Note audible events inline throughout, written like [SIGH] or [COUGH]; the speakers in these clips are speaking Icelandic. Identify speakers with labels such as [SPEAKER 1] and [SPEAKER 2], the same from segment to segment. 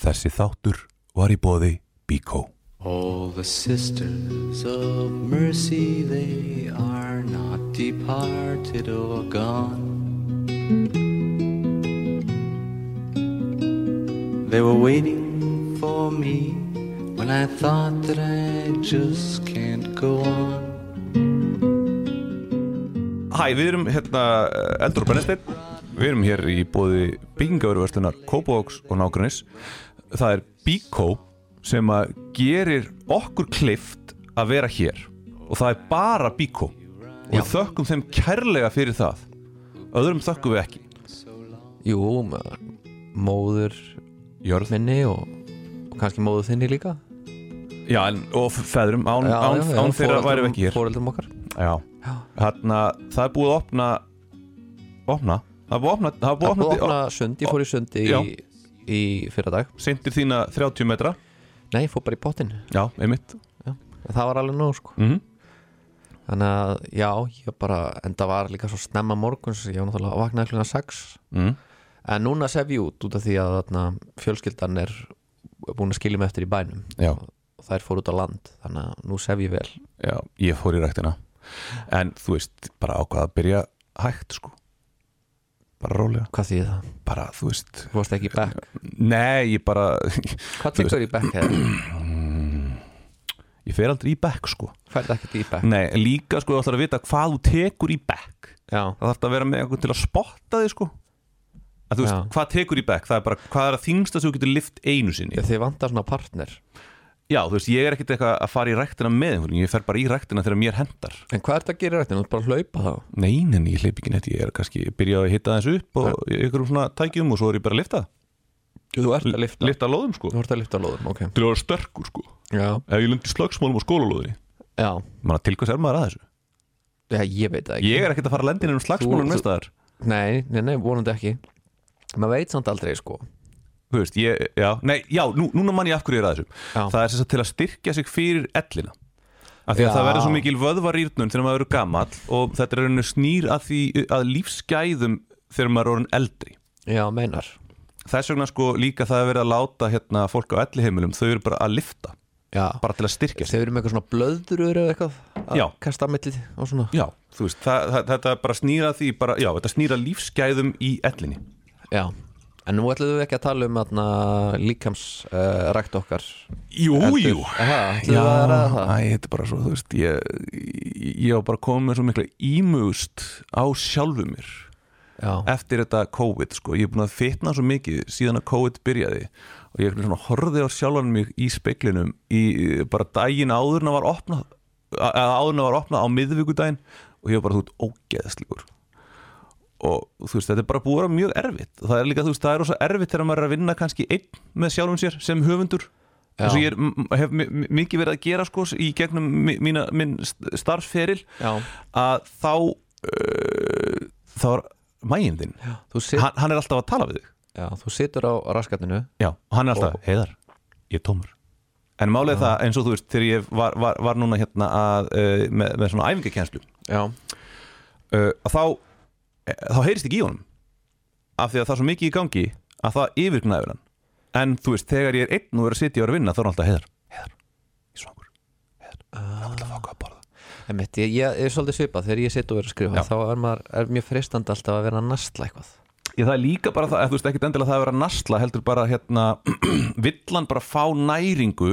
[SPEAKER 1] Þessi þáttur var í bóði Bíkó.
[SPEAKER 2] All the sisters of mercy, they are not departed or gone. They were waiting for me when I thought that I just can't go on.
[SPEAKER 1] Hæ, við erum hérna eh, Eldur og Brennisteinn Við erum hér í bóði byggingavöruverslunar Kópavóks og Nágrannis Það er Bíkó sem að gerir okkur klift að vera hér og það er bara Bíkó og við þökkum þeim kærlega fyrir það öðrum þökkum við ekki
[SPEAKER 3] Jú, með móður
[SPEAKER 1] Jörð
[SPEAKER 3] minni og, og kannski móður þinni líka
[SPEAKER 1] Já, en, og f- feðrum, án, án, án þeirra værum við ekki hér
[SPEAKER 3] Fóreldrum okkar
[SPEAKER 1] Já, hérna, það er búið að opna opna, það er búið að opna það er búið
[SPEAKER 3] Það búið
[SPEAKER 1] að
[SPEAKER 3] opna
[SPEAKER 1] opna,
[SPEAKER 3] sund, ég fór í sund í,
[SPEAKER 1] Já.
[SPEAKER 3] í fyrra dag
[SPEAKER 1] sindir þína 30 metra
[SPEAKER 3] Nei, ég fór bara í pottin
[SPEAKER 1] Já, einmitt
[SPEAKER 3] Það var alveg nóg sko
[SPEAKER 1] mm
[SPEAKER 3] Þannig að já, ég bara, en það var líka svo snemma morguns Ég var náttúrulega að vakna kluna 6
[SPEAKER 1] mm.
[SPEAKER 3] En núna sef ég út út af því að þarna, fjölskyldan er búin að skilja mig eftir í bænum
[SPEAKER 1] Já.
[SPEAKER 3] Og þær fór út á land, þannig að nú sef ég vel
[SPEAKER 1] Já, ég fór í ræktina En þú veist, bara ákvað að byrja hægt sko Bara rólega
[SPEAKER 3] Hvað þýði það?
[SPEAKER 1] Bara, þú veist
[SPEAKER 3] Þú varst ekki í bekk
[SPEAKER 1] [LAUGHS] Nei, ég bara [LAUGHS]
[SPEAKER 3] Hvað
[SPEAKER 1] Þú veist-
[SPEAKER 3] tekur í bekk hefði?
[SPEAKER 1] Ég fer aldrei í bekk sko
[SPEAKER 3] Færði ekkert í bekk
[SPEAKER 1] Nei, líka sko, þú ætlar að vita hvað þú tekur í bekk
[SPEAKER 3] Já,
[SPEAKER 1] Það þarf að vera með einhvern til að spotta þig sko að þú veist,
[SPEAKER 3] Já.
[SPEAKER 1] hvað tekur í bekk það er bara, hvað er að þingsta sem þú getur lift einu sinni
[SPEAKER 3] þið vantar svona partner
[SPEAKER 1] já, þú veist, ég er ekkert eitthvað að fara í ræktina með einhverjum, ég fer bara í ræktina þegar mér hendar
[SPEAKER 3] En hvað er þetta að gera í rættinu? Þú ert bara að hlaupa þá
[SPEAKER 1] Nei, en ég hleyp ekki neitt, ég er kannski byrjað að hitta þessu upp og í einhverjum svona tækjum og svo er ég bara að lifta
[SPEAKER 3] Þú ert að lifta
[SPEAKER 1] Lifta lóðum sko
[SPEAKER 3] Þú ert að lifta lóðum, ok
[SPEAKER 1] Til að vera sterkur sko
[SPEAKER 3] Já,
[SPEAKER 1] Ef ég lundi slagsmálum á skólalóðinni
[SPEAKER 3] já,
[SPEAKER 1] Manna, til hvers er maður að þessu?
[SPEAKER 3] já ég veit það ekki
[SPEAKER 1] Ég er ekkert að fara að lenda inn um slagsmálum
[SPEAKER 3] Þú-
[SPEAKER 1] næst þar
[SPEAKER 3] Nei, nei, nei, vonandi ekki Maður veit samt aldrei, sko
[SPEAKER 1] Þú veist, ég, já, nei, já, nú, núna mann ég af hverju ég er að þessu
[SPEAKER 3] Já.
[SPEAKER 1] Það er sem sagt til að styrkja sig fyrir ellina Af því að
[SPEAKER 3] Já.
[SPEAKER 1] það verður svo mikil vöðvarýrnun þegar maður eru gamall og þetta er einu snýr að því að lífsgæðum þegar maður er orðin eldri
[SPEAKER 3] Já, meinar
[SPEAKER 1] Þess vegna sko líka það er verið að láta hérna, fólk á elliheimilum, þau eru bara að lifta
[SPEAKER 3] Já,
[SPEAKER 1] bara til að styrkja sig
[SPEAKER 3] þeir eru með eitthvað svona blöðrur eða eitthvað að
[SPEAKER 1] Já.
[SPEAKER 3] Kasta að milli og svona
[SPEAKER 1] Já, þú veist, það, það, þetta bara snýra því bara, já, þetta snýra lífsgæðum í ellinni
[SPEAKER 3] Já En nú ætlum við ekki að tala um atna, líkams uh, rækt okkar
[SPEAKER 1] Jú,
[SPEAKER 3] Aha, ætlum við að ræða það
[SPEAKER 1] æ, þetta er bara svo, þú veist ég, ég, ég var bara komið með svo mikla ímugust á sjálfu mér
[SPEAKER 3] Já,
[SPEAKER 1] eftir þetta COVID, sko, ég er búin að fitna svo mikið síðan að COVID byrjaði og ég er svona horfið á sjálfan mig í speklinum í bara daginn áður en að var opnað, að- eða áður en að var opnað á miðvikudaginn og ég var bara, þú veist, ógeðslegur og þú veist, þetta er bara búið að vera mjög erfitt og það er líka, þú veist, það er rosa erfitt þegar maður er að vinna kannski einn með sjálfum sér sem höfundur
[SPEAKER 3] Já.
[SPEAKER 1] eins og ég er, m- hef mi- mi- mikið verið að gera sko í gegnum mi- mína, minn st- starfsferil
[SPEAKER 3] já
[SPEAKER 1] að þá uh, þá er mægin þinn
[SPEAKER 3] Þú, sit,
[SPEAKER 1] hann, hann er alltaf að tala við þig
[SPEAKER 3] já, þú situr á raskatinu
[SPEAKER 1] Já, og hann er alltaf, heiðar, ég er tómur En málið er það eins og þú veist þegar ég var, var, var núna hérna að, uh, með, með svona æfingakenslu uh,
[SPEAKER 3] Já,
[SPEAKER 1] að þá, eh, þá heyrist ekki í honum af því að það er svo mikið í gangi að það yfirgnaður hann En þú veist, þegar ég er einn og er að sitja og er að vinna þá er hann alltaf heiðar, heiðar, ég svangur heiðar, ég ætla að fá hvað að borða
[SPEAKER 3] Einmitt, ég, ég, ég er svolítið svipað þegar ég sit og er að skrifa
[SPEAKER 1] Já.
[SPEAKER 3] þá er, maður, er mjög freistandi alltaf að vera að nasla eitthvað
[SPEAKER 1] Ég það er líka bara það, eða þú veist ekkert endilega það að vera nasla heldur bara hérna [CLEARS THROAT] villan bara fá næringu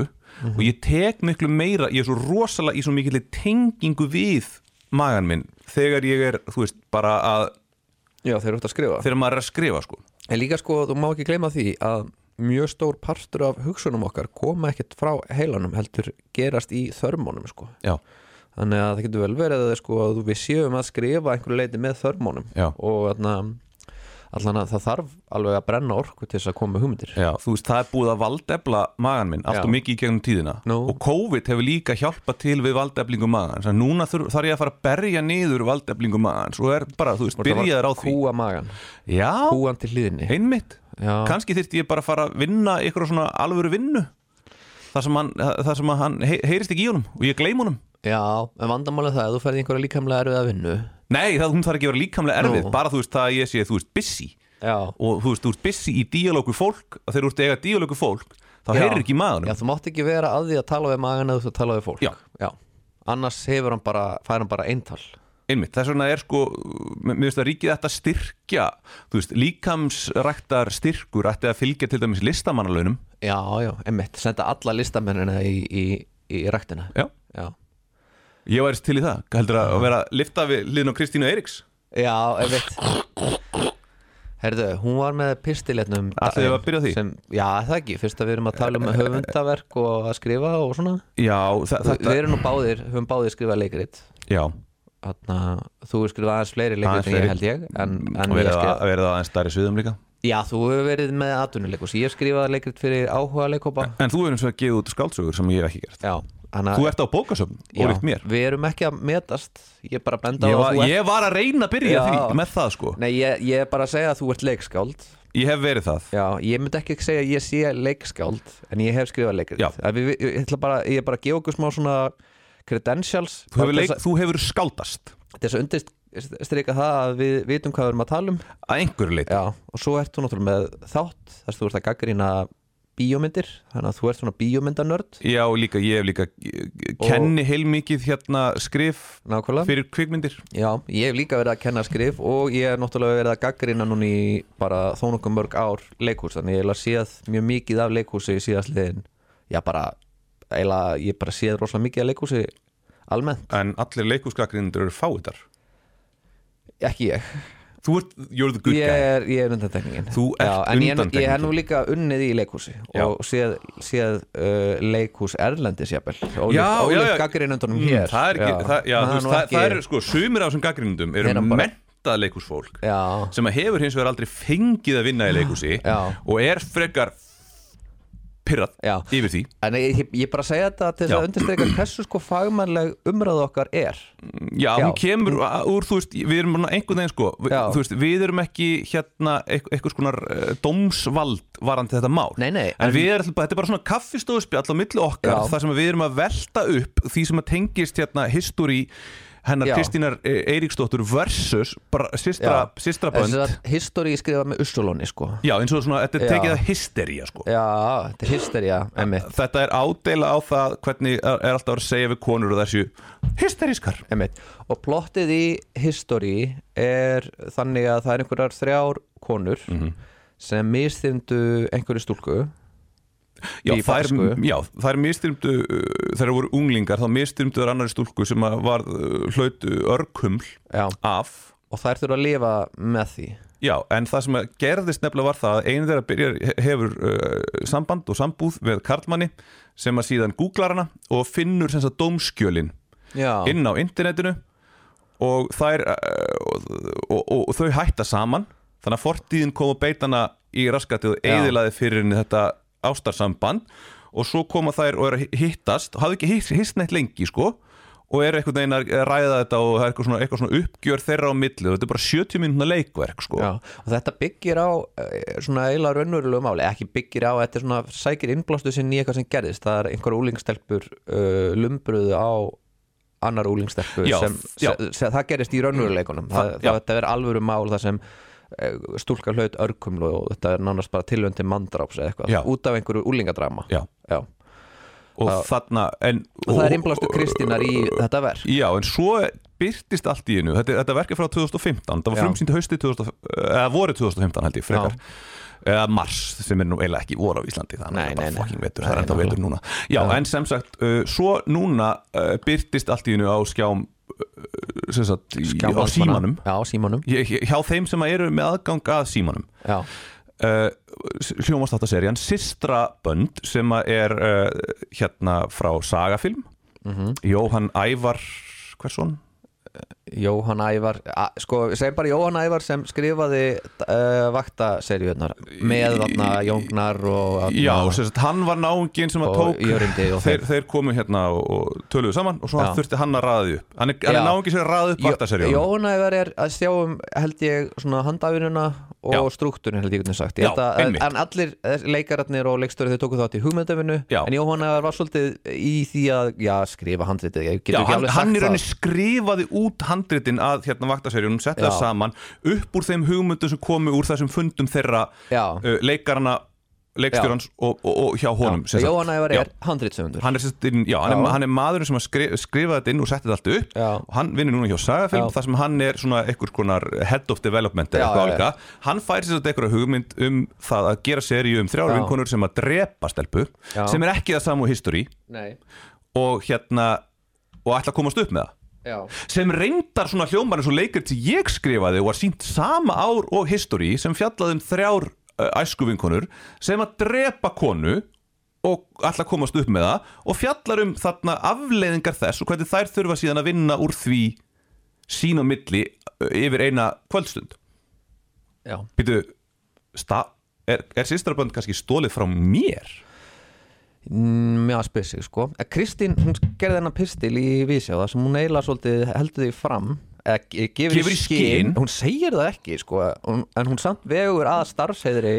[SPEAKER 1] og ég tek miklu meira, ég er svo rosalega í svo mikilli tengingu við magan minn þegar ég er, þú veist, bara að
[SPEAKER 3] Já, þeir eru út að skrifa
[SPEAKER 1] þegar maður er að skrifa sko
[SPEAKER 3] En líka sko, þú má ekki gleyma því að mjög stór partur af hugsunum okkar koma ekkert frá heilanum heldur gerast í þörmónum sko
[SPEAKER 1] Já,
[SPEAKER 3] þannig að það getur vel verið að, sko, að við séum að skrifa einhverju leiti með þörmónum
[SPEAKER 1] Já.
[SPEAKER 3] og þarna allan að það þarf alveg að brenna orku til þess að koma með hugmyndir
[SPEAKER 1] já, þú veist, það er búið að valdefla magan minn allt
[SPEAKER 3] Já.
[SPEAKER 1] og mikið í gegnum tíðina
[SPEAKER 3] Nú.
[SPEAKER 1] og COVID hefur líka hjálpað til við valdeflingu magans, þannig að núna þurf, þarf ég að fara að berja niður valdeflingu magans og er bara, þú veist, byrjaður á því
[SPEAKER 3] Kúa magan,
[SPEAKER 1] Já,
[SPEAKER 3] kúan til hlýðinni
[SPEAKER 1] einmitt
[SPEAKER 3] Já.
[SPEAKER 1] kannski þyrfti ég bara að fara að vinna ykkur svona alvöru vinnu þar sem hann, þar sem að hann hey, heyrist ekki í honum og ég gleym honum
[SPEAKER 3] Já, en vandamálið það að þú ferði einhverja líkamlega erfið að vinnu
[SPEAKER 1] nei, það, hún þarf ekki að vera líkamlega erfið
[SPEAKER 3] Nú.
[SPEAKER 1] bara þú veist það að ég sé, þú veist, busy
[SPEAKER 3] Já.
[SPEAKER 1] og þú veist, þú ert busy í díalógu fólk og þegar þú ert að eiga díalógu fólk þá
[SPEAKER 3] Já.
[SPEAKER 1] heyrir ekki í maðurum
[SPEAKER 3] Já, þú mátt ekki vera að því að tala við magan eða þú ert að tala við fólk
[SPEAKER 1] Já.
[SPEAKER 3] Annars hefur hann bara, fær hann bara eintal
[SPEAKER 1] einmitt, þess vegna er sko mér mér finnst að ríkið ætti að styrkja þú veist, líkamsræktar styrkur ætti að fylgja til dæmis listamannalaunum
[SPEAKER 3] Já, já, emmitt, senda alla listamennina í, í, í ræktina
[SPEAKER 1] já,
[SPEAKER 3] Já,
[SPEAKER 1] ég værist til í það heldur að vera að lifta við liðn á Kristínu Eiríks
[SPEAKER 3] já emmitt Herðu, hún var með pistiletnum
[SPEAKER 1] Ætlum við að byrja á því?
[SPEAKER 3] Sem, já, það ekki, fyrst að við erum að tala um höfundaverk og að skrifa og svona
[SPEAKER 1] já, þa þetta
[SPEAKER 3] Við erum nú báðir, höfum báðir skrifað leikrit
[SPEAKER 1] já,
[SPEAKER 3] Þarna, Þú hefur skrifað aðeins fleiri
[SPEAKER 1] Aðeins
[SPEAKER 3] leikrit
[SPEAKER 1] fleiri.
[SPEAKER 3] en ég held ég En, en
[SPEAKER 1] og
[SPEAKER 3] ég
[SPEAKER 1] verið
[SPEAKER 3] skrifað
[SPEAKER 1] að, verið að aðeins stærri sviðum líka
[SPEAKER 3] Já, þú hefur verið með atvinnuleikus Ég hef skrifað leikrit fyrir áhuga leikkópa
[SPEAKER 1] en þú erum svo að gefa út skáldsögur sem ég hef ekki gert
[SPEAKER 3] Já, hana,
[SPEAKER 1] þú ert á bókasöfn, ólíkt mér
[SPEAKER 3] Við erum ekki að metast Ég er bara að benda
[SPEAKER 1] ég
[SPEAKER 3] á
[SPEAKER 1] var,
[SPEAKER 3] að þú
[SPEAKER 1] ég var að reyna að byrja
[SPEAKER 3] Já.
[SPEAKER 1] því með það sko,
[SPEAKER 3] ert Nei, ég, ég er bara að segja að þú ert leikskáld
[SPEAKER 1] ég hef verið það
[SPEAKER 3] Já, ég myndi ekki segja að ég sé leikskáld En ég hef skrifað leikrit
[SPEAKER 1] Já.
[SPEAKER 3] Að við, ég, ætla bara, ég er bara að gefa okkur smá svona credentials
[SPEAKER 1] þú hefur,
[SPEAKER 3] Bara
[SPEAKER 1] leik,
[SPEAKER 3] til þess
[SPEAKER 1] þú hefur skáldast
[SPEAKER 3] að- til þess að undirstrika það að við vitum hvað við erum að tala um
[SPEAKER 1] að einhverju leiti
[SPEAKER 3] Já, og svo ert þú náttúrulega með þátt Þess að þú ert að gaggrýna bíómyndir Þannig að þú ert svona bíómyndanörd
[SPEAKER 1] Já, líka, ég hef líka kenni heilmikið hérna skrif
[SPEAKER 3] Nákvæmlega
[SPEAKER 1] fyrir kvikmyndir
[SPEAKER 3] Já, ég hef líka verið að kenna skrif og ég hef náttúrulega verið að gaggrina núna í bara þó nokkuð mörg ár leikhús þannig ég hef eiginlega séð mjög mikið af leikhúsi í síðastliðin Já, bara, eiginlega, ég bara séð rosalega mikið af leikhúsi almennt
[SPEAKER 1] en allir leikúskakrindar eru fáiðar
[SPEAKER 3] Ekki ég,
[SPEAKER 1] Þú ert, you're the good
[SPEAKER 3] ég
[SPEAKER 1] guy
[SPEAKER 3] er, ég er undantekningin
[SPEAKER 1] Þú ert
[SPEAKER 3] Já, En ég, er- ég
[SPEAKER 1] undantekningin.
[SPEAKER 3] er nú líka unnið í leikhúsi
[SPEAKER 1] Já.
[SPEAKER 3] og séð, séð uh, leikhús erlendis jafnvel
[SPEAKER 1] Já,
[SPEAKER 3] Ólíkt-
[SPEAKER 1] já,
[SPEAKER 3] ólíkt
[SPEAKER 1] já.
[SPEAKER 3] gaggrinendunum
[SPEAKER 1] Mm,
[SPEAKER 3] hér
[SPEAKER 1] Það er ekki, það, já, þú
[SPEAKER 3] er
[SPEAKER 1] veist,
[SPEAKER 3] nú
[SPEAKER 1] það,
[SPEAKER 3] ekki-
[SPEAKER 1] það eru sko sumir af þessum gaggrindum eru
[SPEAKER 3] Þeirra bara-
[SPEAKER 1] mentað leikúsfólk
[SPEAKER 3] Já,
[SPEAKER 1] sem að hefur hins vegar aldrei fengið að vinna í leikúsi
[SPEAKER 3] Já.
[SPEAKER 1] og er frekar pyrrat
[SPEAKER 3] Já.
[SPEAKER 1] yfir því
[SPEAKER 3] En ég, ég- ég bara segja þetta til þess
[SPEAKER 1] Já.
[SPEAKER 3] að undirstreika hversu sko fagmannleg umræð okkar er
[SPEAKER 1] Já,
[SPEAKER 3] Já.
[SPEAKER 1] hún kemur a- úr, þú veist, við erum svona einhvern veginn sko, við,
[SPEAKER 3] Já.
[SPEAKER 1] þú veist, við erum ekki hérna eitth- einhvers konar uh, domsvald varandi þetta mál
[SPEAKER 3] Nei, nei,
[SPEAKER 1] En
[SPEAKER 3] en-
[SPEAKER 1] við erum, bara- þetta er bara svona kaffistóðspjall á milli okkar
[SPEAKER 3] Já.
[SPEAKER 1] þar sem við erum að velta upp því sem að tengist hérna history hennar
[SPEAKER 3] Já.
[SPEAKER 1] Kristínar eh, Eiríksdóttur versus bara systra, systra bönd
[SPEAKER 3] Históri skrifa með Ussulóni sko
[SPEAKER 1] Já, eins og svona, þetta er
[SPEAKER 3] Já.
[SPEAKER 1] tekið að hystería sko
[SPEAKER 3] Já, þetta er hysteria, emmitt
[SPEAKER 1] Þetta er ádeila á það hvernig er er alltaf að vera að segja við konur og þessu hysterískar
[SPEAKER 3] Einmitt. Og plottið í history er þannig að það er einhverjar þrjár konur
[SPEAKER 1] Mhm.
[SPEAKER 3] sem mistyndu einhverju stúlku
[SPEAKER 1] Já,
[SPEAKER 3] í
[SPEAKER 1] þær,
[SPEAKER 3] Baskóu.
[SPEAKER 1] já, þær mistyrmdu þegar voru unglingar, þá mistyrmdu þær annari stúlku sem að var hlautu örkuml
[SPEAKER 3] Já.
[SPEAKER 1] af
[SPEAKER 3] og þær þurfa að lifa með því
[SPEAKER 1] Já, en það sem að gerðist nefnilega var það að einu þeirra byrjar hefur uh, samband og sambúð með Karlmanni sem að síðan googlar hana og finnur sem sagt dómskjölin
[SPEAKER 3] Já,
[SPEAKER 1] inn á internetinu og þær uh, og, og, og, og þau hætta saman þannig að fortíðin kom og beit hana í raskatið og
[SPEAKER 3] Já.
[SPEAKER 1] eigðilaði fyrir henni þetta ástarsamband og svo koma þær og eru að hi- hittast hafði ekki hitt, hitt neitt lengi sko og eru einhvern veginn að ræða þetta og það er eitthvað svona, eitthvað svona uppgjör þeirra á milli og þetta er bara 70 mínúna leikverk sko
[SPEAKER 3] Já, og þetta byggir á eh, svona eiginlega raunverulegu máli, ekki byggir á þetta er svona sækir innblástu sinni í eitthvað sem gerðist það er einhver úlingstelpur uh, lumbruðu á annar úlingstelpu
[SPEAKER 1] Já,
[SPEAKER 3] sem,
[SPEAKER 1] já.
[SPEAKER 3] sem, sem það gerist í raunveruleikunum það,
[SPEAKER 1] já.
[SPEAKER 3] það, þetta er alvöru mál það sem eh, stúlka hlaut örkumlu og þetta er nánast bara tilvöndi mandráps
[SPEAKER 1] Já.
[SPEAKER 3] eða eitthvað, út af einhverju úlingadrama
[SPEAKER 1] Já.
[SPEAKER 3] Já. og
[SPEAKER 1] og þarna en,
[SPEAKER 3] það er innblástu Kristínar í þetta verk
[SPEAKER 1] Já, en svo byrtist allt í einu Þetta, þetta verk er frá 2015, það var
[SPEAKER 3] Já.
[SPEAKER 1] frumsýnd haustið 2000 eða voru 2015 held ég frekar eða mars, sem er nú eiginlega ekki voru á Íslandi þannig
[SPEAKER 3] Nei,
[SPEAKER 1] að það
[SPEAKER 3] nei,
[SPEAKER 1] er
[SPEAKER 3] nei.
[SPEAKER 1] bara fucking vetur,
[SPEAKER 3] Nei,
[SPEAKER 1] það er enda
[SPEAKER 3] nákvæmlega.
[SPEAKER 1] vetur núna Já, en sem sagt, uh, svo núna uh, byrtist allt í einu á skjám uh, sem sagt, í, á símanum
[SPEAKER 3] Já, símanum
[SPEAKER 1] ég, hjá þeim sem eru með aðgang að símanum
[SPEAKER 3] Já,
[SPEAKER 1] uh, hljómastattaserían Sistra Bönd sem að er uh, hérna frá sagafilm
[SPEAKER 3] Mhm.
[SPEAKER 1] Jóhann Ævar hversson?
[SPEAKER 3] Jóhann Ævar a, sko, segjum bara Jóhann Ævar sem skrifaði uh, vaktaseríunar með þarna Jóngnar og þarna-
[SPEAKER 1] Já, sem sagt, hann var náungin sem að
[SPEAKER 3] Og
[SPEAKER 1] tók
[SPEAKER 3] Jörundi og
[SPEAKER 1] þeir, þeir komu hérna og- og töluðu saman og svo
[SPEAKER 3] Já.
[SPEAKER 1] þurfti hann að raða því upp hann er, hann er
[SPEAKER 3] Já.
[SPEAKER 1] náungin sem er að raða upp
[SPEAKER 3] Jó-
[SPEAKER 1] vaktaseríun
[SPEAKER 3] Jóhann Ævar er að sjá um held ég svona handafinuna og struktúrin held ég hvernig sagt Ég
[SPEAKER 1] Já,
[SPEAKER 3] held að-
[SPEAKER 1] einmitt.
[SPEAKER 3] En allir eh, leikararnir og leikstöri þau tóku þátt í hugmyndavinnu
[SPEAKER 1] Já.
[SPEAKER 3] En Jóhanna var svolítið í því að já, skrifa handritið Ég
[SPEAKER 1] Já,
[SPEAKER 3] getur ekki
[SPEAKER 1] hann,
[SPEAKER 3] alveg
[SPEAKER 1] hann
[SPEAKER 3] sagt
[SPEAKER 1] í rauninni
[SPEAKER 3] það
[SPEAKER 1] skrifaði út handritin að hérna vaktaserjunum, setti það
[SPEAKER 3] Já.
[SPEAKER 1] saman upp úr þeim hugmyndum sem komu úr þessum fundum þeirra
[SPEAKER 3] Já.
[SPEAKER 1] uh, leikarana, leikstjórans og, og, og hjá honum sem sagt.
[SPEAKER 3] Jóhanna Ævar
[SPEAKER 1] Já.
[SPEAKER 3] er handritsöfundur
[SPEAKER 1] hann er, sem sagt inn, já, hann,
[SPEAKER 3] Já.
[SPEAKER 1] Er, hann er maðurinn sem að skri, skrifaði þetta inn og setti þetta allt upp
[SPEAKER 3] Já.
[SPEAKER 1] og hann vinnur núna hjá Sagafilm
[SPEAKER 3] Já.
[SPEAKER 1] þar sem hann er svona einhvers konar head of development
[SPEAKER 3] Já,
[SPEAKER 1] eða eitthvað
[SPEAKER 3] já,
[SPEAKER 1] álíka hann fær sér þetta einhverja hugmynd um það að gera seríu um þrjár
[SPEAKER 3] Já.
[SPEAKER 1] vinkonur sem að drepa stelpu
[SPEAKER 3] Já.
[SPEAKER 1] sem er ekki það samu history
[SPEAKER 3] Nei,
[SPEAKER 1] og hérna og ætla að komast upp með það
[SPEAKER 3] já
[SPEAKER 1] sem reyndar svona hljómar eins og leikrit sem ég skrifaði og var sínt sama ár og history sem fjallaði um þrjár uh, æskuvinkonur sem að drepa konu og alltaf komast upp með það og fjallar um þarna afleiðingar þess og hvernig þær þurfa síðan að vinna úr því sín og milli uh, yfir eina kvöldstund
[SPEAKER 3] Já,
[SPEAKER 1] Býtu, sta- er, er sýstrabönd kannski stólið frá mér?
[SPEAKER 3] mjög spesig sko að Kristín, hún gerði hennar pistil í Vísjá það sem hún eiginlega svolítið heldur því fram eða ge- gefur,
[SPEAKER 1] Gefur í skyn.
[SPEAKER 3] hún segir það ekki sko hún, en hún samt vegur að starfsheðri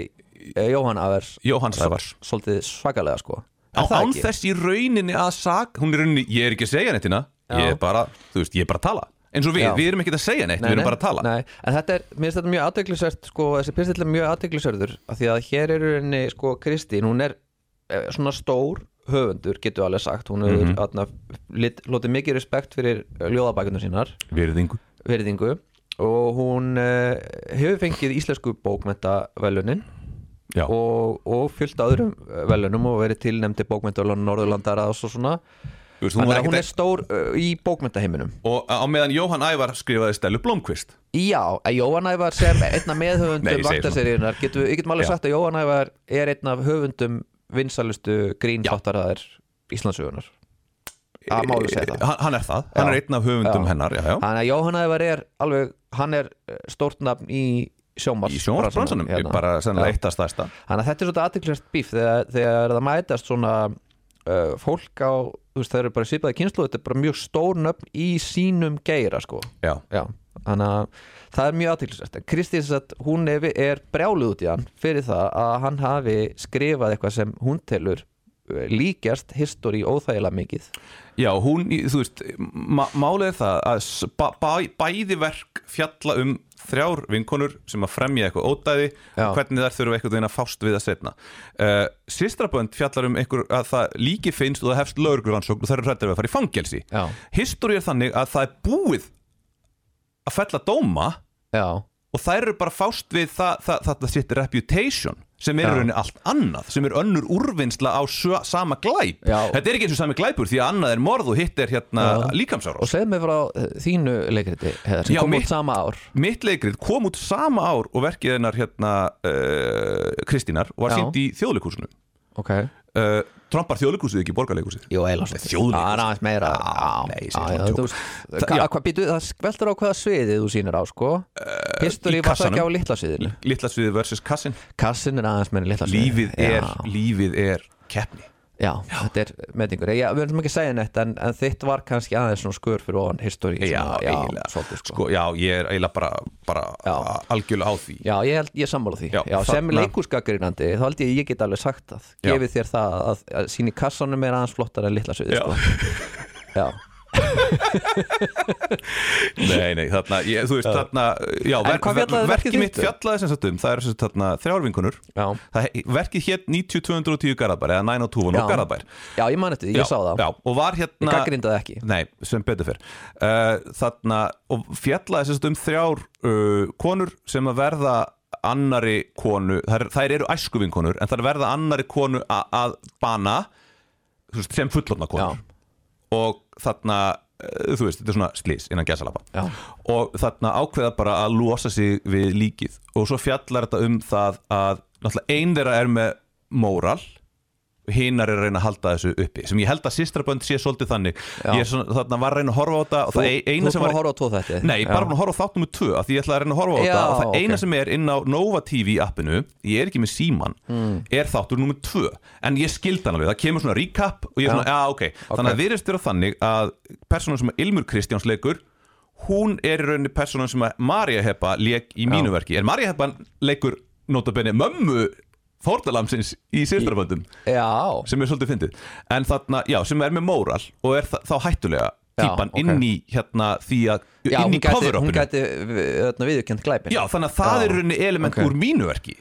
[SPEAKER 3] Jóhann Avers
[SPEAKER 1] Jóhann Sævars
[SPEAKER 3] svolítið svakalega sko
[SPEAKER 1] á,
[SPEAKER 3] Er það
[SPEAKER 1] án
[SPEAKER 3] ekki?
[SPEAKER 1] þess í rauninni að sag hún er rauninni, ég er ekki að segja nettina ég
[SPEAKER 3] Já.
[SPEAKER 1] er bara, þú veist, ég er bara að tala eins og við,
[SPEAKER 3] Já.
[SPEAKER 1] við erum ekki að segja neitt,
[SPEAKER 3] Nei,
[SPEAKER 1] við erum
[SPEAKER 3] nei,
[SPEAKER 1] bara að tala
[SPEAKER 3] nei, en þetta er, mér finnst þetta mjög aðteglisvert sko, þessi pistill er mjög aðteglisverður af því að hér eru henni, sko, Kristín hún er eh, svona stór höfundur, getur alveg sagt hún
[SPEAKER 1] Mhm.
[SPEAKER 3] hefur mm lotið mikið respekt fyrir ljóðabækunum sínar
[SPEAKER 1] virðingu
[SPEAKER 3] verðingu og hún uh, hefur fengið íslensku bókmenta velunin
[SPEAKER 1] Já.
[SPEAKER 3] og, og fyllt öðrum velunum og verið tilnefndi bókmenta Norðurlandara og svo svona
[SPEAKER 1] Þú veist, hún
[SPEAKER 3] Þannig
[SPEAKER 1] var
[SPEAKER 3] að hún er
[SPEAKER 1] ekkert,
[SPEAKER 3] stór uh, í bókmentaheiminum
[SPEAKER 1] og á meðan Jóhann Ævar skrifaði Stellu Blomqvist
[SPEAKER 3] Já, að Jóhann Ævar sem einna
[SPEAKER 1] Nei,
[SPEAKER 3] meðhöfundum
[SPEAKER 1] ég segi svona.
[SPEAKER 3] vaktaseríunar getum, við- ég getum alveg
[SPEAKER 1] Já.
[SPEAKER 3] sagt að Jóhann Ævar er einn af höfundum vinsalustu grínþáttaraðar Íslandsögunar Það má við segja það
[SPEAKER 1] hann, hann er það, hann
[SPEAKER 3] Já.
[SPEAKER 1] er einn af höfundum
[SPEAKER 3] Já.
[SPEAKER 1] hennar já, já.
[SPEAKER 3] Þannig að Jóhann Ævar er alveg, hann er eh, stórt nafn í sjónvars
[SPEAKER 1] í sjónvarsbransanum,
[SPEAKER 3] hérna.
[SPEAKER 1] bara sennilega
[SPEAKER 3] Já.
[SPEAKER 1] eitt að stæsta
[SPEAKER 3] Þannig að þetta er svona aðteklast bíf þegar, þegar það mætast svona uh, fólk á, þú veist, það eru bara svipaði kynslu þetta er bara mjög stór nöfn í sínum geira, sko.
[SPEAKER 1] já,
[SPEAKER 3] Já, þannig að það er mjög aðteklast. Kristín sem sagt, hún er, er brjáluð út í hann fyrir það að hann hafi skrifað eitthvað sem hún telur eh, líkjast históri óþægilega mikið
[SPEAKER 1] já hún, í- þú veist ma málið er það að s- bæ, bæ, bæði verk fjalla um þrjár vinkonur sem að fremja eitthvað ódæði
[SPEAKER 3] Já.
[SPEAKER 1] og hvernig þær þurfa einhvern veginn að fást við að setna uh, Sistrabönd fjallar um einhver að það líki finnst og það hefst lögurgrannsókn og þær eru hrættir við að fara í fangelsi
[SPEAKER 3] Já.
[SPEAKER 1] History er þannig að það er búið að fella dóma
[SPEAKER 3] Já,
[SPEAKER 1] og þær eru bara fást við það, það, það, það sitt reputation sem er í
[SPEAKER 3] Já.
[SPEAKER 1] rauninni allt annað, sem er önnur úrvinnsla á sjö, sama glæp
[SPEAKER 3] Já.
[SPEAKER 1] þetta er ekki eins og sami glæpur því að annað er morð og hitt er hérna líkamsárás
[SPEAKER 3] og segð mér frá eh, þínu leikriti Heiðar, sem
[SPEAKER 1] Já,
[SPEAKER 3] kom
[SPEAKER 1] mitt-
[SPEAKER 3] út sama ár
[SPEAKER 1] mitt leikrið kom út sama ár og verkið hennar hérna uh, Kristínar og var
[SPEAKER 3] Já.
[SPEAKER 1] sínt í þjóðleikúsinu
[SPEAKER 3] okay.
[SPEAKER 1] uh, trompar þjóðleikúsið ekki borgarleikúsið
[SPEAKER 3] Jó, eiginlega svolítið.
[SPEAKER 1] Þjóðleikhús.
[SPEAKER 3] Já, aðeins meira
[SPEAKER 1] Já, nei, ég segi
[SPEAKER 3] já,
[SPEAKER 1] svona
[SPEAKER 3] já,
[SPEAKER 1] djók.
[SPEAKER 3] þú veist,
[SPEAKER 1] Það-
[SPEAKER 3] hva-
[SPEAKER 1] já.
[SPEAKER 3] hvað býtu, það skveldur á hvaða sviði þú sýnir á, sko History
[SPEAKER 1] í
[SPEAKER 3] var það ekki á
[SPEAKER 1] kassanum.
[SPEAKER 3] litla sviðinu
[SPEAKER 1] litla sviði versus kassin
[SPEAKER 3] Kassin er aðeins meira litla
[SPEAKER 1] lífið
[SPEAKER 3] sviði
[SPEAKER 1] er,
[SPEAKER 3] Já,
[SPEAKER 1] lífið er keppni
[SPEAKER 3] já, þetta er meðingur Já, við erum ekki að segja neitt, en, en þitt var kannski aðeins svona skur fyrir ofan history
[SPEAKER 1] já,
[SPEAKER 3] svona,
[SPEAKER 1] eiginlega
[SPEAKER 3] svolítið, sko.
[SPEAKER 1] sko, já, ég er eiginlega bara, bara
[SPEAKER 3] Já.
[SPEAKER 1] algjörlega á því
[SPEAKER 3] Já, ég, held, ég er sammála því
[SPEAKER 1] Já,
[SPEAKER 3] já, Sem
[SPEAKER 1] þarna-
[SPEAKER 3] leikúskakrinandi, þá held ég ég get alveg sagt það
[SPEAKER 1] Já.
[SPEAKER 3] Gefið þér það að, að síni kassanum er aðeins flottar en litla sviði
[SPEAKER 1] Já.
[SPEAKER 3] sko. Já,
[SPEAKER 1] Nei, nei, þarna, ég, þú veist, þarna Já,
[SPEAKER 3] En hvað fjallaði verkið
[SPEAKER 1] verkið mitt
[SPEAKER 3] þitt um?
[SPEAKER 1] fjallaði sem sagt um Það eru sem sagt þarna þrjárvinkunur
[SPEAKER 3] Já.
[SPEAKER 1] Verkið hétt 90-210 Garðabær eða 902
[SPEAKER 3] Já.
[SPEAKER 1] og Garðabær
[SPEAKER 3] já ég man eftir, því,
[SPEAKER 1] Já,
[SPEAKER 3] ég sá það
[SPEAKER 1] já, Og var
[SPEAKER 3] Ég
[SPEAKER 1] hérna
[SPEAKER 3] gaggrindaði ekki
[SPEAKER 1] Nei, sem betur fyrr uh, Þarna, og fjallaði sem sagt um þrjár uh, konur sem að verða annari konu Þær, þær eru æskuvinkonur en þær verða annari konu a, að bana þú veist, sem fullorna konur
[SPEAKER 3] Já.
[SPEAKER 1] og þarna eh, þú veist, þetta er svona slís innan gæsalapa
[SPEAKER 3] Já.
[SPEAKER 1] og þarna ákveða bara að losa sig við líkið og svo fjallar þetta um það að náttúrulega ein þeirra er með móral hinnar er að reyna að halda þessu uppi sem ég held að sýstrabönd sé svolítið þannig
[SPEAKER 3] Já.
[SPEAKER 1] ég er svona, þarna var að reyna að horfa á þetta og
[SPEAKER 3] Þú-
[SPEAKER 1] það e-
[SPEAKER 3] þú
[SPEAKER 1] eina
[SPEAKER 3] ert
[SPEAKER 1] sem
[SPEAKER 3] búin
[SPEAKER 1] var
[SPEAKER 3] að horfa á tvo þætti?
[SPEAKER 1] Nei, ég er bara
[SPEAKER 3] Já.
[SPEAKER 1] búin að horfa á þáttum með tvö af því ég ætla að reyna að horfa á þetta
[SPEAKER 3] Já,
[SPEAKER 1] og það eina
[SPEAKER 3] ok.
[SPEAKER 1] sem er inn á Nova TV appinu ég er ekki með síman,
[SPEAKER 3] Mm.
[SPEAKER 1] er þáttur nummer tvö en ég skildi hann alveg, það kemur svona recap og ég er svona, já ok, þannig að virðist vera þannig að personan sem Ilmur Kristjáns leikur hún er í rauninni personan sem að Marja Heppa leik í mínu verki en Marja Heppa leikur notabenni mömmu fórtalamsins í sýstraföndum
[SPEAKER 3] Já,
[SPEAKER 1] sem er svolítið fyndið en þarna, já, sem er með móral og er þa þá hættulega
[SPEAKER 3] Já,
[SPEAKER 1] típan
[SPEAKER 3] ok.
[SPEAKER 1] inn í hérna því að
[SPEAKER 3] já
[SPEAKER 1] inn í
[SPEAKER 3] hún gæti, hún
[SPEAKER 1] cover-upinu
[SPEAKER 3] gæti eh, hérna, öðna, viðurkend glæpin
[SPEAKER 1] já, þannig að það
[SPEAKER 3] Já,
[SPEAKER 1] er í rauninni element
[SPEAKER 3] ok.
[SPEAKER 1] úr mínu verki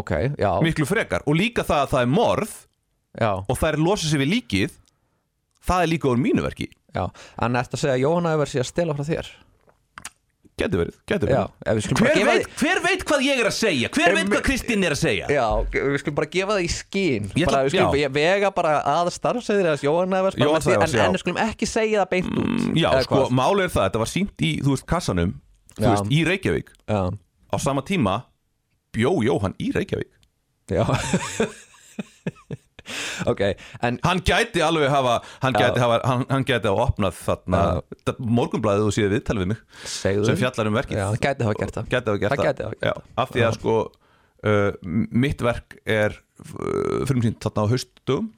[SPEAKER 3] Ok, já,
[SPEAKER 1] miklu frekar og líka það að það er morð
[SPEAKER 3] já,
[SPEAKER 1] og það er losa sig við líkið það er líka úr mínu verki
[SPEAKER 3] já En ertu að segja að Jóhanna hefur sér að stela frá þér?
[SPEAKER 1] getur verið, getur
[SPEAKER 3] Já,
[SPEAKER 1] verið
[SPEAKER 3] ef við skulum bara
[SPEAKER 1] Hver
[SPEAKER 3] gefa
[SPEAKER 1] veit, hver veit hvað ég er að segja? Hver veit hvað Kristín er að segja?
[SPEAKER 3] því Já, við skulum bara gefa því skín
[SPEAKER 1] Ég
[SPEAKER 3] bara,
[SPEAKER 1] ætla-
[SPEAKER 3] Við skulum
[SPEAKER 1] já.
[SPEAKER 3] ve- vega bara að starfsæðir að Jóhanna hefur
[SPEAKER 1] Jóhanns Ævars,
[SPEAKER 3] en,
[SPEAKER 1] já.
[SPEAKER 3] en við skulum ekki segja það beint út
[SPEAKER 1] Já,
[SPEAKER 3] eða
[SPEAKER 1] sko,
[SPEAKER 3] hvað?
[SPEAKER 1] málið er það, þetta var sínt í, þú veist, kassanum Þú
[SPEAKER 3] Já.
[SPEAKER 1] veist, í Reykjavík
[SPEAKER 3] Já,
[SPEAKER 1] Á sama tíma bjó Jóhann í Reykjavík
[SPEAKER 3] já [LAUGHS] Ok, en
[SPEAKER 1] Hann gæti alveg hafa, hann
[SPEAKER 3] Já.
[SPEAKER 1] gæti hafa, hann, hann gæti hafa opnað þarna ja. Morgunblæðið og síðan viðtalið við mig
[SPEAKER 3] segðu
[SPEAKER 1] Sem fjallar um verkið
[SPEAKER 3] Já, það gæti hafa gert það
[SPEAKER 1] Gæti hafa gert
[SPEAKER 3] Það gæti hafa gert
[SPEAKER 1] Já, Af því að sko, uh, mitt verk er uh, frumsýnt þarna á haustdum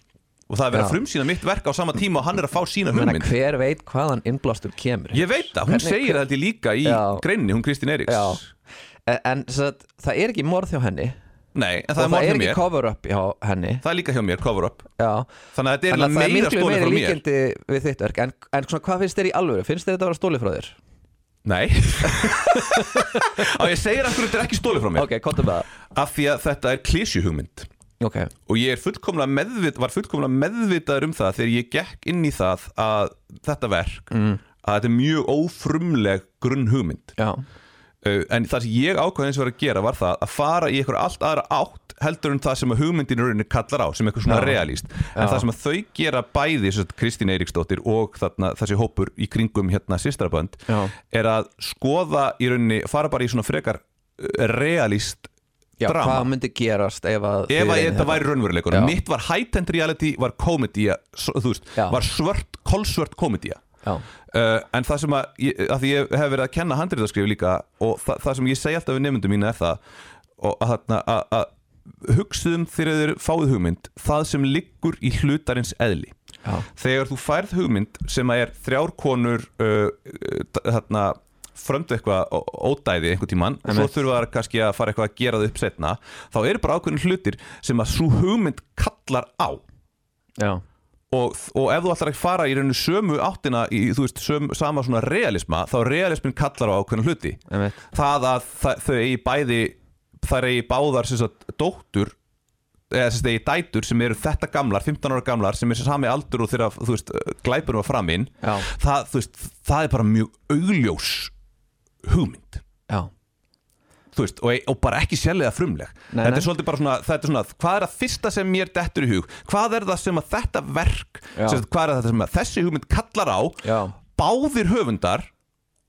[SPEAKER 1] Og það er verið að
[SPEAKER 3] Já.
[SPEAKER 1] frumsýna mitt verk á sama tíma og hann er að fá sína
[SPEAKER 3] Ég meina,
[SPEAKER 1] hugmynd
[SPEAKER 3] hver veit hvaðan innblástur kemur
[SPEAKER 1] Ég veit það, hún
[SPEAKER 3] Hvernig-
[SPEAKER 1] segir það held ég líka í
[SPEAKER 3] Já.
[SPEAKER 1] greininni, hún Kristín Eriks
[SPEAKER 3] Já. En, en það, það er ekki morð hjá henni
[SPEAKER 1] Nei, en það
[SPEAKER 3] og
[SPEAKER 1] er
[SPEAKER 3] það
[SPEAKER 1] morð
[SPEAKER 3] er
[SPEAKER 1] hjá
[SPEAKER 3] ekki
[SPEAKER 1] mér
[SPEAKER 3] cover up hjá henni
[SPEAKER 1] Það er líka hjá mér, cover up
[SPEAKER 3] Já
[SPEAKER 1] Þannig að þetta er
[SPEAKER 3] Þannig að
[SPEAKER 1] eiginlega
[SPEAKER 3] það
[SPEAKER 1] meira
[SPEAKER 3] er miklu
[SPEAKER 1] stólið
[SPEAKER 3] meiri
[SPEAKER 1] frá mér
[SPEAKER 3] líkindi við þitt verk en, en svona, hvað finnst þér í alvöru? Finnst þér þetta að vera stólið frá þér?
[SPEAKER 1] Nei [LAUGHS] Á ég segir af hverju þetta er ekki stólið frá mér
[SPEAKER 3] Ok, kontum með það
[SPEAKER 1] Af því að þetta er klísjuhugmynd
[SPEAKER 3] Ok,
[SPEAKER 1] Og ég er fullkomlega meðvit, var fullkomlega meðvitaður um það Þegar ég gekk inn í það að þetta verk mm. Að þetta er mjög ófrumleg grunnhugmynd
[SPEAKER 3] já,
[SPEAKER 1] uh, En það sem ég ákvað eins og var að gera var það Að fara í eitthvað allt aðra átt Heldur en það sem að hugmyndin í rauninni kallar á Sem eitthvað svona
[SPEAKER 3] Já.
[SPEAKER 1] realíst En
[SPEAKER 3] Já.
[SPEAKER 1] það sem að þau gera bæði sem sagt, Kristín Eiríksdóttir og þarna, þessi hópur Í kringum hérna sýstrabönd
[SPEAKER 3] já,
[SPEAKER 1] er að skoða í rauninni fara bara í svona frekar uh, realist
[SPEAKER 3] já
[SPEAKER 1] drama
[SPEAKER 3] Hvað myndi gerast ef að þið
[SPEAKER 1] ef að
[SPEAKER 3] reynið
[SPEAKER 1] þetta væri raunveruleikur
[SPEAKER 3] Já.
[SPEAKER 1] mitt var high-end reality, var komedía s- þú veist,
[SPEAKER 3] Já.
[SPEAKER 1] var svört, kolsvört komedía
[SPEAKER 3] Já,
[SPEAKER 1] Uh, en það sem að, ég, að því ég hef verið að kenna handriðaskrif líka og þa það sem ég segi alltaf við nefndum mínu er það og að, þarna- að, að hugsuðum þegar þeir fáið hugmynd það sem liggur í hlutarins eðli
[SPEAKER 3] já,
[SPEAKER 1] þegar þú færð hugmynd sem að er þrjár konur uh, uh, þarna fröndu eitthvað ó- ódæði einhvern tímann og svo
[SPEAKER 3] Einmitt.
[SPEAKER 1] þurfa það kannski að fara eitthvað að gera það upp setna þá eru bara ákveðin hlutir sem að svo hugmynd kallar á
[SPEAKER 3] já
[SPEAKER 1] og, og ef þú ætlar að fara í rauninu sömu áttina í þú veist söm, sama svona realisma þá realismin kallar á ákveðin hluti
[SPEAKER 3] einmitt.
[SPEAKER 1] það að þa- þau eigi bæði þær eigi báðar sem sagt dóttur eða sem sagt eigi dætur sem eru þetta gamlar 15 ára gamlar sem er sem sami aldur og þegar þú veist glæpunum var framinn
[SPEAKER 3] Já.
[SPEAKER 1] það, þú veist, það er bara mjög augljós hugmynd
[SPEAKER 3] Já,
[SPEAKER 1] þú veist, og, og bara ekki sérlega frumleg
[SPEAKER 3] Nei,
[SPEAKER 1] þetta
[SPEAKER 3] nei.
[SPEAKER 1] er svolítið bara svona, þetta er svona hvað er að fyrsta sem mér dettur í hug hvað er það sem að þetta verk
[SPEAKER 3] Já.
[SPEAKER 1] sem, sagt, hvað er það sem að þessi hugmynd kallar á
[SPEAKER 3] já,
[SPEAKER 1] Uh, báðir höfundar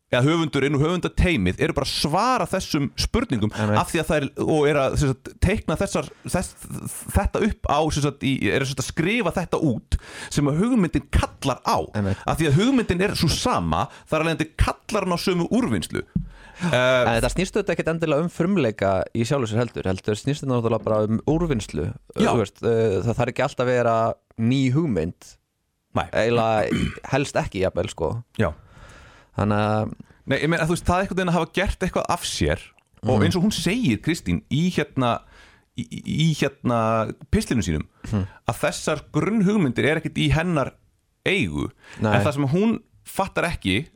[SPEAKER 1] eða höfundurinn og höfundateimið eru bara að svara þessum spurningum
[SPEAKER 3] Einmitt.
[SPEAKER 1] af því að það er, og er að sem sagt, teikna þessar, þess, þetta upp á sem sagt, í, er sem sagt, að skrifa þetta út sem að hugmyndin kallar á
[SPEAKER 3] Einmitt.
[SPEAKER 1] af því að hugmyndin er svo sama þar alveg kallar hann á sömu úrvinnslu
[SPEAKER 3] en þetta snýstu þetta ekkit endilega um frumleika í sjálfu sér heldur heldur snýstu þetta náttúrulega bara um úrvinnslu
[SPEAKER 1] Já.
[SPEAKER 3] Þú veist, uh, Það þarf ekki alltaf að vera ný hugmynd
[SPEAKER 1] Nei,
[SPEAKER 3] eiginlega helst ekki jafnvel sko
[SPEAKER 1] Eh, já
[SPEAKER 3] þannig að
[SPEAKER 1] Nei, ég meina, þú veist, það er einhvern veginn að hafa gert eitthvað af sér og
[SPEAKER 3] Mhm.
[SPEAKER 1] eins og hún segir, Kristín, í hérna í, í- í hérna pislinu sínum
[SPEAKER 3] Mhm.
[SPEAKER 1] að þessar grunnhugmyndir er ekkert í hennar eigu
[SPEAKER 3] Nei.
[SPEAKER 1] en það sem hún fattar ekki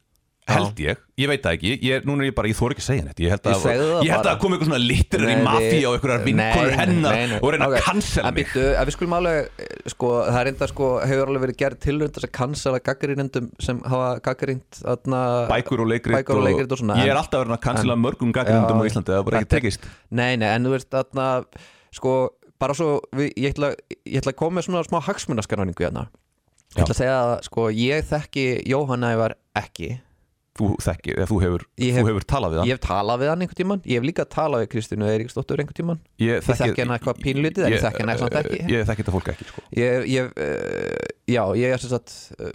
[SPEAKER 1] held ég, ég veit það ekki ég, núna er ég bara, ég þór ekki að segja neitt ég held
[SPEAKER 3] Ég
[SPEAKER 1] að,
[SPEAKER 3] segðu það
[SPEAKER 1] ég held að
[SPEAKER 3] bara.
[SPEAKER 1] það kom eitthvað svona litrar í
[SPEAKER 3] Nei,
[SPEAKER 1] mafi
[SPEAKER 3] við-
[SPEAKER 1] og einhverjar
[SPEAKER 3] Nei,
[SPEAKER 1] vinkonur hennar
[SPEAKER 3] nei, nei.
[SPEAKER 1] og reyna
[SPEAKER 3] Ok,
[SPEAKER 1] að cancela
[SPEAKER 3] en
[SPEAKER 1] mig
[SPEAKER 3] býttu, en við skulum alveg, eh, sko, það er enda sko, hefur alveg verið gerð tilrönd þess að cancela gaggrínendum sem hafa gaggrínt þarna,
[SPEAKER 1] bækur og leikrit,
[SPEAKER 3] bækur og leikrit og svona,
[SPEAKER 1] ég
[SPEAKER 3] en-
[SPEAKER 1] er alltaf að reyna að cancela mörgum gaggrindum á
[SPEAKER 3] Já,
[SPEAKER 1] Íslandi, það er bara ekki
[SPEAKER 3] þetta-
[SPEAKER 1] tekist
[SPEAKER 3] Nei, nei, en þú veist þarna, sko, bara svo við, ég, ætla, ég ætla að koma með svona smá hagsmunaskanningu hérna Ég
[SPEAKER 1] Já.
[SPEAKER 3] ætla að segja að, sko, ég þekki Jóhann Ævar ekki
[SPEAKER 1] þú þekkir, eða þú hefur,
[SPEAKER 3] Ég
[SPEAKER 1] þú
[SPEAKER 3] hef-
[SPEAKER 1] hefur talað við hann
[SPEAKER 3] Ég hef talað við hann einhvern tíman, ég hef líka talað við Kristínu Eiríksdóttur einhvern tíman
[SPEAKER 1] ég eh,
[SPEAKER 3] þekki hana eitthvað pínlítið, en ég þekki hana samt ekki.
[SPEAKER 1] ég þekki þetta fólk ekki sko.
[SPEAKER 3] eh, Ég, ég, uh, já, ég er sem sagt uh,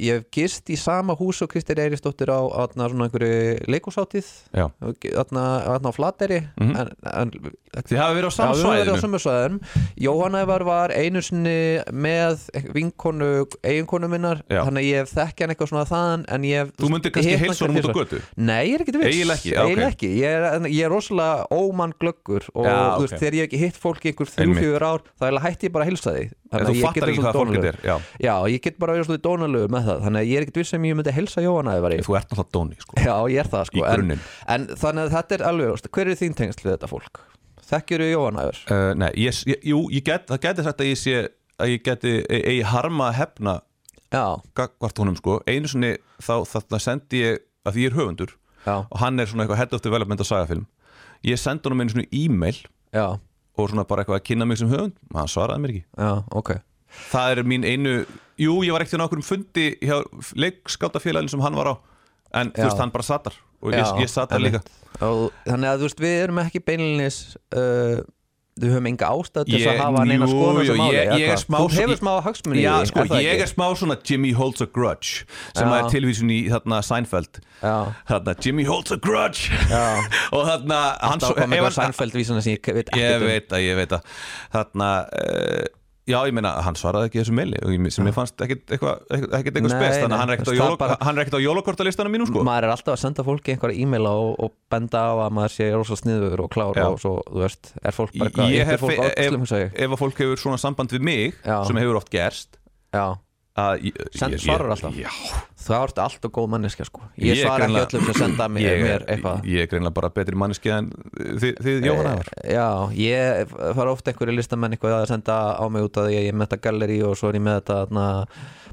[SPEAKER 3] ég hef gist í sama hús og Kristir Eirisdóttir á atna, svona einhverju leikúsátið
[SPEAKER 1] Já.
[SPEAKER 3] atna, atna á Flateri en, en
[SPEAKER 1] Mhm. Þið hafi verið á sama
[SPEAKER 3] Já, við höfum verið á
[SPEAKER 1] svæðinu
[SPEAKER 3] sama svæðum Jóhannaðvar var einu sinni með vinkonu, eiginkonu minnar
[SPEAKER 1] Já.
[SPEAKER 3] þannig að ég þekki hann eitthvað svona þaðan en ég hef
[SPEAKER 1] Þú myndir kannski heilsa honum út á götu?
[SPEAKER 3] Nei, ég er ekki viss
[SPEAKER 1] Eiginlega ekki, já, ok.
[SPEAKER 3] Eiginlega ekki. Ég, er, en ég er rosalega ómann glöggur og
[SPEAKER 1] Já, ok.
[SPEAKER 3] þú veist, þegar ég hef ekki hitt fólk í einhver
[SPEAKER 1] Einmitt.
[SPEAKER 3] 3-4 ár þá eiginlega hætti ég bara að heilsa því
[SPEAKER 1] En
[SPEAKER 3] að
[SPEAKER 1] þú
[SPEAKER 3] ég get
[SPEAKER 1] fattar
[SPEAKER 3] verið
[SPEAKER 1] ekki hvaða
[SPEAKER 3] svolítið
[SPEAKER 1] fólk þetta
[SPEAKER 3] dónalegur.
[SPEAKER 1] er Já,
[SPEAKER 3] Já, ég get bara að vera svolítið dónalögu með það þannig að ég er ekkit viss sem ég myndi helsa Jóhannaðvari
[SPEAKER 1] Þú ert náttúrulega dóni sko.
[SPEAKER 3] [LAUGHS] Já, ég er það
[SPEAKER 1] Í
[SPEAKER 3] sko en,
[SPEAKER 1] grunninn.
[SPEAKER 3] en þannig að þetta er alveg ljóst. Hver eru þín tengsl við þetta fólk? Þekkjur þú Jóhannaðvar?
[SPEAKER 1] uh, Nei, ég, ég, jú, ég get, það geti sagt að ég sé að ég geti e- eigi harma að hefna
[SPEAKER 3] Já,
[SPEAKER 1] gagvart honum sko einu sinni þá þarna sendi ég að því ég er höfundur
[SPEAKER 3] já,
[SPEAKER 1] og hann er svona eitthvað head of development á sagafilm ég sendi honum einu svona e-mail
[SPEAKER 3] já,
[SPEAKER 1] og svona bara eitthvað að kynna mig sem höfund og hann svaraði mér ekki
[SPEAKER 3] já, ok
[SPEAKER 1] það er mín einu, jú ég var ekkert á okkur um fundi hjá leikskátafélagin sem hann var á en þú
[SPEAKER 3] Já.
[SPEAKER 1] veist hann bara satar og ég,
[SPEAKER 3] Já,
[SPEAKER 1] ég satar
[SPEAKER 3] einmitt.
[SPEAKER 1] líka
[SPEAKER 3] og, Þannig að þú veist, við erum ekki beinlinis uh, Við höfum enga ástæð til þess
[SPEAKER 1] Ég-
[SPEAKER 3] að hafa neina
[SPEAKER 1] jú,
[SPEAKER 3] skoðan
[SPEAKER 1] jú,
[SPEAKER 3] sem máli
[SPEAKER 1] ég-
[SPEAKER 3] eða
[SPEAKER 1] ég er
[SPEAKER 3] hvað?
[SPEAKER 1] smá
[SPEAKER 3] Þú
[SPEAKER 1] svo-
[SPEAKER 3] hefur
[SPEAKER 1] ég-
[SPEAKER 3] smá hagsmunni
[SPEAKER 1] Já, sko, ég er smá svona Jimmy holds a grudge sem
[SPEAKER 3] Já.
[SPEAKER 1] er tilvísun í þarna Seinfeld
[SPEAKER 3] Já.
[SPEAKER 1] þarna Jimmy holds a grudge [LAUGHS]
[SPEAKER 3] Já.
[SPEAKER 1] og þarna hann
[SPEAKER 3] Þá
[SPEAKER 1] svo-
[SPEAKER 3] kom
[SPEAKER 1] ef
[SPEAKER 3] eitthvað
[SPEAKER 1] hann-
[SPEAKER 3] sænfæld vísana sem ég veit
[SPEAKER 1] ég
[SPEAKER 3] ekkert um
[SPEAKER 1] veit að, ég veit að þarna, uh, já ég meina hann svaraði ekki þessu meili og ég- sem ég fannst ekkit eitthvað eitthvað- ekkit eitthvað
[SPEAKER 3] Nei,
[SPEAKER 1] spes
[SPEAKER 3] nei,
[SPEAKER 1] þannig að hann er ekkit á
[SPEAKER 3] það
[SPEAKER 1] jólo-
[SPEAKER 3] bara-
[SPEAKER 1] hann er ekkit á jólokortalistanum mínum sko
[SPEAKER 3] Maður er alltaf að senda fólki einhverja e-maila og, og benda á að maður sé rosa sniður og klár
[SPEAKER 1] Já.
[SPEAKER 3] og svo, þú veist, er fólk bara eitthvað
[SPEAKER 1] ég
[SPEAKER 3] yppir
[SPEAKER 1] hef,
[SPEAKER 3] fólk á öxlum,
[SPEAKER 1] ef,
[SPEAKER 3] hugsa ég
[SPEAKER 1] ef að fólk hefur svona samband við mig
[SPEAKER 3] Já.
[SPEAKER 1] sem hefur oft gerst
[SPEAKER 3] Já,
[SPEAKER 1] að ég-
[SPEAKER 3] Send-
[SPEAKER 1] ég-
[SPEAKER 3] svarar
[SPEAKER 1] ég-
[SPEAKER 3] alltaf?
[SPEAKER 1] já,
[SPEAKER 3] það ert allt og góð manneskja sko Ég,
[SPEAKER 1] er
[SPEAKER 3] svara
[SPEAKER 1] greinilega-
[SPEAKER 3] ekki öllum sem
[SPEAKER 1] [CLEARS THROAT]
[SPEAKER 3] senda mér,
[SPEAKER 1] ég,
[SPEAKER 3] mér eitthvað
[SPEAKER 1] ég er greinlega bara betri manneski en uh, þið, þið Jóhanna var
[SPEAKER 3] Eh, Já, ég fara ofta einhverju listamenn eitthvað að senda á mig út að ég er með þetta galleri og svo er ég með þetta na,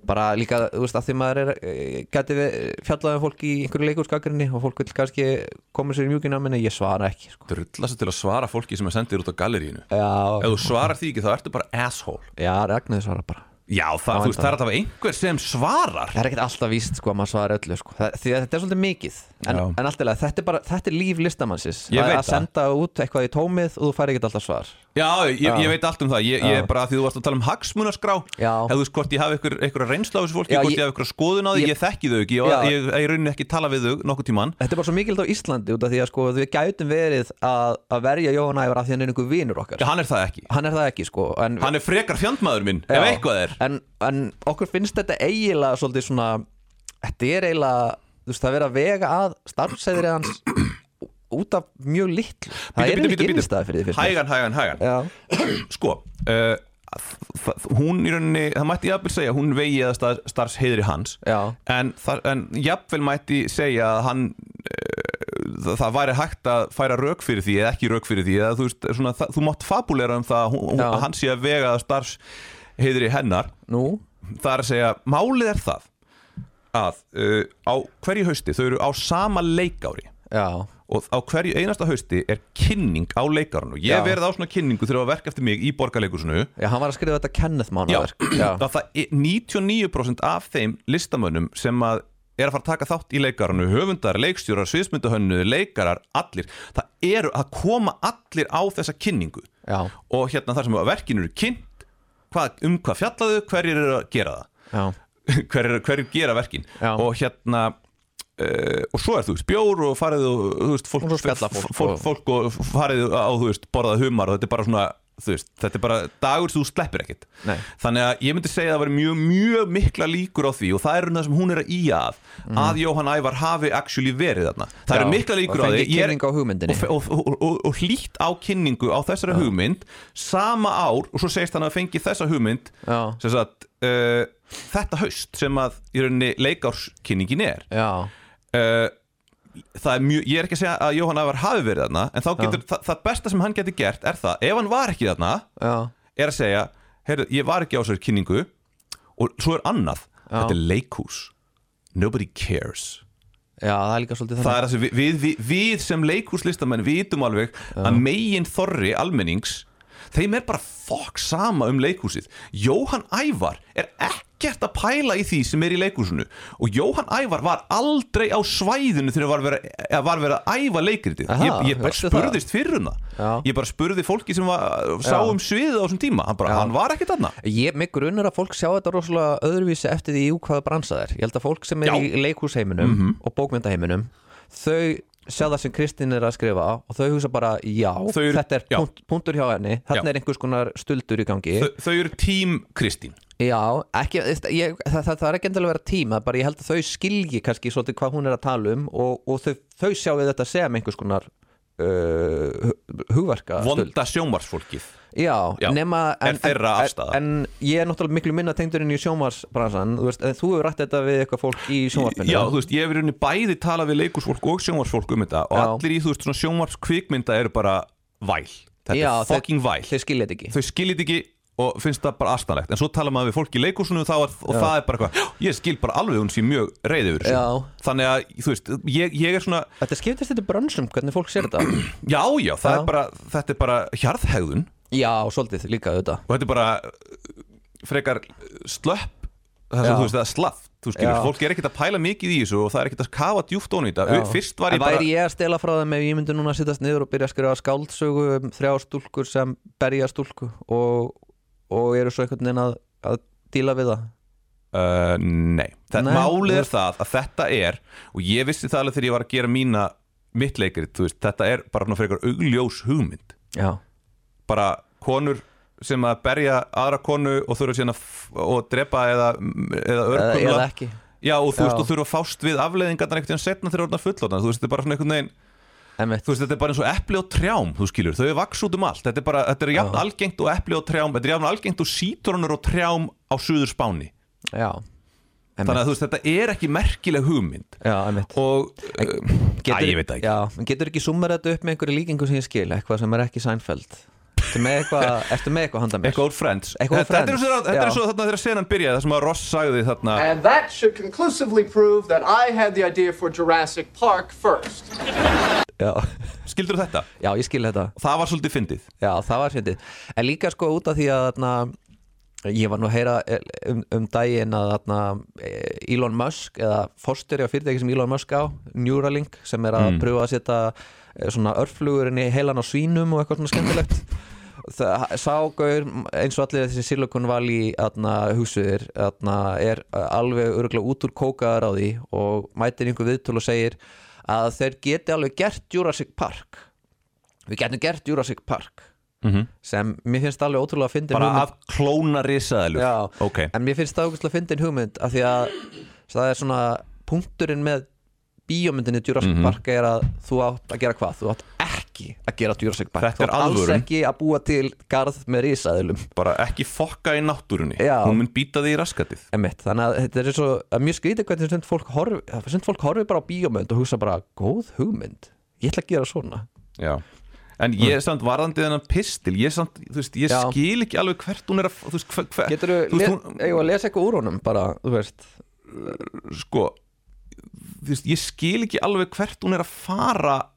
[SPEAKER 3] bara líka, þú veist, að því maður er eh, gæti við fjallaðum fólk í einhverju leikúrskakrinni og fólk vil kannski koma sér í mjúkina minni, ég svara ekki sko.
[SPEAKER 1] drulla sér til að svara fólki sem er sendið út á gallerínu
[SPEAKER 3] Já,
[SPEAKER 1] ef þú svarar því ekki þá ertu bara asshole
[SPEAKER 3] já, Ragnarður svara bara
[SPEAKER 1] já það, þú veist það er alltaf einhver sem svarar
[SPEAKER 3] Það er ekkert alltaf víst sko að maður svara öllu sko. Það, því að þetta er svolítið mikið en,
[SPEAKER 1] Já.
[SPEAKER 3] en alltaf, þetta er bara, þetta er líf listamannsins
[SPEAKER 1] Ég
[SPEAKER 3] að,
[SPEAKER 1] veit
[SPEAKER 3] að
[SPEAKER 1] það.
[SPEAKER 3] senda út eitthvað í tómið og þú fær ekkert alltaf svar
[SPEAKER 1] já ég, ég veit allt um það ég, ég er bara því þú varst að tala um hagsmunaskrá
[SPEAKER 3] Já.
[SPEAKER 1] ef þú veist hvort ég hafi einhver, einhver reynsla á þessu fólki
[SPEAKER 3] Já,
[SPEAKER 1] hvort
[SPEAKER 3] ég-
[SPEAKER 1] ég, hafi einhver skoðun á því
[SPEAKER 3] ég-
[SPEAKER 1] ég, þekki þau ekki og
[SPEAKER 3] Já.
[SPEAKER 1] ég, ég, ég raunin ekki tala við þau nokkuð tíman
[SPEAKER 3] Þetta er bara svo mikilt á Íslandi út af því að sko við gætum verið að, að verja Jóhann Ævar af því að hann er einhver vinur okkar
[SPEAKER 1] hann er það ekki
[SPEAKER 3] Hann er það ekki sko en,
[SPEAKER 1] hann er frekar fjandmaður minn
[SPEAKER 3] Já.
[SPEAKER 1] ef eitthvað er
[SPEAKER 3] en, en okkur finnst þetta eiginlega svolítið svona Þetta er eiginlega, þú veist, það er verið að vega að starfsæðir hans út af mjög litlu Það
[SPEAKER 1] Bíddu,
[SPEAKER 3] er
[SPEAKER 1] bíddu,
[SPEAKER 3] ekki
[SPEAKER 1] bíddu, bíddu.
[SPEAKER 3] innstæði fyrir því fyrir
[SPEAKER 1] hægan, hægan, hægan
[SPEAKER 3] mér.
[SPEAKER 1] sko uh, þ- þ- hún í rauninni, það mætti jafnvel segja hún vegi að star, starfs heiðri hans
[SPEAKER 3] Já.
[SPEAKER 1] en, þar, en jafnvel mætti segja að hann uh, það, það væri hægt að færa rauk fyrir því eða ekki rauk fyrir því eða, þú, veist, svona, það, þú mátt fabulera um það að hún, hún,
[SPEAKER 3] Já.
[SPEAKER 1] að hann sé að vega að starfs heiðri hennar
[SPEAKER 3] Nú,
[SPEAKER 1] það er að segja, málið er það að uh, á hverju hausti þau eru á sama leikári
[SPEAKER 3] já,
[SPEAKER 1] og á hverju einasta hausti er kynning á leikarinu ég
[SPEAKER 3] Já.
[SPEAKER 1] hef verið á svona kynningu þegar að verka eftir mig í borgarleikusinu
[SPEAKER 3] já, hann var að skrifa þetta Kenneth
[SPEAKER 1] Já,
[SPEAKER 3] Mánaverk
[SPEAKER 1] að það er 99% af þeim listamönnum sem að er að fara að taka þátt í leikarinu höfundar, leikstjórar, sviðsmyndahönnu, leikarar allir, það eru að koma allir á þessa kynningu
[SPEAKER 3] Já.
[SPEAKER 1] og hérna þar sem að verkinu eru kynnt hvað, um hvað fjallaðu, hverjir eru að gera það
[SPEAKER 3] já,
[SPEAKER 1] [LAUGHS] hverjir, hverjir gera verkin
[SPEAKER 3] Já.
[SPEAKER 1] og hérna Uh, og svo er þú veist bjór og farið og þú veist fólk,
[SPEAKER 3] Og svo spjalla fólk
[SPEAKER 1] fólk,
[SPEAKER 3] og-
[SPEAKER 1] fólk og farið á þú veist borðað humar og þetta er bara svona þú veist þetta er bara dagur sem þú sleppir ekkit
[SPEAKER 3] Nei.
[SPEAKER 1] þannig að ég myndi segja að það veri mjög mjög mikla líkur á því og það er það sem hún er að íja að að Jóhann Ævar hafi actually verið þarna það
[SPEAKER 3] Mhm. Já,
[SPEAKER 1] eru mikla líkur á
[SPEAKER 3] og
[SPEAKER 1] því
[SPEAKER 3] fengi
[SPEAKER 1] Ég er-
[SPEAKER 3] kynningu á hugmyndinni.
[SPEAKER 1] og, fe- og, og, og, og hlýtt á kynningu á þessari hugmynd sama ár og svo segist hann að fengi þessa hugmynd
[SPEAKER 3] Já.
[SPEAKER 1] sem sagt, uh, þetta haust sem að í rauninni leikárskynningin er
[SPEAKER 3] já
[SPEAKER 1] uh, það er mjög, ég er ekki að segja að Jóhann Ævar hafi verið þarna en þá getur, það, það besta sem hann getur gert er það, ef hann var ekki þarna
[SPEAKER 3] Já,
[SPEAKER 1] er að segja, heyrðu, ég var ekki á þessari kynningu og svo er annað þetta er leikhús nobody cares
[SPEAKER 3] já, það er líka svolítið
[SPEAKER 1] það
[SPEAKER 3] þannig
[SPEAKER 1] er það sem við, við, við, við sem leikhúslistamenn vitum alveg að megin þorri almennings þeim er bara fokk sama um leikhúsið Jóhann Ævar er ekki ekkert að pæla í því sem er í leikúsinu og Jóhann Ævar var aldrei á svæðinu þegar var verið, eða var verið að æfa leikritið
[SPEAKER 3] Aha,
[SPEAKER 1] ég, ég bara
[SPEAKER 3] veistu það?
[SPEAKER 1] spurðist fyrir um
[SPEAKER 3] Já.
[SPEAKER 1] það ég bara spurði fólki sem var, sá um sviðið á þessum tíma hann, bara, hann var ekkert annað
[SPEAKER 3] Ég mig grunar að fólk sjá þetta rosalega öðruvísi eftir því í hvaða bransa þær Ég held að fólk sem er
[SPEAKER 1] Já. Mhm.
[SPEAKER 3] í leikhúsheiminum og bókmyndaheiminum þau sjá það sem Kristín er að skrifa og þau hugsa bara, já,
[SPEAKER 1] Þau eru-
[SPEAKER 3] þetta er
[SPEAKER 1] já.
[SPEAKER 3] Punkt, punktur hjá henni, þarna
[SPEAKER 1] Já.
[SPEAKER 3] er einhvers konar stuldur í gangi
[SPEAKER 1] Þau, þau eru tím Kristín
[SPEAKER 3] Já, ekki, ég, það, það, það er ekki endilega að vera tíma bara ég held að þau skilji kannski svolítið hvað hún er að tala um og, og þau, þau sjá við þetta sem einhvers konar uh, hugverka
[SPEAKER 1] vonda sjómarsfólkið
[SPEAKER 3] Já,
[SPEAKER 1] Já,
[SPEAKER 3] nema
[SPEAKER 1] er þeirra
[SPEAKER 3] en-
[SPEAKER 1] afstaða.
[SPEAKER 3] En ég er náttúrulega miklu minna tengdurinn í sjónvarsbransan Þú veist, en þú hefur rætt þetta við eitthvað fólk í sjónvarpinu
[SPEAKER 1] Já, þú veist, ég hef í rauninni bæði talað við leikursfólk og sjónvarsfólk um þetta og
[SPEAKER 3] Já.
[SPEAKER 1] allir í, þú veist, svona sjónvarskvikmynda eru bara væl, þetta
[SPEAKER 3] Já,
[SPEAKER 1] er fucking væl
[SPEAKER 3] Þeir skilja þetta ekki
[SPEAKER 1] þau skiljið ekki og finnst það bara astanlegt en svo tala maður við fólk í leikursunu og, þá er, og það er bara eitthvað, ég skil bara alveg hún sé mjög reyði yfir þessu
[SPEAKER 3] Já.
[SPEAKER 1] þannig að, þú veist, ég, ég er svona
[SPEAKER 3] Þetta skiptist þetta brönsum, hvernig fólk sér þetta
[SPEAKER 1] [CLEARS THROAT] já, já, það
[SPEAKER 3] Já.
[SPEAKER 1] er bara, þetta er bara hjarðhegðun
[SPEAKER 3] Já, svolítið líka þetta
[SPEAKER 1] og þetta er bara uh, frekar slöpp það
[SPEAKER 3] Já.
[SPEAKER 1] sem þú veist, það er slaft þú skilur,
[SPEAKER 3] Já.
[SPEAKER 1] fólk er ekkert að pæla mikið í þessu og það er ekkert að kafa djúft ón í þetta
[SPEAKER 3] Já.
[SPEAKER 1] fyrst var
[SPEAKER 3] En
[SPEAKER 1] ég bara,
[SPEAKER 3] Væri ég að stela frá þeim ef ég myndi núna að sittast niður og byrja að skrifa skáldsögu um þrjá stúlkur sem berja stúlku og, og eru svo einhvern veginn að, að díla við það
[SPEAKER 1] Uh, nei, þetta
[SPEAKER 3] Nei.
[SPEAKER 1] málið er það að þetta er og ég vissi það alveg þegar ég var að gera mína mitt leikrit, þú veist, þetta er bara svona frekar augljós hugmynd
[SPEAKER 3] Já,
[SPEAKER 1] bara konur sem að berja aðra konu og þurfa síðan að f- og drepa eða, eða
[SPEAKER 3] eða,
[SPEAKER 1] örkuna
[SPEAKER 3] eða ekki
[SPEAKER 1] já og þú
[SPEAKER 3] Já.
[SPEAKER 1] veist og þurfa að fást við afleiðingarnar einhvern veginn setna þegar orðna fullotna þú veist þetta er bara svona einhvern veginn
[SPEAKER 3] Einmitt.
[SPEAKER 1] þú veist þetta er bara eins og epli og trjám þú skilur, þau er vaks út um allt þetta er bara, þetta er jafn
[SPEAKER 3] Já.
[SPEAKER 1] algengt og epli og trjám þetta er jafn algengt og sítrónur og trjám á suður spáni
[SPEAKER 3] Já,
[SPEAKER 1] þannig að þú veist þetta er ekki merkileg hugmynd
[SPEAKER 3] já, einmitt
[SPEAKER 1] og getur, Æ, ég veit það ekki
[SPEAKER 3] já, en getur ekki summar þetta upp með einhverju líkingu sem ég skil eitthvað sem er ekki Seinfeld ertu með eitthvað,
[SPEAKER 1] [LAUGHS]
[SPEAKER 3] ertu með eitthvað handa mér
[SPEAKER 1] Eitthvað úr Friends
[SPEAKER 3] Eitthvað úr
[SPEAKER 1] Þetta- Þetta er
[SPEAKER 3] Friends,
[SPEAKER 1] svo- þetta er
[SPEAKER 3] já.
[SPEAKER 1] svo þarna þegar senan byrjaði Það sem að Ross sagði þarna
[SPEAKER 4] And that should conclusively prove that I had the idea for Jurassic Park first.
[SPEAKER 3] já.
[SPEAKER 1] Skildur þetta?
[SPEAKER 3] já, ég skil þetta
[SPEAKER 1] Það var svolítið fyndið
[SPEAKER 3] já, það var sendið en líka sko út af því að þarna, ég var nú að heyra um, um daginn að þarna, eh, Elon Musk eða forstyrja fyrirtæki sem Elon Musk á Neuralink sem er að pröfa að setja eh, svona örflugurinn í heilan á svínum og eitthvað svona skemmtilegt Það- ságaur eins og allir þessi Silicon Valley atna, hugsuðir atna, er uh, alveg örgulega út úr kókaðar á því og mætir einhver viðtöl og segir að þeir geti alveg gert Jurassic Park við getum gert Jurassic Park -hmm. sem mér finnst alveg ótrúlega að fyndi
[SPEAKER 1] Bara að klóna risaðalur
[SPEAKER 3] Já,
[SPEAKER 1] Ok
[SPEAKER 3] en mér finnst það ógustlega fyndin hugmynd af því að það er svona punkturinn með bíómyndinni Jurassic
[SPEAKER 1] Mhm.
[SPEAKER 3] Park er að þú átt að gera hvað þú átt ekki að gera Jurassic Park
[SPEAKER 1] Þetta er
[SPEAKER 3] þú átt alls
[SPEAKER 1] alvörun.
[SPEAKER 3] ekki að búa til garð með risaðilum
[SPEAKER 1] Bara ekki fokka í náttúrunni
[SPEAKER 3] Já.
[SPEAKER 1] Hún mun býta því í raskatið
[SPEAKER 3] Einmitt, þannig að þetta er svo að mjög skrítið hvernig sem fólk horfi sem fólk horfi bara á bíómynd og hugsa bara góð hugmynd, ég ætla að gera svona
[SPEAKER 1] Já En ég samt varðandi þennan pistil Ég samt, þú veist, ég
[SPEAKER 3] Mm. Já.
[SPEAKER 1] skil ekki alveg hvert hún er að Þú veist, hver, hver,
[SPEAKER 3] Getur
[SPEAKER 1] þú veist,
[SPEAKER 3] þú
[SPEAKER 1] hún,
[SPEAKER 3] að lesa eitthvað úr honum bara, þú veist
[SPEAKER 1] sko þú veist, ég skil ekki alveg hvert hún er að fara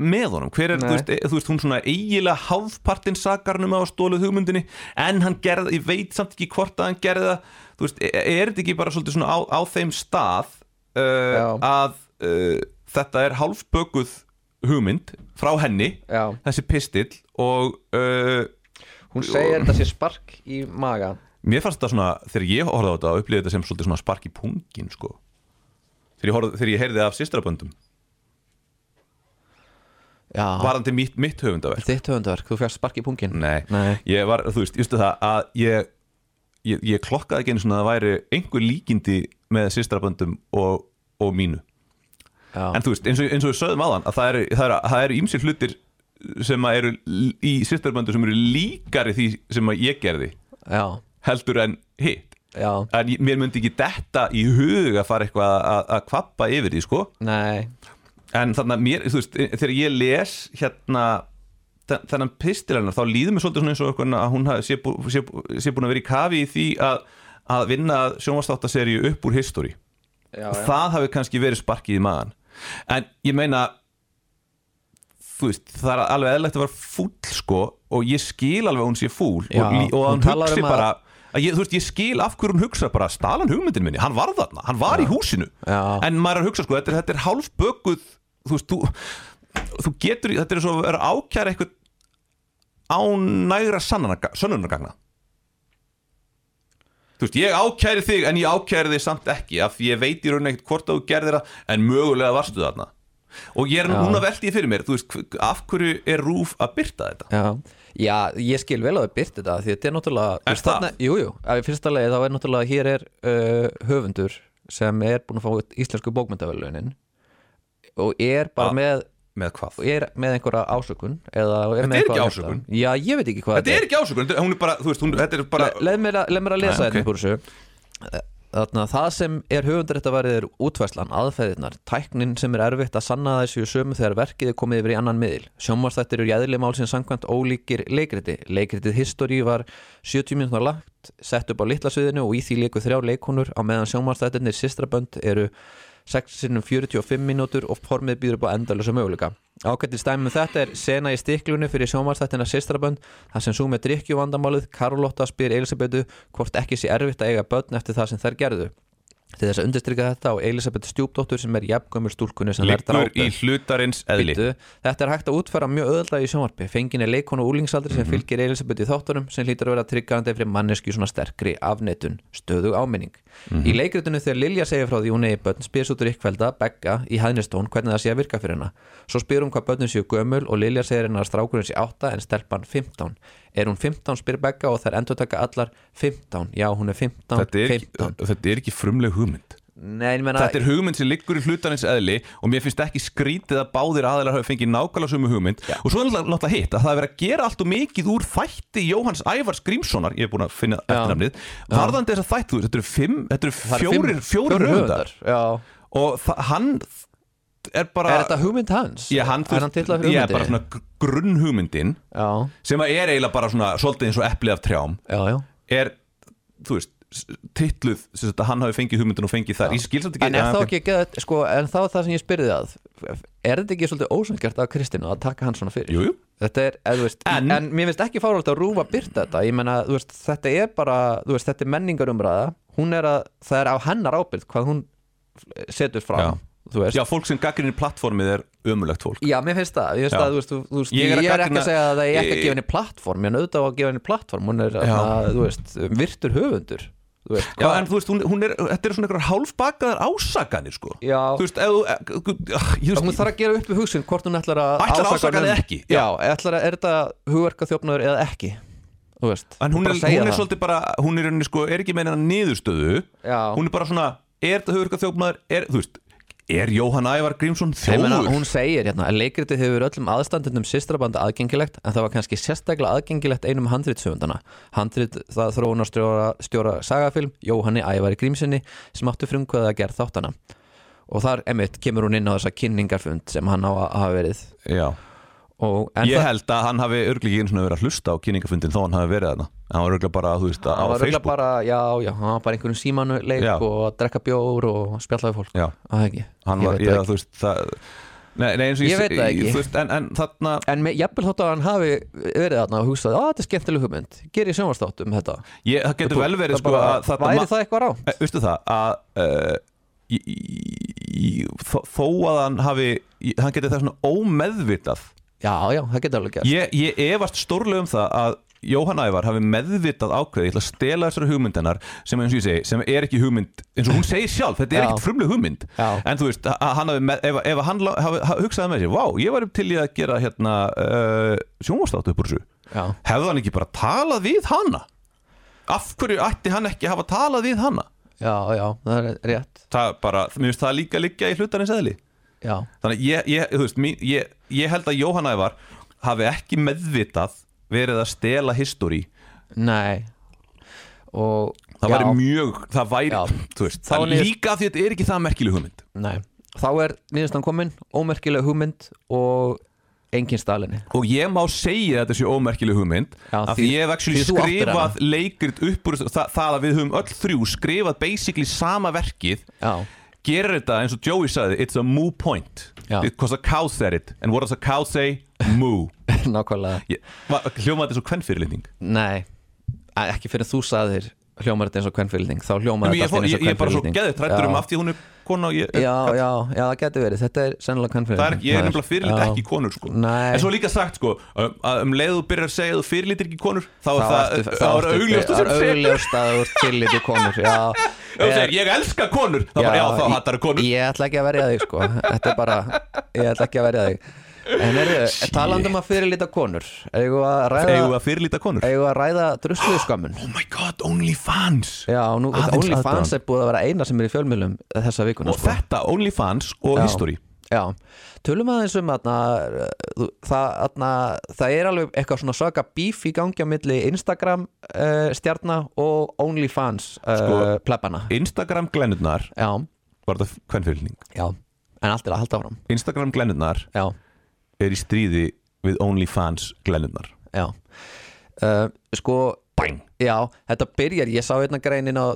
[SPEAKER 1] með honum, hver er,
[SPEAKER 3] Nei.
[SPEAKER 1] þú veist, e, þú veist hún svona eigilega hálfpartin sakarnum á stóluð hugmyndinni, en hann gerði ég veit samt ekki hvort að hann gerði það þú veist, e- er þetta ekki bara svolítið svona á, á þeim stað uh,
[SPEAKER 3] Já.
[SPEAKER 1] að uh, þetta er hálfbökuð hugmynd frá henni
[SPEAKER 3] Já.
[SPEAKER 1] þessi pistill og uh,
[SPEAKER 3] hún segir þetta sé spark í magan
[SPEAKER 1] Mér fannst þetta svona, þegar ég horfði á þetta og upplýði þetta sem svolítið svona spark í pungin sko. þegar, ég horfði, þegar ég heyrði af sýstraböndum
[SPEAKER 3] Já,
[SPEAKER 1] varandi mitt, mitt höfundaverk
[SPEAKER 3] þitt höfundaverk, þú fjast spark í pungin
[SPEAKER 1] Nei.
[SPEAKER 3] Nei.
[SPEAKER 1] ég var, þú veist, justu það að ég, ég, ég klokkaði ekki einu svona að það væri einhver líkindi með sýstraböndum og, og mínu
[SPEAKER 3] Já.
[SPEAKER 1] en þú veist, eins og, eins og við sögðum aðan að það eru, það eru, það eru ímsir hlutir sem að eru l- í sýstraböndum sem eru líkari því sem að ég gerði
[SPEAKER 3] Já,
[SPEAKER 1] heldur en hitt
[SPEAKER 3] já,
[SPEAKER 1] en ég- mér myndi ekki detta í hug að fara eitthvað að, að kvappa yfir því sko
[SPEAKER 3] nei
[SPEAKER 1] en þannig að mér, þú veist, e, þegar ég les hérna þe- þennan pistil hennar, þá líður mér svolítið svona eins og eitthvað að hún hafi- sé, bú, sé, bú- sé búin að vera í kafi í því að, að vinna sjónvarstáttaseríu upp úr history
[SPEAKER 3] Já,
[SPEAKER 1] það hafi kannski verið sparkið í maðan en ég meina þú veist, það er alveg eðlægt að vera fúll sko og ég skil alveg að hún sé fúll
[SPEAKER 3] Já,
[SPEAKER 1] og, lí- og að
[SPEAKER 3] hún
[SPEAKER 1] hún,
[SPEAKER 3] talar
[SPEAKER 1] hugsi
[SPEAKER 3] um að-
[SPEAKER 1] bara að ég, þú veist, ég skil af hverju hún hugsa bara stalan hugmyndin minni, hann var þarna, hann var í húsinu
[SPEAKER 3] Já.
[SPEAKER 1] en maður er að hugsa sko, þetta er, þetta er hálf bökuð þú veist, þú, þú getur þetta er svo að vera ákjæra eitthvað án nægra sönnunargagna þú veist, ég ákæri þig en ég ákæri þig samt ekki af því ég veit í raun ekkert hvort að þú gerðir það en mögulega varstu þarna og ég er núna veltið fyrir mér, þú veist, hv- af hverju er Rúf að byrta þetta?
[SPEAKER 3] Já, já ég skil vel að þau byrti þetta því þetta er náttúrulega þú veist,
[SPEAKER 1] það?
[SPEAKER 3] þarna- Jú, jú, að í fyrsta lagi þá er náttúrulega hér er uh, höfundur sem er búin að fá íslensku bókmyndavelunin og er bara
[SPEAKER 1] Ah.
[SPEAKER 3] með
[SPEAKER 1] Með hvað?
[SPEAKER 3] er með einhverja ásökun eða er
[SPEAKER 1] er
[SPEAKER 3] með eitthvað
[SPEAKER 1] ekki
[SPEAKER 3] á hjarta.
[SPEAKER 1] ásökun.
[SPEAKER 3] Já, ég veit ekki hvað
[SPEAKER 1] Þetta er ekki ásökun, þetta- hún er bara, þú veist, hún, þetta er bara
[SPEAKER 3] Le- leið mér, að- leið mér að lesa
[SPEAKER 1] Nei,
[SPEAKER 3] þetta
[SPEAKER 1] ok.
[SPEAKER 3] úr þessu Þarna, það sem er höfundur þetta verið er útfæslan, aðferðirnar, tæknin sem er erfitt að sanna að þessu sömu þegar verkið er komið yfir í annan miðil. Sjónvarstættir eru jæðileg mál sem samkvæmt ólíkir leikriti. Leikritið History var 70 minútur lagt, sett upp á litla sviðinu og í því leiku þrjá leikunur á meðan sjónvarstættirnir sýstrabönd eru 6 sinnum 45 mínútur og formið býður upp á endalösa möguleika. Ágættis dæmi um þetta er sena í stiklunni fyrir sjónvarstættina sýstrabönd þar sem sú með drikkjuvandamálið Karolotta spyr Elisabetu hvort ekki sé erfitt að eiga börn eftir það sem þær gerðu. Til þess að undirstrykja þetta á Elisabeth Stjúpdóttur sem er jafngömmur stúlkunni sem þær
[SPEAKER 1] liggur
[SPEAKER 3] drápu.
[SPEAKER 1] í hlutarins eðli
[SPEAKER 3] Bíddu, Þetta er hægt að útfæra mjög öðlega í sjónvarpi Fengin er leikonu úlingsaldri
[SPEAKER 1] Mhm.
[SPEAKER 3] sem fylgir Elisabeth í þáttunum sem hlýtur að vera tryggarandi fyrir mannesku svona sterkri afneitun, stöðu áminning
[SPEAKER 1] Mhm.
[SPEAKER 3] Í leikritinu þegar Lilja segir frá því hún eigi börn spyrs út úr ykkvelda, begga, í hæðnistón hvernig það sé að virka fyrir hana Svo spyr hún hvað börnin séu gömul og Lilja segir hennar að strákurinn sé 8 en stelpan 15 Er hún 15 spyr begga og þær endur taka allar 15, já hún er 15,
[SPEAKER 1] þetta er, ekki,
[SPEAKER 3] 15
[SPEAKER 1] þetta er ekki frumleg hugmynd
[SPEAKER 3] Nei, ég meina,
[SPEAKER 1] Þetta er hugmynd sem liggur í hlutarins eðli og mér finnst ekki skrítið að báðir aðeinar hafi fengið nákvæmlega sömu hugmynd og svo er náttúrulega- náttúrulega hitt að það er verið að gera allt og mikið úr þætti Jóhanns Ævars Grímssonar ég er búin að finna eftirnamnið varðandi þess að þætti þú veist, þetta eru fimm, þetta eru
[SPEAKER 3] það eru fimm-
[SPEAKER 1] fjórir, fjórir höfundar
[SPEAKER 3] Já
[SPEAKER 1] og það- hann er bara
[SPEAKER 3] Er þetta hugmynd hans?
[SPEAKER 1] Ah. Já, hann, þú
[SPEAKER 3] er hann
[SPEAKER 1] veist,
[SPEAKER 3] titlað
[SPEAKER 1] ég
[SPEAKER 3] hugmyndi?
[SPEAKER 1] er bara svona grunn hugmyndin
[SPEAKER 3] Já,
[SPEAKER 1] sem að er eiginlega bara svona svolítið eins og eplið af trjám
[SPEAKER 3] já, já
[SPEAKER 1] er, þú veist, s- titluð sem sagt að hann hafi fengið hugmyndin og fengið þar ég skil samt ekki
[SPEAKER 3] En er
[SPEAKER 1] að-
[SPEAKER 3] þá ekki geðað, sko, en þá er það sem ég spyrði að Er þetta ekki svolítið ósangert af Kristinu að taka hann svona fyrir?
[SPEAKER 1] Jú, jú.
[SPEAKER 3] Þetta er, eða, þú veist, en,
[SPEAKER 1] En-
[SPEAKER 3] mér finnst ekki fáralt að rúfa byrta þetta Ég menna, þú veist, þetta er bara, þú veist, þetta er menningarumræða Hún er að, það er á hennar ábyrgð hvað hún setur fram
[SPEAKER 1] Já.
[SPEAKER 3] Þú veist
[SPEAKER 1] Já, fólk sem gaggrinir plattformið er ömulegt fólk
[SPEAKER 3] Já, mér finnst það, ég finnst
[SPEAKER 1] Já.
[SPEAKER 3] það, þú veist, þú, þú veist ég,
[SPEAKER 1] Ég er
[SPEAKER 3] er
[SPEAKER 1] að
[SPEAKER 3] ekki að
[SPEAKER 1] gagnrýna-
[SPEAKER 3] segja að það er ekki að
[SPEAKER 1] Ég-
[SPEAKER 3] gefa henni plattform, en auðvitað á að gefa henni plattform, hún er, að, þú veist, virtur höfundur, þú veist,
[SPEAKER 1] Já, en þú veist, hún, hún er, þetta eru svona einhverjar hálfbakaðar ásakanir, sko
[SPEAKER 3] Já.
[SPEAKER 1] Þú veist, ef þú, eh, gu- gu- ah, ég
[SPEAKER 3] hún
[SPEAKER 1] veist,
[SPEAKER 3] þarf að gera upp við hugsun hvort hún ætlar að
[SPEAKER 1] Ætlar að
[SPEAKER 3] ásaka
[SPEAKER 1] ásaka
[SPEAKER 3] hann
[SPEAKER 1] eða
[SPEAKER 3] um-
[SPEAKER 1] ekki,
[SPEAKER 3] já,
[SPEAKER 1] já.
[SPEAKER 3] ætlar að, er þetta hugverka þjófnaður eða ekki þú veist
[SPEAKER 1] en hún
[SPEAKER 3] bara
[SPEAKER 1] er,
[SPEAKER 3] segja
[SPEAKER 1] hún er
[SPEAKER 3] það.
[SPEAKER 1] svolítið bara, hún er, henni, sko, er ekki meina niðurstöðu
[SPEAKER 3] Já.
[SPEAKER 1] Hún er bara svona, er þetta höfurka þjófnaður, er, þú veist, er Jóhann Ævar Grímsson
[SPEAKER 3] Ég meina,
[SPEAKER 1] þjófur?
[SPEAKER 3] hún segir hérna að leikritið hefur verið öllum aðstandendum sýstrabanda aðgengilegt en það var kannski sérstaklega aðgengilegt einum handritsöfundana handrit það þróunarstjóra stjóra sagafilm Jóhanni Ævari Grímsinni sem áttu frumkvæða að gera þáttana og þar emitt kemur hún inn á þessa kynningarfund sem hann á að hafa verið
[SPEAKER 1] Já,
[SPEAKER 3] og, en
[SPEAKER 1] ég
[SPEAKER 3] það-
[SPEAKER 1] held að hann hafi örglega ekki einu svona verið að hlusta á kynningafundin þó hann hafi verið þarna En hann var örglega bara, þú veist, á
[SPEAKER 3] hann var örugglega
[SPEAKER 1] Facebook
[SPEAKER 3] bara, já, já, hann var bara í einhverjum símanuleik
[SPEAKER 1] Já.
[SPEAKER 3] og að drekka bjór og spjalla við fólk
[SPEAKER 1] Já,
[SPEAKER 3] að það ekki,
[SPEAKER 1] hann
[SPEAKER 3] ég
[SPEAKER 1] var,
[SPEAKER 3] veit
[SPEAKER 1] ég,
[SPEAKER 3] það ekki.
[SPEAKER 1] þú veist, það Nei, nei, eins og
[SPEAKER 3] Ég veit það ekki.
[SPEAKER 1] Þú veist, en, en þarna,
[SPEAKER 3] en með, jafnvel þótt að hann hafi verið þarna og hugsaði, að þetta er skemmtileg hugmynd gerir sjónvarstátt um þetta
[SPEAKER 1] ég, það getur vel verið, sko,
[SPEAKER 3] bara,
[SPEAKER 1] að þarna
[SPEAKER 3] væri
[SPEAKER 1] ma-
[SPEAKER 3] það eitthvað rá
[SPEAKER 1] Eh, veistu það að uh, í, í, í, þó, þó að hann hafi í- hann geti það svona ómeðvitað
[SPEAKER 3] já, já, það getur alveg gerst
[SPEAKER 1] ég, ég efast stórlega um það að Jóhann Ævar hafi meðvitað ákveði ég ætla að stela þessari hugmyndennar sem eins og ég segi sem er ekki hugmynd, eins og hún segir sjálf þetta er
[SPEAKER 3] Já.
[SPEAKER 1] ekkert frumleg hugmynd
[SPEAKER 3] Já.
[SPEAKER 1] en þú veist, að hann hafi, með, ef, ef hann lá- hafi, hafi hugsaði með sér, vá, ég var upp til í að gera hérna uh, sjónvastátt upp úr þessu
[SPEAKER 3] Já.
[SPEAKER 1] hefði hann ekki bara talað við hanna af hverju ætti hann ekki að hafa talað við hanna
[SPEAKER 3] já, já, það er rétt
[SPEAKER 1] það bara, mér finnst það líka liggja í hlutarins eðli
[SPEAKER 3] já,
[SPEAKER 1] þannig að ég, ég, þú veist, mín, ég, ég held að Jóhann Ævar hafi ekki meðvitað verið að stela history
[SPEAKER 3] nei og
[SPEAKER 1] það
[SPEAKER 3] já,
[SPEAKER 1] væri mjög, það væri
[SPEAKER 3] Já.
[SPEAKER 1] þú veist,
[SPEAKER 3] Þá
[SPEAKER 1] það
[SPEAKER 3] niður-
[SPEAKER 1] líka því að þetta er ekki það merkileg hugmynd
[SPEAKER 3] nei. þá er nýðustan komin, ómerkileg hugmynd og engin stalinni
[SPEAKER 1] og ég má segja að þetta sé ómerkileg hugmynd
[SPEAKER 3] Já,
[SPEAKER 1] af því
[SPEAKER 3] því-
[SPEAKER 1] ég hef actually
[SPEAKER 3] því þú áttir
[SPEAKER 1] skrifað leikrit uppur það, það að við höfum öll þrjú skrifað basically sama verkið
[SPEAKER 3] já, [LAUGHS]
[SPEAKER 1] gerir þetta eins og Joey sagði it's a moo point
[SPEAKER 3] Já.
[SPEAKER 1] because a cow said it and what does a cow say? moo
[SPEAKER 3] nákvæmlega
[SPEAKER 1] Ég- va- hljómaði þetta svo kvennfyrirlitning
[SPEAKER 3] nei, Æ, ekki fyrir þú saðir hljómar þetta eins og kvennfylding þá hljómar
[SPEAKER 1] Ég,
[SPEAKER 3] þetta
[SPEAKER 1] fó,
[SPEAKER 3] allt í
[SPEAKER 1] ég,
[SPEAKER 3] einu eins og
[SPEAKER 1] ég er bara svo
[SPEAKER 3] kvenfyrirlitning.
[SPEAKER 1] geðið trættur
[SPEAKER 3] Já.
[SPEAKER 1] um af því að hún er kona og ég,
[SPEAKER 3] já, já, já, það getur verið, þetta er sennilega
[SPEAKER 1] það er,
[SPEAKER 3] kvennfylding
[SPEAKER 1] ég er nefnilega fyrirlit
[SPEAKER 3] Já.
[SPEAKER 1] ekki konur sko.
[SPEAKER 3] Nei.
[SPEAKER 1] en svo er líka sagt sko, um, að um leið þú byrjar að segja að þú fyrirlitir ekki konur þá er
[SPEAKER 3] Þá
[SPEAKER 1] það,
[SPEAKER 3] ertu-
[SPEAKER 1] þá
[SPEAKER 3] þá
[SPEAKER 1] er
[SPEAKER 3] ertu-
[SPEAKER 1] augljóst að
[SPEAKER 3] það er
[SPEAKER 1] sem segir ef
[SPEAKER 3] augljóst Eh, að þú ert tillit í konur já,
[SPEAKER 1] þú segir ég elska konur þá bara já þá hattar það konur
[SPEAKER 3] ég, ég ætla ekki að verja þig sko Þetta er bara, ég ætla ekki að verja þig En er, talandum að fyrirlita konur Eigum við að ræða
[SPEAKER 1] eigum við að fyrirlita konur
[SPEAKER 3] Eigum við að ræða drusluðu skammun
[SPEAKER 1] oh my god OnlyFans
[SPEAKER 3] Já, nú,
[SPEAKER 1] Aðeins
[SPEAKER 3] OnlyFans
[SPEAKER 1] aðdáun.
[SPEAKER 3] er búið að vera eina sem er í fjölmiðlum þessa vikuna sko.
[SPEAKER 1] og þetta OnlyFans og
[SPEAKER 3] Já.
[SPEAKER 1] history
[SPEAKER 3] Já, tölum aðeins um atna, það, atna, það er alveg eitthvað svona svaka bíf í gangi á milli Instagram uh, stjarna og OnlyFans uh,
[SPEAKER 1] Sko-
[SPEAKER 3] plebana
[SPEAKER 1] Instagram glennurnar
[SPEAKER 3] Já,
[SPEAKER 1] var þetta kvennfyrirlitning
[SPEAKER 3] já, en allt er að halda áfram
[SPEAKER 1] Instagram glennurnar
[SPEAKER 3] Já,
[SPEAKER 1] er í stríði við OnlyFans glennurnar
[SPEAKER 3] já uh, Sko,
[SPEAKER 1] bang
[SPEAKER 3] já, þetta byrjar, ég sá einna greinin á,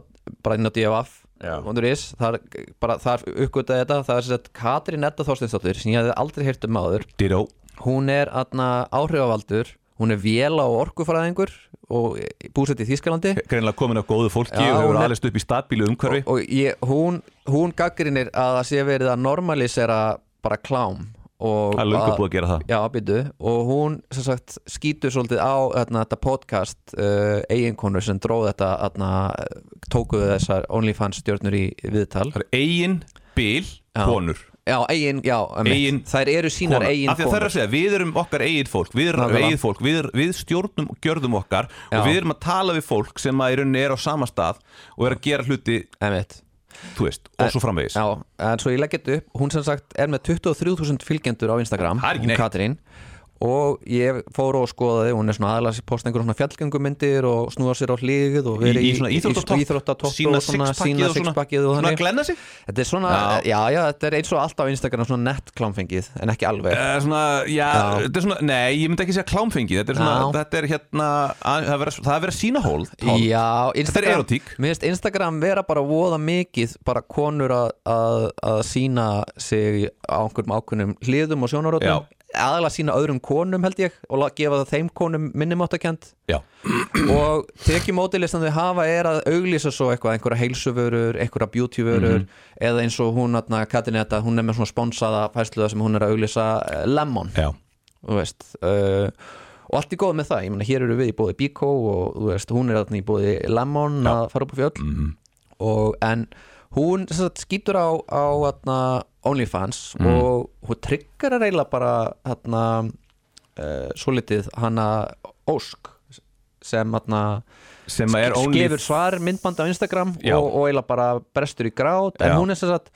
[SPEAKER 3] bara inn á DFF
[SPEAKER 1] Já.
[SPEAKER 3] .is, þar, bara, þar uppgötaði þetta, það er sem sagt Katrín Edda Þorsteinsdóttir sem ég hefði aldrei heyrt um áður
[SPEAKER 1] ditto
[SPEAKER 3] hún er atna, áhrifavaldur hún er véla og orkufræðingur og búsett í Þýskalandi
[SPEAKER 1] greinlega komin af góðu fólki
[SPEAKER 3] Já,
[SPEAKER 1] og hefur
[SPEAKER 3] hún er-
[SPEAKER 1] alist upp í stabílu umhverfi
[SPEAKER 3] og ég, hún, hún gaggrinir að það sé verið að normalisera bara klám og
[SPEAKER 1] Það er löngu búið að gera það.
[SPEAKER 3] já, býtu, og hún sem sagt, skýtur svolítið á þarna, þetta podcast uh, eiginkonu sem dróð þetta þarna, tókuðu þessar OnlyFans stjórnur í viðtal
[SPEAKER 1] það er eigin bil
[SPEAKER 3] Já.
[SPEAKER 1] konur
[SPEAKER 3] já, eigin, já, einmitt.
[SPEAKER 1] Eigin-
[SPEAKER 3] þær eru sínar
[SPEAKER 1] Kona.
[SPEAKER 3] eigin
[SPEAKER 1] Af því að það er að segja, við erum okkar eigin fólk Við erum
[SPEAKER 3] Nákvæmlega.
[SPEAKER 1] eigin fólk, við, er, við stjórnum og gjörðum okkar
[SPEAKER 3] Já.
[SPEAKER 1] Og við erum að tala við fólk sem að í rauninni er á sama stað Og er að gera hluti,
[SPEAKER 3] einmitt
[SPEAKER 1] þú veist, og svo framvegis
[SPEAKER 3] Já, en svo ég legg þetta upp Hún sem sagt er með 23.000 fylgjendur á Instagram
[SPEAKER 1] Það er ekki
[SPEAKER 3] Hún
[SPEAKER 1] neitt.
[SPEAKER 3] Katrín Og ég fór og skoðaði Hún er svona aðalega posta einhver svona fjallgöngumyndir Og snúa sér á hlýðið
[SPEAKER 1] Í,
[SPEAKER 3] og verið
[SPEAKER 1] í svona íþróttatopp
[SPEAKER 3] íþróttatopp
[SPEAKER 1] Sína
[SPEAKER 3] og svona sína sixpackið
[SPEAKER 1] Svona
[SPEAKER 3] og
[SPEAKER 1] að
[SPEAKER 3] þannig
[SPEAKER 1] glenna sig
[SPEAKER 3] Þetta er svona,
[SPEAKER 1] Já.
[SPEAKER 3] já. já, þetta er eins og allt á Instagram Svona nett klámfengið, en ekki alveg
[SPEAKER 1] Eh, svona, já, þetta er svona, nei, ég myndi ekki segja klámfengi Þetta er svona,
[SPEAKER 3] Já.
[SPEAKER 1] þetta er hérna að, það er verið- Það er verið að sína hól
[SPEAKER 3] Já, Instagram,
[SPEAKER 1] erótík.
[SPEAKER 3] Mér finnst Instagram vera bara voða mikið bara konur að, að, að sína sig á einhverjum ákveðnum hliðum og sjónarótum aðalega sína öðrum konum held ég og la- gefa það þeim konum minnumáttakend
[SPEAKER 1] Já,
[SPEAKER 3] [CLEARS THROAT] og tekjumótilið sem þau hafa er að auglýsa svo eitthvað, einhverja heilsuvörur einhverja beautyvörur eða eins og hún, atna, Katinetta, hún er með svona sponsaða fæsluða sem hún er að auglýsa eh, Lemon
[SPEAKER 1] já
[SPEAKER 3] þú veist uh, og allt er góð með það, ég meina hér eru við í bóði Biko og þú veist, hún er þarna í bóði Lemon að fara upp á fjöll og en hún sem sagt, skýtur á, á atna, OnlyFans og hún tryggar að reyla bara atna, uh, svolítið hana Ósk sem atna,
[SPEAKER 1] Sem að er only
[SPEAKER 3] gefur svar myndband á Instagram
[SPEAKER 1] Já.
[SPEAKER 3] og, og eiginlega bara brestur í grát en
[SPEAKER 1] Já.
[SPEAKER 3] hún er sem sagt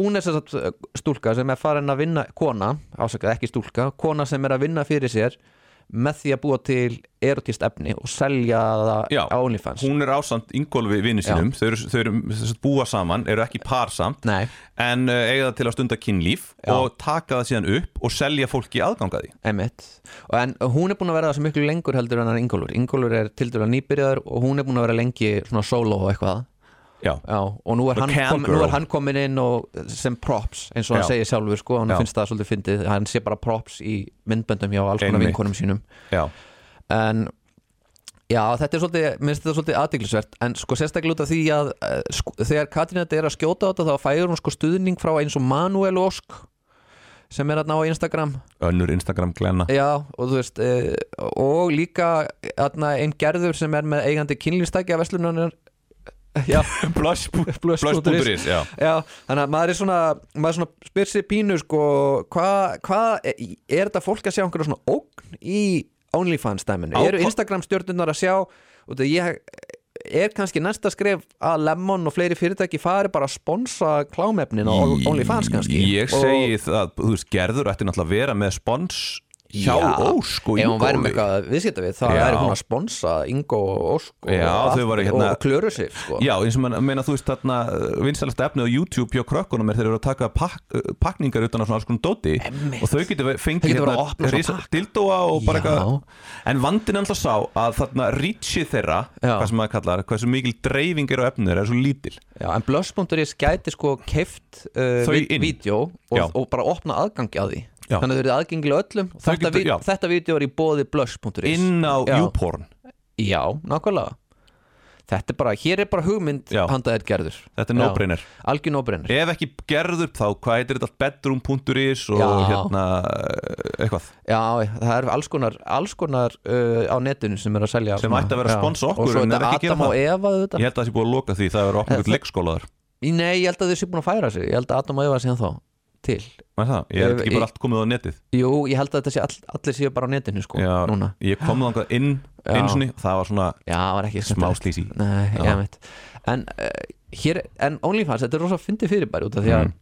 [SPEAKER 3] hún er sem sagt uh, stúlka sem er farin að vinna kona, ásakað ekki stúlka kona sem er að vinna fyrir sér með því að búa til erotist efni og selja það
[SPEAKER 1] Já,
[SPEAKER 3] á OnlyFans
[SPEAKER 1] hún er ásamt yngolfi vinni
[SPEAKER 3] Já.
[SPEAKER 1] sínum þau eru, þau eru sem sagt, búa saman, eru ekki par samt
[SPEAKER 3] Nei.
[SPEAKER 1] en uh, eiga það til að stunda kynlíf og taka það síðan upp og selja fólki aðganga því
[SPEAKER 3] Einmitt. Og en hún er búin að vera þessu miklu lengur heldur en hann Ingólfur. Ingólfur er tildur að nýbyrjaður og hún er búin að vera lengi svona solo og eitthvað.
[SPEAKER 1] Já,
[SPEAKER 3] Já, og nú er,
[SPEAKER 1] The
[SPEAKER 3] hann
[SPEAKER 1] cam
[SPEAKER 3] kom, nú
[SPEAKER 1] girl.
[SPEAKER 3] er hann komin inn og, sem props eins og hann
[SPEAKER 1] Já.
[SPEAKER 3] segir sjálfur sko, hann
[SPEAKER 1] Já.
[SPEAKER 3] finnst það svolítið fyndið, hann sé bara props í myndböndum hjá alls konar
[SPEAKER 1] Einmitt.
[SPEAKER 3] vinkonum sínum
[SPEAKER 1] já,
[SPEAKER 3] en já, þetta er svolítið, minnst þetta svolítið aðdeglisvert en sko sérstaklega út af því að eh, sko, þegar Katrín þetta er að skjóta á þetta þá fæður hún sko stuðning frá eins og Manuel Ósk sem er að ná Instagram
[SPEAKER 1] önnur Instagram glenna
[SPEAKER 3] Já, og þú veist e, og líka atna, einn gerður sem er með eigandi kynlýstækja veslunarnar Já,
[SPEAKER 1] Blush.is
[SPEAKER 3] Eh, Blush punktur is.
[SPEAKER 1] já.
[SPEAKER 3] já, þannig að maður er svona maður svona spyr sér pínu sko hvað hva, er þetta fólk að sjá einhverja svona ógn í OnlyFans dæminu?
[SPEAKER 1] Á-
[SPEAKER 3] Eru Instagram stjórnunar að sjá og það ég er kannski næsta skref að Lemon og fleiri fyrirtæki fari bara að sponsa klámefnin á OnlyFans kannski
[SPEAKER 1] Ég segi það, þú veist, Gerður ætti náttúrulega að vera með spons hjá sko, Ósk og
[SPEAKER 3] Ef hún væri
[SPEAKER 1] yngolfi
[SPEAKER 3] með eitthvað að viðskipta við þá
[SPEAKER 1] Já.
[SPEAKER 3] væri hún að sponsa Ingo og Ósk og,
[SPEAKER 1] Já,
[SPEAKER 3] allt-
[SPEAKER 1] þau væru hérna-
[SPEAKER 3] og klöru sig sko.
[SPEAKER 1] Já, eins og man- meina þú veist þarna vinsalasta efnið á YouTube hjá krökkunum er þeir eru að taka pak, eh, pakningar utan á svona alls konum dóti
[SPEAKER 3] Einmitt.
[SPEAKER 1] og þau getur ve-
[SPEAKER 3] Þau
[SPEAKER 1] fengið hérna
[SPEAKER 3] geta verið að opna svona
[SPEAKER 1] risa- dildóa og bara
[SPEAKER 3] Já.
[SPEAKER 1] eitthvað en vandinn er alltaf sá að þarna rítsið þeirra,
[SPEAKER 3] Já.
[SPEAKER 1] hvað sem maður kallar hversu mikil dreifing er á efnið er svo lítil
[SPEAKER 3] Já, en Blöss.is gæti sko keift uh,
[SPEAKER 1] Þau
[SPEAKER 3] vi-
[SPEAKER 1] inn.
[SPEAKER 3] vídeo
[SPEAKER 1] Já.
[SPEAKER 3] og, og bara opna aðgangi að því
[SPEAKER 1] Já.
[SPEAKER 3] þannig að þau eru aðgengilega öllum og
[SPEAKER 1] Þau
[SPEAKER 3] þetta,
[SPEAKER 1] geta-
[SPEAKER 3] vid-
[SPEAKER 1] já.
[SPEAKER 3] þetta vídeo er í bóði Blöss.is
[SPEAKER 1] inn á
[SPEAKER 3] Já.
[SPEAKER 1] YouPorn
[SPEAKER 3] Já, nákvæmlega þetta er bara, hér er bara hugmynd
[SPEAKER 1] Já.
[SPEAKER 3] handaðir gerður
[SPEAKER 1] Þetta er
[SPEAKER 3] Já.
[SPEAKER 1] no-brainer.
[SPEAKER 3] algjör nóbreynir
[SPEAKER 1] Ef ekki gerður upp þá, hvað heitir þetta bedroom.is og
[SPEAKER 3] Já.
[SPEAKER 1] hérna eh, eitthvað
[SPEAKER 3] Já, það er alls konar, alls konar uh, á netinu sem er að selja
[SPEAKER 1] Sem
[SPEAKER 3] svona-
[SPEAKER 1] ætti að vera
[SPEAKER 3] Já.
[SPEAKER 1] spons okkur,
[SPEAKER 3] og svo
[SPEAKER 1] en er
[SPEAKER 3] þetta
[SPEAKER 1] ekki að gera
[SPEAKER 3] Adam og
[SPEAKER 1] það.
[SPEAKER 3] Eva þetta.
[SPEAKER 1] Ég held að það sé búið að loka því, það er opnum ykkur leikskólaður
[SPEAKER 3] Nei, ég held að þau séu búin að færa sig Ég held að Adam og Eva sé ennþá til
[SPEAKER 1] Var það? Ég er
[SPEAKER 3] Ef-
[SPEAKER 1] þetta ekki
[SPEAKER 3] ég-
[SPEAKER 1] bara allt komið á netið
[SPEAKER 3] Jú, ég held að þetta sé all, allir séu bara á netinu sko,
[SPEAKER 1] Já,
[SPEAKER 3] núna
[SPEAKER 1] Ég kom þangað inn
[SPEAKER 3] Já.
[SPEAKER 1] eins og það var svona
[SPEAKER 3] Já, það var ekki
[SPEAKER 1] smá slísi
[SPEAKER 3] Nei,
[SPEAKER 1] Já.
[SPEAKER 3] ég veit En uh, hér, en OnlyFans, þetta er rosa fyndið fyrirbæri út af því að
[SPEAKER 1] Mm.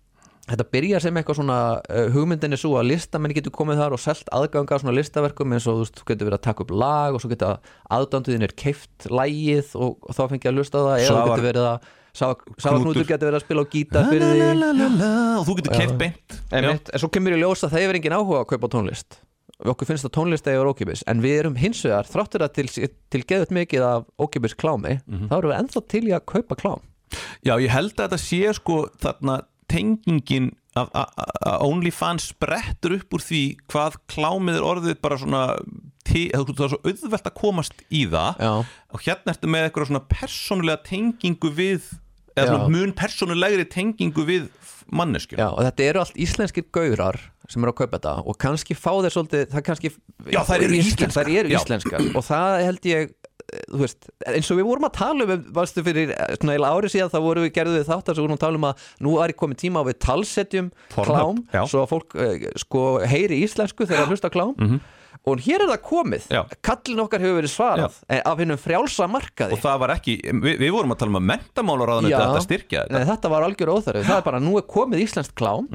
[SPEAKER 3] Þetta byrjar sem eitthvað svona uh, hugmyndinni svo að listamenn getur komið þar og selt aðganga svona listaverkum eins og þú, veist, þú getur verið að taka upp lag og svo geta aðdánduðin er keift lægið og, og þá fengið að lusta það eða þú
[SPEAKER 1] Svavar-
[SPEAKER 3] getur verið að Sáaknútur
[SPEAKER 1] Knútur.
[SPEAKER 3] getur verið að spila á gítar fyrir því
[SPEAKER 1] Og þú getur keitt beint
[SPEAKER 3] Einmitt, en svo kemur í ljós að það hefur engin áhuga á að kaupa tónlist Við okkur finnst að tónlist eða er ókipis en við erum hins vegar, þráttur að til, til geðut mikið af ókipis klámi þá erum við ennþá til í að kaupa klám
[SPEAKER 1] Já, ég held að þetta sé sko þarna tengingin að að- að OnlyFans sprettur upp úr því hvað klámið er orðið bara svona ti- eða þú- það er svo auðvelt að komast í það
[SPEAKER 3] Já.
[SPEAKER 1] og hérna ertu með eitthvað svona persónulega tengingu við eða
[SPEAKER 3] Já.
[SPEAKER 1] svona mun persónulegri tengingu við manneskju
[SPEAKER 3] Já, og þetta eru allt íslenskir gaurar sem eru að kaupa þetta og kannski fá þeir svolítið það kannski,
[SPEAKER 1] Já, þær eru
[SPEAKER 3] Íslen-
[SPEAKER 1] íslenskar.
[SPEAKER 3] þær eru
[SPEAKER 1] Já.
[SPEAKER 3] íslenskar og það held ég eh, þú veist, eins og við vorum að tala um varstu fyrir eh, svona eila ári síðan þá vorum við gerðum við þátt að vorum að tala um að nú er komið tíma á við talsetjum
[SPEAKER 1] Pornhub,
[SPEAKER 3] klám,
[SPEAKER 1] já.
[SPEAKER 3] svo að fólk eh, sko heyri íslensku þegar það hlusta á klám og hér er það komið,
[SPEAKER 1] Mhm. Já.
[SPEAKER 3] kallin okkar hefur verið svarað eh, af hinnum frjálsa markaði
[SPEAKER 1] og það var ekki, við, við vorum að tala um að mentamálaráðan þetta að styrkja þetta Mhm.
[SPEAKER 3] Nei, þetta var algjör óþarfi, það er bara nú er komið íslenskt klám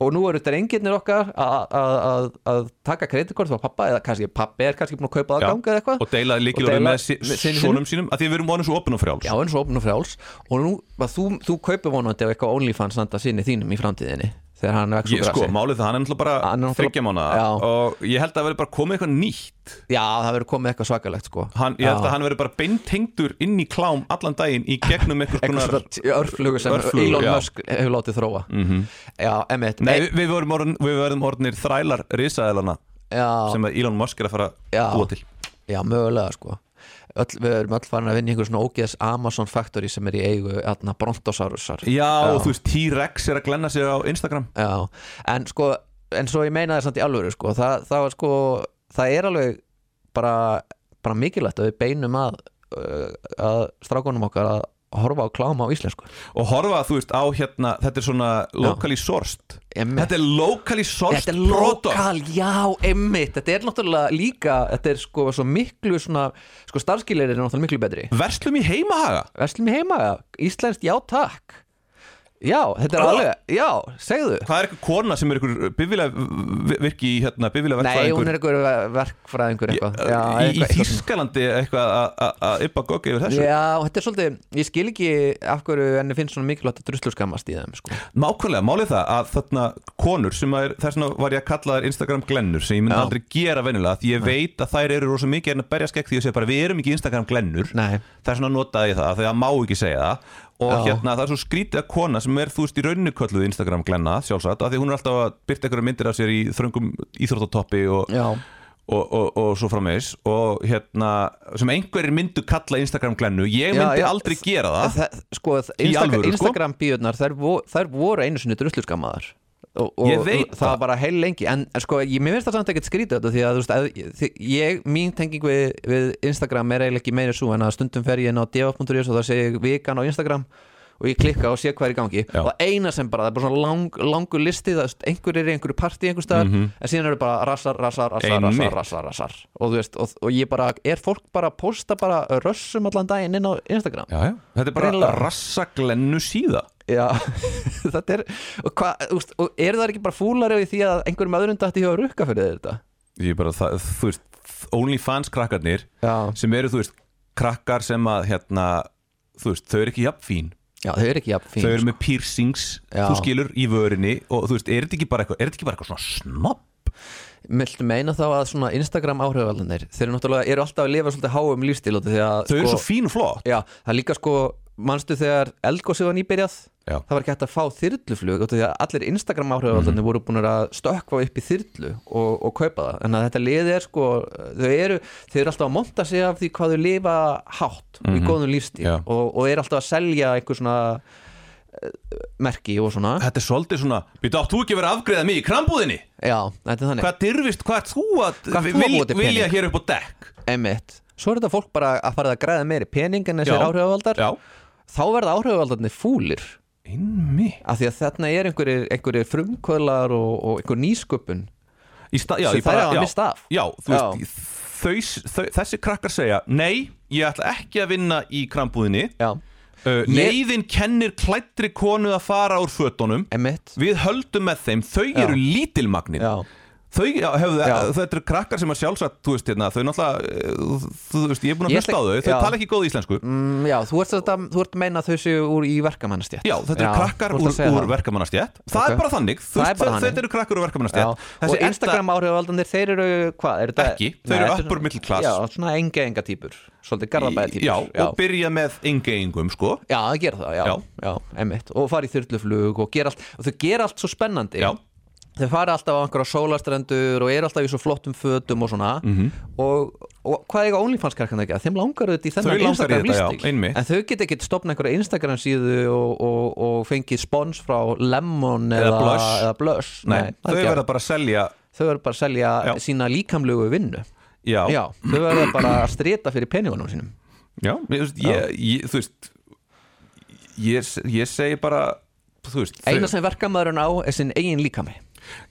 [SPEAKER 3] og nú eru drengirnir okkar að- að- að að taka kreditkort frá pappa eða kannski pappi er kannski búin að kaupa það
[SPEAKER 1] Já.
[SPEAKER 3] að ganga eða eitthvað
[SPEAKER 1] og deila líkil
[SPEAKER 3] Og
[SPEAKER 1] orðið
[SPEAKER 3] deila
[SPEAKER 1] með si-
[SPEAKER 3] með syni
[SPEAKER 1] sonum sínum að því við erum vonum svo opin og frjáls
[SPEAKER 3] Já, eins og opn og frjáls og nú, að þú, þú kaupir vonandi á eitthvað OnlyFans handa sinni þínum í framtíðinni þegar hann vex
[SPEAKER 1] ég,
[SPEAKER 3] úr
[SPEAKER 1] sko,
[SPEAKER 3] grasi.
[SPEAKER 1] málið það, hann er náttúrulega
[SPEAKER 3] Hann er
[SPEAKER 1] bara
[SPEAKER 3] náttúrulega-
[SPEAKER 1] þryggja mánuða
[SPEAKER 3] Já.
[SPEAKER 1] og ég held að það verði bara komið eitthvað nýtt
[SPEAKER 3] Já, það verður komið eitthvað svakalegt sko
[SPEAKER 1] hann, ég held að hann verði bara beintengdur inn í klám allan daginn í gegnum einhvers
[SPEAKER 3] Eitthvað
[SPEAKER 1] konar
[SPEAKER 3] svona t- örflugu sem
[SPEAKER 1] Örflugu,
[SPEAKER 3] Elon
[SPEAKER 1] já.
[SPEAKER 3] Musk hefur látið þróa -hmm. Já, emitt
[SPEAKER 1] Nei, við, við, vorum orðin, við verðum orðinir þrælar risaðelana
[SPEAKER 3] já,
[SPEAKER 1] sem að Elon Musk er að fara
[SPEAKER 3] Já.
[SPEAKER 1] að búa til
[SPEAKER 3] Já, mögulega sko öll, Við erum öll farin að vinna í einhver svona ógeðs Amazon Factory sem er í eigu atna, Brontosaurusar
[SPEAKER 1] Já, og þú veist, T-Rex er að glenna sig á Instagram
[SPEAKER 3] Já, en sko en svo ég meina það samt í alvöru sko það, það var sko, það er alveg bara, bara mikilvægt að við beinum að uh, að strákunum okkar að horfa á kláma á íslensku
[SPEAKER 1] og horfa, þú veist, á hérna þetta er svona locally sourced
[SPEAKER 3] Einmitt.
[SPEAKER 1] Þetta er locally sourced
[SPEAKER 3] Þetta er
[SPEAKER 1] product.
[SPEAKER 3] lokal, já, emmitt Þetta er náttúrulega líka, þetta er sko svo miklu svona, sko starfskilir er náttúrulega miklu betri
[SPEAKER 1] Verslum í heimahaga
[SPEAKER 3] Verslum í heima, íslenskt já takk Já, þetta er
[SPEAKER 1] Ah.
[SPEAKER 3] alveg, já, segðu
[SPEAKER 1] Hvað er eitthvað kona sem er eitthvað bifilega virki í hérna, bifilega
[SPEAKER 3] Nei,
[SPEAKER 1] verkfræðingur
[SPEAKER 3] hún er einhver verkfræðingur eitthvað Já,
[SPEAKER 1] í, í
[SPEAKER 3] eitthvað- eitthvað svona.
[SPEAKER 1] Þýskalandi eitthvað að- að- að yppa gogg yfir þessu
[SPEAKER 3] Já, þetta er svolítið, ég skil ekki af hverju henni finnst svona mikilvægt að druslu skammast í þeim sko.
[SPEAKER 1] Mákvæmlega, málið það að þarna konur sem að er, þess vegna var ég að kalla þær Instagram glennur sem ég myndi
[SPEAKER 3] Já.
[SPEAKER 1] aldrei gera venjulega því ég veit að þær eru rosa mikið en að berjast gegn því að segja bara við erum ekki Instagram glennur
[SPEAKER 3] Nei.
[SPEAKER 1] þess vegna notaði ég það, þegar má ekki segja það og
[SPEAKER 3] Já.
[SPEAKER 1] hérna það er svo skrítið að kona sem er þú veist í rauninu kölluð Instagram glenna sjálfsagt, af því hún er alltaf að byrta einhverju myndir af sér í þröngum íþróttatoppi og,
[SPEAKER 3] Já.
[SPEAKER 1] og, og, og svo framvegis og hérna, sem einhverjir myndu kalla Instagram glennu, ég
[SPEAKER 3] Já,
[SPEAKER 1] myndi
[SPEAKER 3] já,
[SPEAKER 1] aldrei gera það
[SPEAKER 3] það, Sko,
[SPEAKER 1] Í alvöru, sko?
[SPEAKER 3] Instagram, Instagram bíunar þær, vo- þær voru einu sinni druslu skammaðar og, og
[SPEAKER 1] Ég veit
[SPEAKER 3] það
[SPEAKER 1] það.
[SPEAKER 3] var bara heil lengi en en sko, ég, mér finnst það samt ekkert skrítið þetta því að, þú veist, að því, ég, mín tenging við, við Instagram er eiginlega ekki meira svo en að stundum fer ég inn á deva.is og það sé ég vikan á Instagram og ég klikka og sé hvað er í gangi
[SPEAKER 1] Já.
[SPEAKER 3] og það eina sem bara, það er bara svona lang, langur listi það, er- einhver er í einhverju partí einhver staðar en síðan eru bara rassar, rassar, rassar,
[SPEAKER 1] Mhm. Einmitt.
[SPEAKER 3] rassar, rassar, rassar og þú veist, og, og ég bara, er fólk bara að posta bara rössum allan daginn inn á Instagram
[SPEAKER 1] já, já. Þetta er bara
[SPEAKER 3] Greinilega.
[SPEAKER 1] rassaglennu síða
[SPEAKER 3] Já, [LAUGHS] þetta er og, hva, úst, og eru það ekki bara fúlari í því að einhverjum öðrum dætti hjá að rukka fyrir þér þetta?
[SPEAKER 1] ég bara, það, þú veist OnlyFans krakkarnir
[SPEAKER 3] Já.
[SPEAKER 1] sem eru, þú veist, krakkar sem að hérna, þú veist, þau eru ekki jafn fín
[SPEAKER 3] Já, þau eru ekki jafn fín
[SPEAKER 1] þau eru
[SPEAKER 3] sko.
[SPEAKER 1] með piercings,
[SPEAKER 3] Já.
[SPEAKER 1] þú skilur í vörinni og þú veist, er þetta ekki bara eitthvað, er þetta ekki bara eitthvað svona snopp
[SPEAKER 3] Viltu meina þá að svona Instagram áhrifaldanir þeir eru náttúrulega, eru alltaf að lifa svolítið háum lífstíl út af því að
[SPEAKER 1] þau eru svo fín og flott
[SPEAKER 3] Já, það er líka sko manstu þegar eldgósið var nýbyrjað
[SPEAKER 1] Já.
[SPEAKER 3] það var ekki hægt að fá þyrluflug út af því að allir Instagram áhrifaldandi
[SPEAKER 1] Mhm.
[SPEAKER 3] voru búin að stökkva upp í þyrlu og, og kaupa það en að þetta liði er sko þau eru, þau eru alltaf að monta sig af því hvað þau lifa hátt og í góðum lífstíl
[SPEAKER 1] Mhm. Já.
[SPEAKER 3] og, og eru alltaf að selja einhver svona eh, merki og svona
[SPEAKER 1] Þetta er svolítið svona, býta átt þú ekki að vera að afgreða mig í krambúðinni?
[SPEAKER 3] já, þetta er þannig,
[SPEAKER 1] Hvað dyrfist, hvað ert þú að
[SPEAKER 3] Hvað ert þú að búa til
[SPEAKER 1] vilja
[SPEAKER 3] pening?
[SPEAKER 1] hér upp á dekk?
[SPEAKER 3] emitt svo er þetta fólk bara að fara að græða meiri pening en þessir
[SPEAKER 1] Já.
[SPEAKER 3] áhrifaldar
[SPEAKER 1] Já,
[SPEAKER 3] þá verða áhrifaldarnir fúlir
[SPEAKER 1] innmi
[SPEAKER 3] af því að þarna er einhverjir, einhverjir frumkvölar og, og einhver nýsköpun
[SPEAKER 1] Í sta, já,
[SPEAKER 3] Sem
[SPEAKER 1] ég bara-
[SPEAKER 3] þær hafa
[SPEAKER 1] já,
[SPEAKER 3] misst af.
[SPEAKER 1] Já, þú
[SPEAKER 3] Já.
[SPEAKER 1] veist, þau, þau, þessi krakkar segja Nei, ég ætla ekki að vinna í krambúðinni
[SPEAKER 3] já,
[SPEAKER 1] uh, Neiðin kennir klættri konu að fara úr fötunum
[SPEAKER 3] emitt
[SPEAKER 1] Við höldum með þeim, þau
[SPEAKER 3] Já.
[SPEAKER 1] eru lítilmagnin
[SPEAKER 3] já,
[SPEAKER 1] Þau já, hefðu,
[SPEAKER 3] Já.
[SPEAKER 1] þetta eru krakkar sem að sjálfsagt, þú veist, hérna, þau náttúrulega, uh, þú veist, ég er búin að
[SPEAKER 3] Ég
[SPEAKER 1] hlusta á
[SPEAKER 3] ætla-
[SPEAKER 1] þau, þau
[SPEAKER 3] já.
[SPEAKER 1] tala ekki góð íslensku.
[SPEAKER 3] mm, já þú, ert þetta, þú ert meina að þau séu úr í verkamannstjætt
[SPEAKER 1] Já, þetta eru krakkar úr, úr verkamannastjætt Það
[SPEAKER 3] Ok.
[SPEAKER 1] er bara þannig, þú
[SPEAKER 3] Það er
[SPEAKER 1] veist,
[SPEAKER 3] bara
[SPEAKER 1] þe-
[SPEAKER 3] þannig.
[SPEAKER 1] þetta eru krakkar úr
[SPEAKER 3] Já,
[SPEAKER 1] verkamannastjætt
[SPEAKER 3] og Instagram áhrifavaldandir, þeir eru hvað? Er þetta,
[SPEAKER 1] Ekki, þau eru
[SPEAKER 3] þetta er
[SPEAKER 1] upper
[SPEAKER 3] svona-
[SPEAKER 1] middle class.
[SPEAKER 3] Já, svona enga-enga típur, svolítið garðabæða típur
[SPEAKER 1] Já, og byrja með engeingum, sko
[SPEAKER 3] Já, það gera það, já,
[SPEAKER 1] Já.
[SPEAKER 3] já. einmitt og fara í þyrluflug og gera allt og þau gera allt svo spennandi
[SPEAKER 1] Já.
[SPEAKER 3] þau fara alltaf á einhverja sólastrendur og eru alltaf í svo flottum fötum og svona
[SPEAKER 1] Mhm.
[SPEAKER 3] -hmm. og, og hvað eiga OnlyFans-karkana ekki að þeim langar auðvitað í
[SPEAKER 1] Þau langar
[SPEAKER 3] þennan
[SPEAKER 1] í
[SPEAKER 3] Instagram
[SPEAKER 1] þetta, já,
[SPEAKER 3] lífstíl
[SPEAKER 1] einmitt.
[SPEAKER 3] en þau geta ekki stopna einhverja Instagram síðu og, og, og fengið spons frá Lemon
[SPEAKER 1] Eða
[SPEAKER 3] eða,
[SPEAKER 1] Blush.
[SPEAKER 3] eða Blush.
[SPEAKER 1] Nei,
[SPEAKER 3] það
[SPEAKER 1] þau
[SPEAKER 3] er ekki
[SPEAKER 1] verða bara að selja
[SPEAKER 3] hægt. þau verða bara að selja
[SPEAKER 1] Já.
[SPEAKER 3] sína líkamlugu vinnu
[SPEAKER 1] Já,
[SPEAKER 3] já, þau verða bara að strita fyrir peningunum sínum
[SPEAKER 1] já, ég, þú veist, ég, ég, þú veist ég, ég segi bara þú veist, þau-
[SPEAKER 3] eina sem verkamæðurinn á er sinn eigin líkami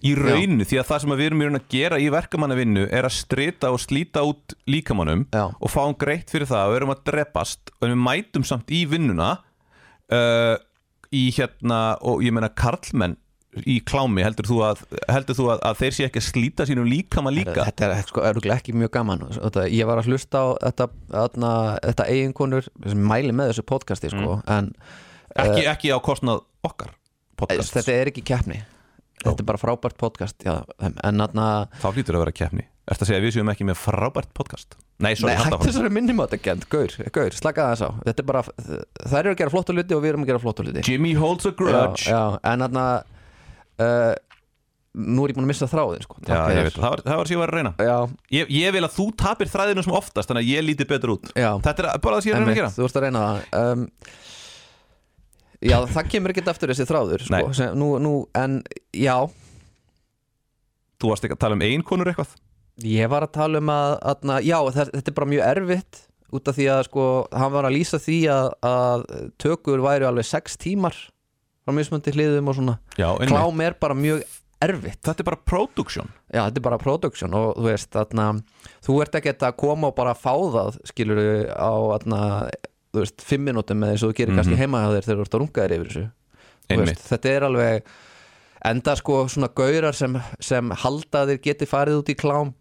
[SPEAKER 1] í rauninu, því að það sem við erum í raun að gera í verkamannavinnu er að strita og slíta út líkamannum
[SPEAKER 3] Já.
[SPEAKER 1] og fá hann greitt fyrir það og erum að drepast og við mætum samt í vinnuna uh, í hérna og ég meina karlmenn í klámi, heldur þú að, heldur þú að, að þeir sé ekki að slíta sínum líkama líka
[SPEAKER 3] Þetta er sko örgulega ekki mjög gaman þetta, Ég var að hlusta á þetta, þetta, þetta eiginkonur sem mæli með þessu podcasti
[SPEAKER 1] Mm.
[SPEAKER 3] sko,
[SPEAKER 1] ekki, ekki á kostnað okkar
[SPEAKER 3] en
[SPEAKER 1] podcast,
[SPEAKER 3] þetta er ekki keppni Þetta er bara frábært podcast já, en þarna
[SPEAKER 1] þá hlýtur að vera keppni Ertu að segja að við séum ekki með frábært podcast? Nei,
[SPEAKER 3] Nei,
[SPEAKER 1] sorry,
[SPEAKER 3] hættu
[SPEAKER 1] hættu
[SPEAKER 3] þessari minnumáttakend, gaur, gaur, slaka þess á Þetta er bara, það eru að gera flottu hluti og við erum að gera flottu hluti
[SPEAKER 1] Jimmy holds a grudge
[SPEAKER 3] já, já, en þarna uh, Nú er ég búin að missa þráðin sko. Takk
[SPEAKER 1] Já,
[SPEAKER 3] fyrir.
[SPEAKER 1] ég veit, það var, það var sér að vera að reyna
[SPEAKER 3] Já,
[SPEAKER 1] Ég, ég vil að þú tapir þræðinu sem oftast Þannig að ég líti betur út
[SPEAKER 3] Já.
[SPEAKER 1] Þetta er bara það sem ég er að reyna að
[SPEAKER 3] Einmitt,
[SPEAKER 1] gera
[SPEAKER 3] þú ert að reyna það um, Já, það kemur ekkert aftur þessi þráður sko,
[SPEAKER 1] Nei.
[SPEAKER 3] sem, nú, nú, En já,
[SPEAKER 1] Þú varst ekki að tala um einkonur eitthvað
[SPEAKER 3] ég var að tala um að, að Já, það, þetta er bara mjög erfitt Út af því að sko, hann var að lýsa því að, að tökur væri alveg sex tímar frá mismöndi hliðum og svona
[SPEAKER 1] Já, einmitt.
[SPEAKER 3] Klám er bara mjög erfitt
[SPEAKER 1] Þetta er bara production
[SPEAKER 3] Já, þetta er bara production og þú veist þarna, þú ert ekki að koma og bara fá það skilur á þarna, þú veist, fimm minútum með eins og þú gerir
[SPEAKER 1] Mhm.
[SPEAKER 3] kannski heima hjá þér þegar þú ert að runga þér yfir þessu Þú
[SPEAKER 1] Einmitt.
[SPEAKER 3] þetta er alveg enda sko svona gaurar sem, sem halda að þeir geti farið út í klám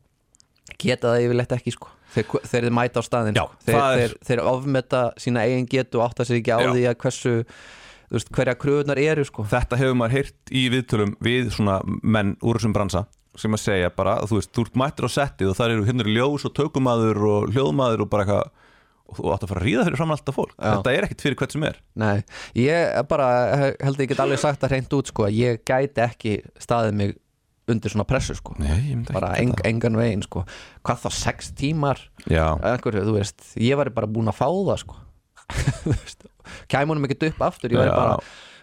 [SPEAKER 3] geta það yfirleitt ekki sko þeir, þeir mæta á staðin
[SPEAKER 1] Já,
[SPEAKER 3] sko. þeir,
[SPEAKER 1] það er-
[SPEAKER 3] þeir, þeir ofmeta sína eigin getu og átta sér ekki á
[SPEAKER 1] Já.
[SPEAKER 3] því að hversu þú veist, hverja kröfunar eru sko
[SPEAKER 1] Þetta hefur maður heyrt í viðtölum Við svona menn úr þessum bransa Sem að segja bara, þú veist, þú ert mættur á settið Og það eru hérna eru ljós og tökumadur Og hljóðmaður og bara eitthvað Og þú átt að fara að ríða fyrir fram alltaf fólk
[SPEAKER 3] Já.
[SPEAKER 1] Þetta er ekkit fyrir hvert sem er
[SPEAKER 3] Nei, ég bara held að ég get alveg sagt það hreint út sko að ég gæti ekki staðið mig undir svona pressu sko
[SPEAKER 1] Nei, ég myndi ekki
[SPEAKER 3] bara
[SPEAKER 1] geta
[SPEAKER 3] eng, engan veginn sko hvað þá sex tímar
[SPEAKER 1] Já,
[SPEAKER 3] einhverju, þú veist, ég væri bara búin að fá það sko [LAUGHS] Þú veist, kæmunum ekkert upp aftur, ég væri
[SPEAKER 1] Já.
[SPEAKER 3] bara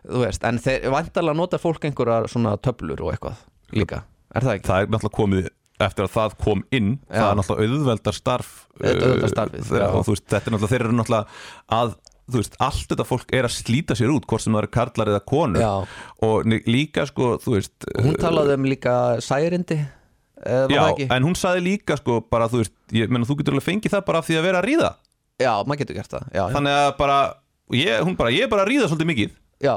[SPEAKER 3] þú veist, en þeir vantarlega nota fólk einhverjar svona töflur og eitthvað líka er það ekki?
[SPEAKER 1] það er náttúrulega komið eftir að það kom inn það er náttúrulega auðveldar starf
[SPEAKER 3] Auðveldar
[SPEAKER 1] uh,
[SPEAKER 3] starfið,
[SPEAKER 1] þeirra,
[SPEAKER 3] já.
[SPEAKER 1] og þú veist, þetta er náttúrulega þeir eru náttúrulega að þú veist, allt þetta fólk er að slíta sér út hvort sem það eru karlar eða konur
[SPEAKER 3] Já.
[SPEAKER 1] og ni- líka sko, þú veist
[SPEAKER 3] Hún talaði um líka særindi eða var
[SPEAKER 1] já,
[SPEAKER 3] það ekki?
[SPEAKER 1] en hún saði líka sko bara, þú veist, ég menna þú getur alveg fengið það bara af því að vera að ríða
[SPEAKER 3] Já, maður getur gert það Já, já.
[SPEAKER 1] þannig að bara, ég, hún bara, ég er bara að ríða svolítið mikið,
[SPEAKER 3] já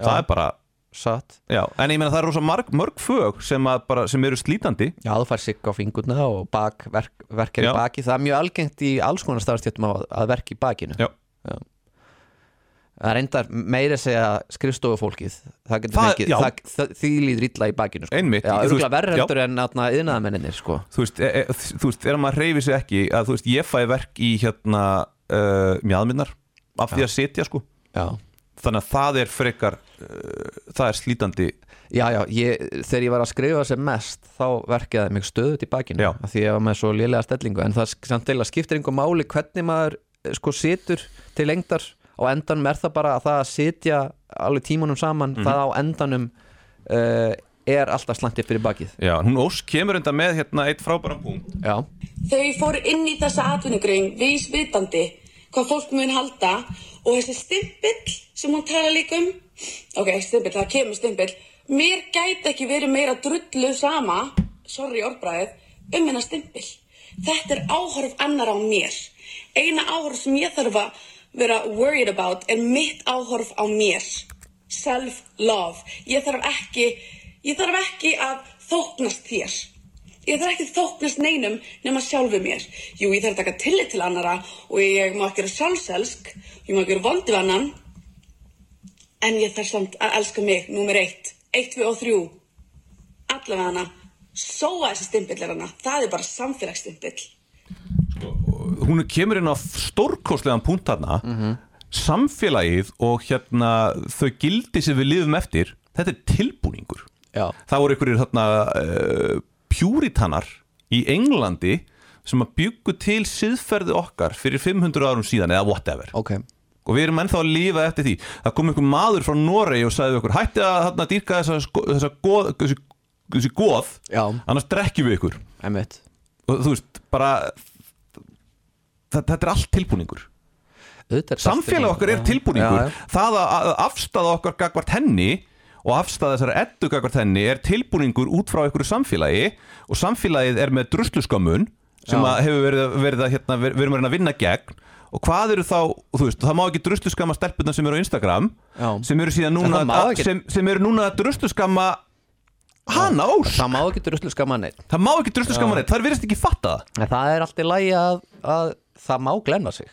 [SPEAKER 1] það er bara
[SPEAKER 3] satt
[SPEAKER 1] já, en ég menna það eru rosa marg, mörg fög sem, að bara, sem eru slítandi
[SPEAKER 3] Já, þú fær sigg á fingurna og bak, verk, verk
[SPEAKER 1] Já.
[SPEAKER 3] er í baki Það er mjög algengt í alls konar starfstjöttum að, að verk í bakinu
[SPEAKER 1] já.
[SPEAKER 3] Það er reyndar meira að segja skrifstofufólkið Það getur
[SPEAKER 1] Það-
[SPEAKER 3] fengið,
[SPEAKER 1] já.
[SPEAKER 3] það, það, því líður illa í bakinu sko.
[SPEAKER 1] Einmitt,
[SPEAKER 3] Já,
[SPEAKER 1] þú
[SPEAKER 3] örgulega
[SPEAKER 1] veist, já.
[SPEAKER 3] verrendur en atna, yðnaðamenninir sko.
[SPEAKER 1] þú veist, e, e, þú veist, er maður reyfi sig ekki að þú veist, ég fæ verk í hérna uh, mjadminnar e, af því að sitja sko
[SPEAKER 3] já
[SPEAKER 1] þannig að það er frekar uh, það er slítandi
[SPEAKER 3] Já, já, ég, þegar ég var að skrifa sem mest þá verkjaði mig stöðut í bakinu
[SPEAKER 1] Já.
[SPEAKER 3] af því ég var með svo lélega stellingu en það sk- samt eila skiptir einhver máli hvernig maður eh, sko situr til lengdar á endanum er það bara að það að sitja alveg tímanum saman
[SPEAKER 1] Mhm.
[SPEAKER 3] það á endanum uh, er alltaf slangt upp fyrir bakið
[SPEAKER 1] Já, hún Ós kemur enda með hérna eitt frábæran punkt
[SPEAKER 3] Já,
[SPEAKER 5] Þau fóru inn í þessa atvinnugrein vísvitandi hvað fólk mun halda og þessi stimpill sem hún tala líka um ok, stimpill, það kemur stimpill mér gæti ekki verið meira drullu sama sorry orðbræðið um hennar stimpill þetta er áhorf annar á mér eina áhorf sem ég þarf að vera worried about er mitt áhorf á mér self-love ég þarf ekki ég þarf ekki að þóknast þér Ég þarf ekki að þóknast neinum nema sjálfu mér. Jú, ég þarf að taka tillit til annara og ég má ekki vera sjálfselsk, ég má ekki vera vondi við annan, en ég þarf samt að elska mig, númer eitt, eitt, tvö og þrjú, allavega hana, sóa þessi stimpill er hana, það er bara samfélagsstimpill.
[SPEAKER 1] hún kemur inn á stórkostlegan punkt þarna
[SPEAKER 3] Mhm.
[SPEAKER 1] samfélagið og hérna þau gildi sem við lifum eftir þetta er tilbúningur
[SPEAKER 3] Já.
[SPEAKER 1] það voru einhverjir þarna uh, pjúritanar í Englandi sem að byggu til siðferði okkar fyrir 500 árum síðan eða whatever
[SPEAKER 3] ok
[SPEAKER 1] og við erum ennþá að lifa eftir því það kom einhver maður frá Noregi og sagði við okkur hætti að þarna dýrka þessa, sko- þessa goð, þessi, þessi goð
[SPEAKER 3] Já.
[SPEAKER 1] annars drekkjum við ykkur
[SPEAKER 3] Einmitt.
[SPEAKER 1] og þú veist, bara þa- þetta er allt tilbúningur
[SPEAKER 3] Auðvitað er um það
[SPEAKER 1] samfélag okkar er
[SPEAKER 3] Já.
[SPEAKER 1] tilbúningur
[SPEAKER 3] Já, já.
[SPEAKER 1] það að- að afstaða okkar gagvart henni og afstaða þessara eddu gagvart henni er tilbúningur út frá einhverju samfélagi og samfélagið er með drusluskömmun sem
[SPEAKER 3] Já.
[SPEAKER 1] að hefur verið, að- verið að hérna, ver- við erum að reyna að vinna gegn og hvað eru þá, þú veist, það má ekki drusluskama stelpurnar sem eru á Instagram
[SPEAKER 3] Já.
[SPEAKER 1] sem eru síðan
[SPEAKER 3] En
[SPEAKER 1] núna
[SPEAKER 3] það má
[SPEAKER 1] að,
[SPEAKER 3] ekki-
[SPEAKER 1] sem, sem eru núna að drusluskama hana ós,
[SPEAKER 3] Það má ekki druslu skama neitt
[SPEAKER 1] það má ekki drusluskama neitt, það er virðist ekki fatta það
[SPEAKER 3] En það er allt í lagi að, að það má glenna sig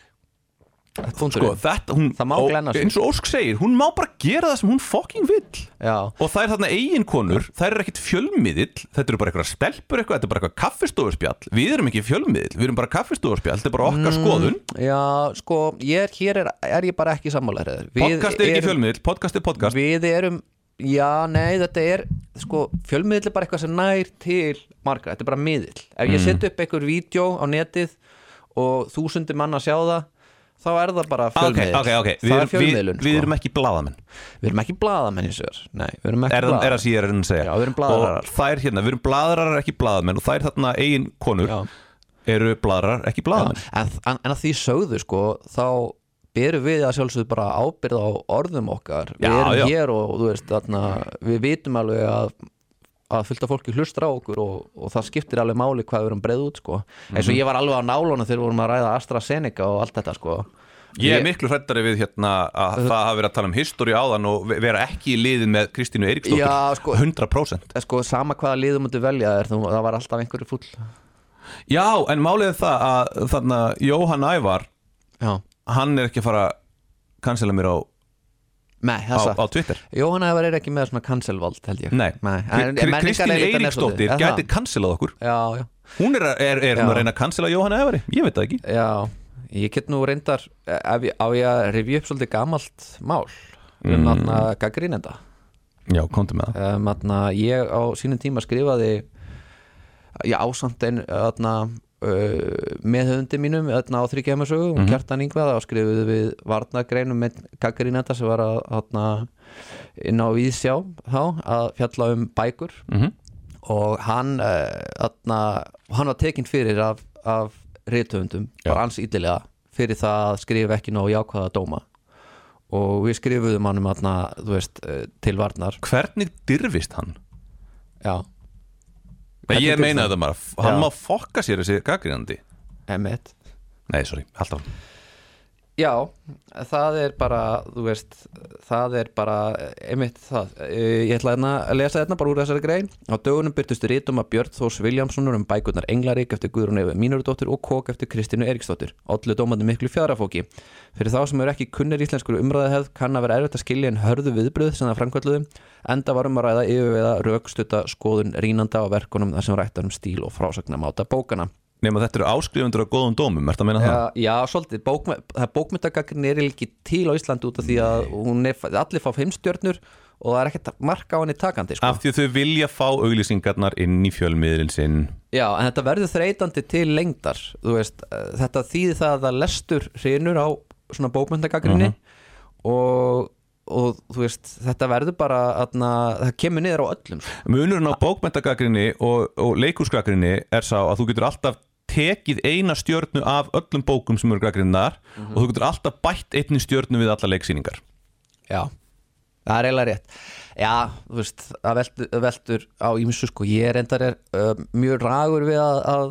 [SPEAKER 1] sko,
[SPEAKER 3] Punkturinn.
[SPEAKER 1] þetta, hún,
[SPEAKER 3] Það má
[SPEAKER 1] og-
[SPEAKER 3] glenna sig.
[SPEAKER 1] eins og Ósk segir, hún má bara gera það sem hún fucking vill
[SPEAKER 3] Já,
[SPEAKER 1] og það er þarna eiginkonur, það er ekkit fjölmiðill þetta eru bara eitthvað stelpur eitthvað, þetta er bara eitthvað kaffistofurspjall, við erum ekki fjölmiðill við erum bara kaffistofurspjall, þetta er bara okkar
[SPEAKER 3] Mm,
[SPEAKER 1] skoðun
[SPEAKER 3] Já, sko, ég er, hér er, er ég bara ekki sammálaður
[SPEAKER 1] podcast er ekki fjölmiðill, podcast er podcast
[SPEAKER 3] Við erum, já, nei, þetta er sko, fjölmiðill er bara eitthvað sem nær til margra, þetta er bara miðill Ef
[SPEAKER 1] Mm.
[SPEAKER 3] ég set upp einhver vídeo á netið og þúsundir manna sjá það þá er það bara
[SPEAKER 1] Ah, ok,
[SPEAKER 3] fjölmiðill
[SPEAKER 1] ok, ok,
[SPEAKER 3] Það
[SPEAKER 1] við
[SPEAKER 3] er
[SPEAKER 1] erum, við,
[SPEAKER 3] fjölmiðlun,
[SPEAKER 1] við
[SPEAKER 3] sko.
[SPEAKER 1] erum ekki bladamenn
[SPEAKER 3] Við erum ekki blaðamenn í sér Nei, við erum ekki
[SPEAKER 1] er, það- er það
[SPEAKER 3] blaðamenn
[SPEAKER 1] sem ég er að reyna að segja
[SPEAKER 3] Já, við erum blaðrarar.
[SPEAKER 1] og það er hérna, við erum bladrarar ekki bladamenn og það er þarna eiginkonur
[SPEAKER 3] Já.
[SPEAKER 1] eru bladrarar ekki bladamenn
[SPEAKER 3] en, en, en að því sögðu sko þá berum við að sjálfsögðu bara ábyrð á orðum okkar
[SPEAKER 1] Já,
[SPEAKER 3] við erum
[SPEAKER 1] já.
[SPEAKER 3] hér og, og þú veist þarna, við vitum alveg að að fullta fólki hlustra á okkur og, og það skiptir alveg máli hvað við erum breið út sko. eins
[SPEAKER 1] Mhm.
[SPEAKER 3] og ég var alveg á nálunum þegar við vorum að ræða AstraZeneca og allt þetta sko.
[SPEAKER 1] Ég er miklu hrættari við hérna að það hafi verið að tala um históri áðan og ve- vera ekki í liðin með Kristínu Eiríksdóttur
[SPEAKER 3] Já, sko.
[SPEAKER 1] 100%
[SPEAKER 3] Eh, sko, sama hvaða liðum mútu velja er, þú, það var alltaf einhverju fúll
[SPEAKER 1] Já, en málið er það að þarna Jóhann Ævar,
[SPEAKER 3] já.
[SPEAKER 1] hann er ekki að fara að cancela mér á,
[SPEAKER 3] Nei,
[SPEAKER 1] á,
[SPEAKER 3] það er satt
[SPEAKER 1] á Twitter
[SPEAKER 3] Jóhanna Ævar er ekki með svona cancelvald held ég
[SPEAKER 1] Nei,
[SPEAKER 3] en- en
[SPEAKER 1] Kri- Kristín
[SPEAKER 3] menningarelítan er svolítið-
[SPEAKER 1] Eiríksdóttir
[SPEAKER 3] Er það?
[SPEAKER 1] gæti cancelað okkur
[SPEAKER 3] Já, já
[SPEAKER 1] Hún er, að- er, er hún
[SPEAKER 3] Já.
[SPEAKER 1] að reyna að cancela Jóhann Ævari, ég veit það ekki
[SPEAKER 3] Já, ég get nú reyndar ef ég, á ég að rifja upp svolítið gamalt mál um mm. að gaggrínenda
[SPEAKER 1] Já, komdu með það
[SPEAKER 3] um, aðna, ég á sínum tíma skrifaði ég ásamt en aðna, uh, með höfundi mínum aðna, á þryggjæmasögu mm -hmm. kjartan yngvað þá skrifuðu við varnagreinum með gaggrínenda sem var að, aðna, inn á Íðsjá þá að fjalla um bækur
[SPEAKER 1] Mhm.
[SPEAKER 3] og hann uh, atna, hann var tekinn fyrir af, af rithöfundum, bara hans ídlilega fyrir það að skrifa ekki nóg jákvæða dóma og við skrifuðum hann um atna, þú veist, eh, til varnar
[SPEAKER 1] Hvernig dyrfist hann?
[SPEAKER 3] já,
[SPEAKER 1] Nei,
[SPEAKER 3] Hvernig
[SPEAKER 1] ég
[SPEAKER 3] dyrfist
[SPEAKER 1] meina
[SPEAKER 3] hann?
[SPEAKER 1] þetta bara, hann
[SPEAKER 3] Já.
[SPEAKER 1] má fokka sér þessi gaggrinandi
[SPEAKER 3] emitt
[SPEAKER 1] Nei, sorry, alltaf
[SPEAKER 3] já, það er bara þú veist, það er bara emitt það, Eh, ég ætla hérna að lesa þetta bara úr þessari grein á dögunum byrtust rítum að Björn Þórs Viljámssonar um bækurnar Englarík eftir Guðrún Efi Mínurudóttir og Kók eftir Kristínu Eriksdóttir allu dómandi miklu fjarafóki fyrir þá sem eru ekki kunnir íslenskur umræðahefð kann að vera erfitt að skilja en hörðu viðbröð sem það framkvölduðu, enda varum að um ræða yfirveiða raukstutta skoðun rínanda á verkunum þar sem rættar um stíl og frásagnamáta bókana
[SPEAKER 1] nema þetta eru áskrifundur af góðum dómum, ert að meina það?
[SPEAKER 3] Já, já, svolítið, Bókme, það bókmyndagagrin er ekki til á Íslandi út af því að hún er, allir fá heimstjörnur og það er ekkert mark á henni takandi sko.
[SPEAKER 1] Af því að þau vilja fá auglýsingarnar inn í fjölmiðlinn sinn
[SPEAKER 3] Já, en þetta verður þreytandi til lengdar þú veist, eh, þetta þýði það að lestur hrinur á svona bókmyndagagrinni og, og þú veist, þetta verður bara atna, það kemur niður á öllum sko.
[SPEAKER 1] Munurinn á bókmentagagrinni og, og leikúsgagrinni er sá að þú getur alltaf tekið eina stjörnu af öllum bókum sem eru gagrinnar
[SPEAKER 3] Mhm.
[SPEAKER 1] og þú getur alltaf bætt einni stjörnu við alla leiksýningar
[SPEAKER 3] Já, það er eiginlega rétt Já, þú veist, það veldur, það veldur á ímsu sko, ég er endar er uh, mjög ragur við að, að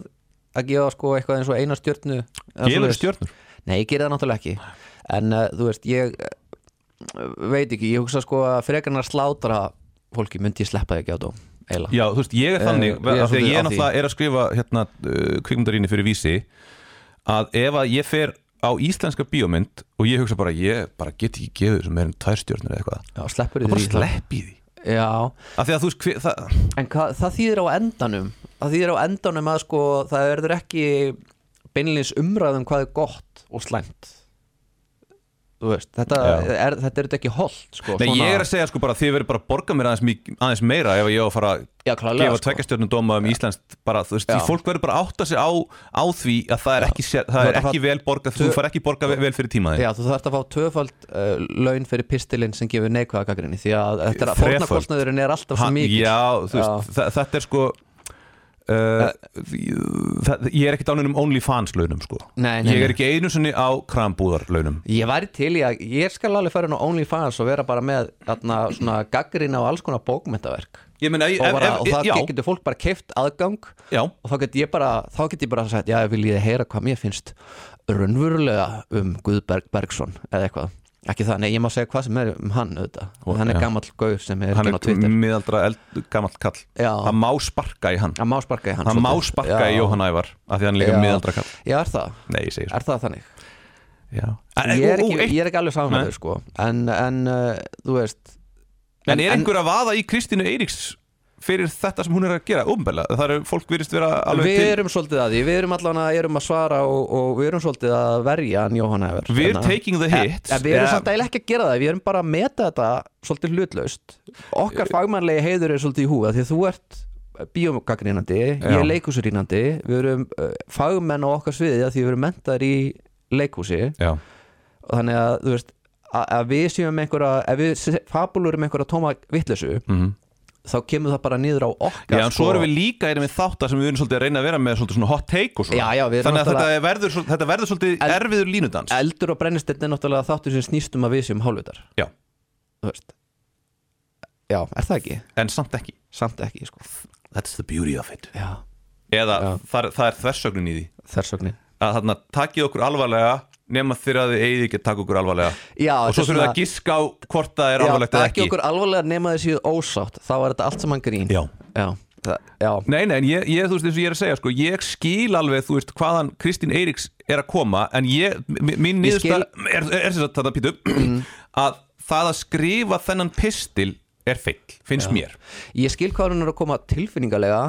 [SPEAKER 3] að gefa sko eitthvað eins og eina stjörnu eða
[SPEAKER 1] Gefur
[SPEAKER 3] svoleiðis.
[SPEAKER 1] stjörnur?
[SPEAKER 3] Nei, ég gerir það náttúrulega ekki en uh, þú veist, ég uh, veit ekki, ég hugsa sko að frekarna slátra fólki myndi ég sleppa því ekki á dóm eiginlega
[SPEAKER 1] Já, þú veist, ég er þannig,
[SPEAKER 3] Eh, ég er
[SPEAKER 1] af því að ég
[SPEAKER 3] svolítið á því.
[SPEAKER 1] náttúrulega er að skrifa hérna uh, kvikmyndarínni fyrir vísi að ef að ég fer á íslenska bíómynd og ég hugsa bara, ég bara get ekki gefið þessum meira en tvær stjörnur eða eitthvað
[SPEAKER 3] Já, sleppur
[SPEAKER 1] þá bara
[SPEAKER 3] því sko.
[SPEAKER 1] slepp í því
[SPEAKER 3] Já,
[SPEAKER 1] af því að þú veist, hver, það,
[SPEAKER 3] En hvað, það þýðir á endanum Það þýðir á endanum að sko Það verður ekki beinlins umræðum Hvað er gott og slæmt Þú veist Þetta
[SPEAKER 1] Já.
[SPEAKER 3] er, þetta er þetta ekki holdt sko,
[SPEAKER 1] Nei,
[SPEAKER 3] svona-
[SPEAKER 1] ég er að segja sko bara að þið verður bara að borga mér aðeins, mik- aðeins meira ef ég á að fara að
[SPEAKER 3] Já, klálega,
[SPEAKER 1] gefa
[SPEAKER 3] sko.
[SPEAKER 1] tveggjastjörnum dóma um Íslands bara, þú veist, því
[SPEAKER 3] Já.
[SPEAKER 1] fólk verður bara að átta sig á, á því að það er ekki, sér, það
[SPEAKER 3] Þú
[SPEAKER 1] er
[SPEAKER 3] ert að
[SPEAKER 1] ekki
[SPEAKER 3] fá-
[SPEAKER 1] vel borgað, þú
[SPEAKER 3] Þú-
[SPEAKER 1] far ekki borgað vel fyrir tímaði
[SPEAKER 3] Já, þú þarft að fá töfald uh, laun fyrir pistilinn sem gefur neikvæða gaggrinni því að þetta er að
[SPEAKER 1] Þreföld.
[SPEAKER 3] fórnarkostnaðurinn er alltaf svo
[SPEAKER 1] Hann-
[SPEAKER 3] mikið
[SPEAKER 1] Já, þú veist, þa- þetta er sko Uh, það, ég er ekkert á neinum OnlyFans launum sko
[SPEAKER 3] Nei,
[SPEAKER 1] Ég
[SPEAKER 3] nei, nei.
[SPEAKER 1] er ekki einu sinni á krambúðar launum
[SPEAKER 3] Ég væri til í að, ég skal alveg fara inn á OnlyFans og vera bara með atna, svona gaggrinna á alls konar bókmyndaverk
[SPEAKER 1] Ég meina, ef,
[SPEAKER 3] og, bara,
[SPEAKER 1] ef,
[SPEAKER 3] og það
[SPEAKER 1] já,
[SPEAKER 3] getur fólk bara keift aðgang
[SPEAKER 1] Já.
[SPEAKER 3] og þá get ég bara, þá get ég bara sagt já, vil ég heyra hvað mér finnst raunverulega um Guðberg Bergson eða eitthvað, ekki það, nei, ég má segja hvað sem er um hann auðvitað,
[SPEAKER 1] Og-
[SPEAKER 3] hann er
[SPEAKER 1] já.
[SPEAKER 3] gamall gauð sem er
[SPEAKER 1] hann
[SPEAKER 3] ekki á
[SPEAKER 1] er
[SPEAKER 3] Twitter
[SPEAKER 1] miðaldra eld, gamall kall
[SPEAKER 3] Já.
[SPEAKER 1] Það má sparka í hann
[SPEAKER 3] hann má sparka í hann
[SPEAKER 1] Það má
[SPEAKER 3] svolítið.
[SPEAKER 1] sparka í
[SPEAKER 3] Já.
[SPEAKER 1] Jóhann Ævar af því hann er líka
[SPEAKER 3] Já.
[SPEAKER 1] miðaldra kall
[SPEAKER 3] Já, er það,
[SPEAKER 1] Nei, ég segi svo
[SPEAKER 3] er það þannig
[SPEAKER 1] Já.
[SPEAKER 3] ég er,
[SPEAKER 1] Ú,
[SPEAKER 3] ekki,
[SPEAKER 1] ú, eitt-
[SPEAKER 3] ég er ekki alveg
[SPEAKER 1] Nei.
[SPEAKER 3] samanlega sko. en, en uh, þú veist
[SPEAKER 1] en er einhver að vaða í Kristínu Eiríks fyrir þetta sem hún er að gera umbelega? Það eru fólk virðist vera alveg
[SPEAKER 3] Við
[SPEAKER 1] til
[SPEAKER 3] erum svolítið að því, við erum allan að, erum að svara og, og við erum svolítið að verja hann Jóhann Hérna. Hefur
[SPEAKER 1] We're taking the hit
[SPEAKER 3] ja, Við erum samt eiginlega ekki að gera það, við erum bara að meta þetta svolítið hlutlaust
[SPEAKER 1] Eh.
[SPEAKER 3] Okkar fagmannlegi heiður er svolítið í húfa því að þú ert bíómgagnínandi, ég
[SPEAKER 1] Já.
[SPEAKER 3] er leikhúsurínandi Við erum uh, fagmenn á okkar sviði af því við erum mentaðir í leikhúsi
[SPEAKER 1] Já,
[SPEAKER 3] og þannig að þú veist að, að við séum einhverja, ef við se- fabulurum einhverja tóma vitleysu
[SPEAKER 1] Mhm.
[SPEAKER 3] þá kemur það bara niður á okkar sko.
[SPEAKER 1] Já en svo erum við líka erum við þáttar sem við erum svolítið að reyna að vera með svolítið svona hot take og svona
[SPEAKER 3] Já, já, við erum
[SPEAKER 1] Þannig að
[SPEAKER 3] náttúrulega-
[SPEAKER 1] þetta verður, svol- þetta verður svolítið
[SPEAKER 3] En-
[SPEAKER 1] erfiður línudans
[SPEAKER 3] Eldur og brennistinn er náttúrulega þáttur sem snýst um að við séum hálfvitar
[SPEAKER 1] Já,
[SPEAKER 3] Þú veist Já, er það ekki?
[SPEAKER 1] en samt ekki
[SPEAKER 3] Samt ekki, sko
[SPEAKER 1] That's the beauty of it
[SPEAKER 3] Já,
[SPEAKER 1] Eða það, það er þversögnin í því
[SPEAKER 3] þversögnin
[SPEAKER 1] að þarna takið okkur alvarlega nema þeir að þið eigið ekki að taka okkur alvarlega
[SPEAKER 3] Já,
[SPEAKER 1] og svo
[SPEAKER 3] þetta er
[SPEAKER 1] þurfum við
[SPEAKER 3] svona-
[SPEAKER 1] að giska á hvort það er
[SPEAKER 3] Já,
[SPEAKER 1] alvarlegt eða ekki
[SPEAKER 3] ekki okkur alvarlega nema þessi ósátt Þá var þetta allt saman grín
[SPEAKER 1] Já.
[SPEAKER 3] Já, það, já.
[SPEAKER 1] Nei, nei, en ég, ég, þú veist, eins og ég er að segja, sko, ég skil alveg, þú veist, hvaðan Kristín Eiríks er að koma, en ég, mi- mín
[SPEAKER 3] Ég Mm.
[SPEAKER 1] niðursta, er, er, er þess að þetta pítu, [CLEARS THROAT] að það að skrifa þennan pistil er feill, finnst mér.
[SPEAKER 3] Ég skil hvað hún er að koma tilfinningalega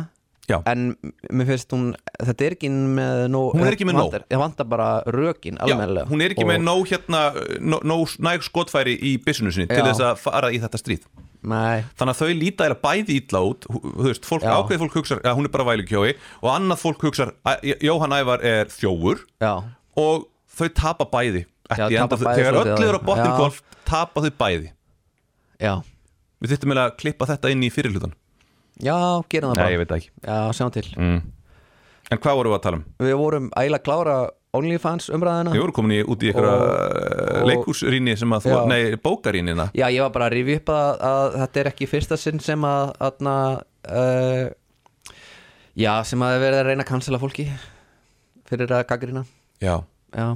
[SPEAKER 1] Já,
[SPEAKER 3] En mér finnst hún, þetta er ekki með nóg
[SPEAKER 1] Hún er ekki með nóg.
[SPEAKER 3] vantar, Ég vantar bara rökin,
[SPEAKER 1] já
[SPEAKER 3] almennilega
[SPEAKER 1] hún er ekki
[SPEAKER 3] Og-
[SPEAKER 1] með nóg hérna, nóg, nóg næg skotfæri í byssinu sinni til
[SPEAKER 3] Já.
[SPEAKER 1] þess að fara í þetta stríð.
[SPEAKER 3] Nei,
[SPEAKER 1] Þannig að þau líta eða bæði ítla út, hú- þú veist, fólk,
[SPEAKER 3] Já.
[SPEAKER 1] ákveðið fólk hugsar að hún er bara vælukjói og annað fólk hugsar að Jóhann Ævar er þjófur
[SPEAKER 3] já
[SPEAKER 1] og þau tapa bæði at
[SPEAKER 3] Já,
[SPEAKER 1] the end
[SPEAKER 3] tapa
[SPEAKER 1] of the-
[SPEAKER 3] bæði
[SPEAKER 1] þegar
[SPEAKER 3] svolítið á
[SPEAKER 1] öll eru á
[SPEAKER 3] því.
[SPEAKER 1] botnin
[SPEAKER 3] Já.
[SPEAKER 1] golf tapa þau bæði
[SPEAKER 3] Já,
[SPEAKER 1] við þyrftum eiginlega að klippa þetta inn í fyrirlutan
[SPEAKER 3] já, gerum það bara
[SPEAKER 1] veit það ekki
[SPEAKER 3] Já, sjáum til
[SPEAKER 1] Mm. en hvað vorum við að tala um?
[SPEAKER 3] Við vorum ægilega að klára OnlyFans umræðina
[SPEAKER 1] við vorum komin í, út í einhverja
[SPEAKER 3] og-
[SPEAKER 1] leikúsrýni sem að þú,
[SPEAKER 3] Já.
[SPEAKER 1] nei, bókarýnina
[SPEAKER 3] Já, ég var bara að rifja upp að, að þetta er ekki í fyrsta sinn sem að, aðna, uh, já, sem að er verið að reyna að cancela fólki fyrir að gaggrina.
[SPEAKER 1] já
[SPEAKER 3] Já.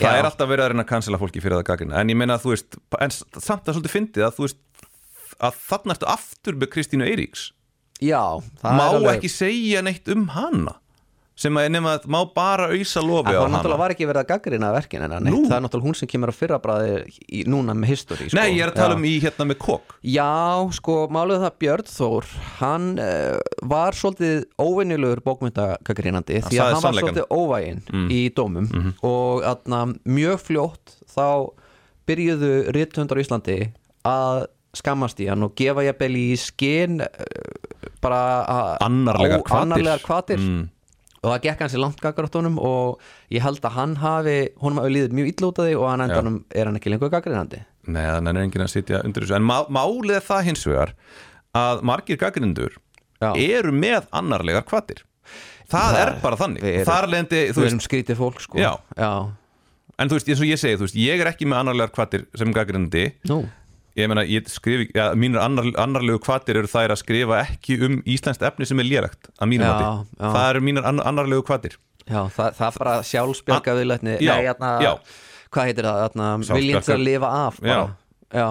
[SPEAKER 1] það
[SPEAKER 3] já,
[SPEAKER 1] er alltaf verið að reyna að cancela fólki fyrir það gagina en ég meina að þú veist, en s- samt að svolítið fyndið að þú veist að þarna ertu aftur með Kristínu Eiríks
[SPEAKER 3] já, það
[SPEAKER 1] má
[SPEAKER 3] er alveg,
[SPEAKER 1] ekki segja neitt um hana sem að nema að má bara ausa
[SPEAKER 3] En
[SPEAKER 1] lofi á
[SPEAKER 3] það
[SPEAKER 1] hana
[SPEAKER 3] náttúrulega var ekki verið að gaggrina verkin hennar neitt,
[SPEAKER 1] Nú.
[SPEAKER 3] það er náttúrulega hún sem kemur á fyrra bræði núna með history sko.
[SPEAKER 1] Nei, ég er að tala
[SPEAKER 3] Já.
[SPEAKER 1] um í hérna með kokk
[SPEAKER 3] Já, sko, málið er það Björn Þór hann uh, var svolítið óvenjulegur bókmyndagagrínandi því að
[SPEAKER 1] sagði
[SPEAKER 3] hann var
[SPEAKER 1] sannleikann. Mm. Mhm.
[SPEAKER 3] svolítið óvæginn í dómum og atna, mjög fljótt þá byrjuðu rithundar á Íslandi að skammast í hann og gefa jafnvel í skinn uh, bara að-
[SPEAKER 1] Annarlegar
[SPEAKER 3] á-
[SPEAKER 1] hvatir. Mm.
[SPEAKER 3] annarlegar hvatir. og það gekk hans í langt gaggráttunum og ég held að hann hafi honum hafi líðið mjög illa út af því og hann endanum er hann ekki lengur gaggrínandi
[SPEAKER 1] Nei, þannig er enginn að sitja undir þessu En má, málið er það hins vegar að margir gaggrindur
[SPEAKER 3] Já.
[SPEAKER 1] eru með annarlegar kvatir Það er bara þannig
[SPEAKER 3] við erum-
[SPEAKER 1] Þar lendi, þú
[SPEAKER 3] við
[SPEAKER 1] veist,
[SPEAKER 3] erum skrítið fólk sko
[SPEAKER 1] Já.
[SPEAKER 3] Já.
[SPEAKER 1] En þú veist, eins og ég segi, þú veist, ég er ekki með annarlegar kvatir sem gaggrindi
[SPEAKER 3] Nú.
[SPEAKER 1] Ég meina, ég skrif, ja, mínir annar, annarlegu kvatir eru þær að skrifa ekki um íslenskt efni sem er lérakt að mínum
[SPEAKER 3] Já,
[SPEAKER 1] mati
[SPEAKER 3] já.
[SPEAKER 1] Það eru mínir annar, annarlegu kvatir
[SPEAKER 3] Já, það, það er bara sjálfsbjarga viðlætni
[SPEAKER 1] Ah, Já,
[SPEAKER 3] Nei, hérna,
[SPEAKER 1] já.
[SPEAKER 3] hvað heitir það? Hérna,
[SPEAKER 1] Sjálfsbjargar-
[SPEAKER 3] Viljinn til að lifa af bara. Já,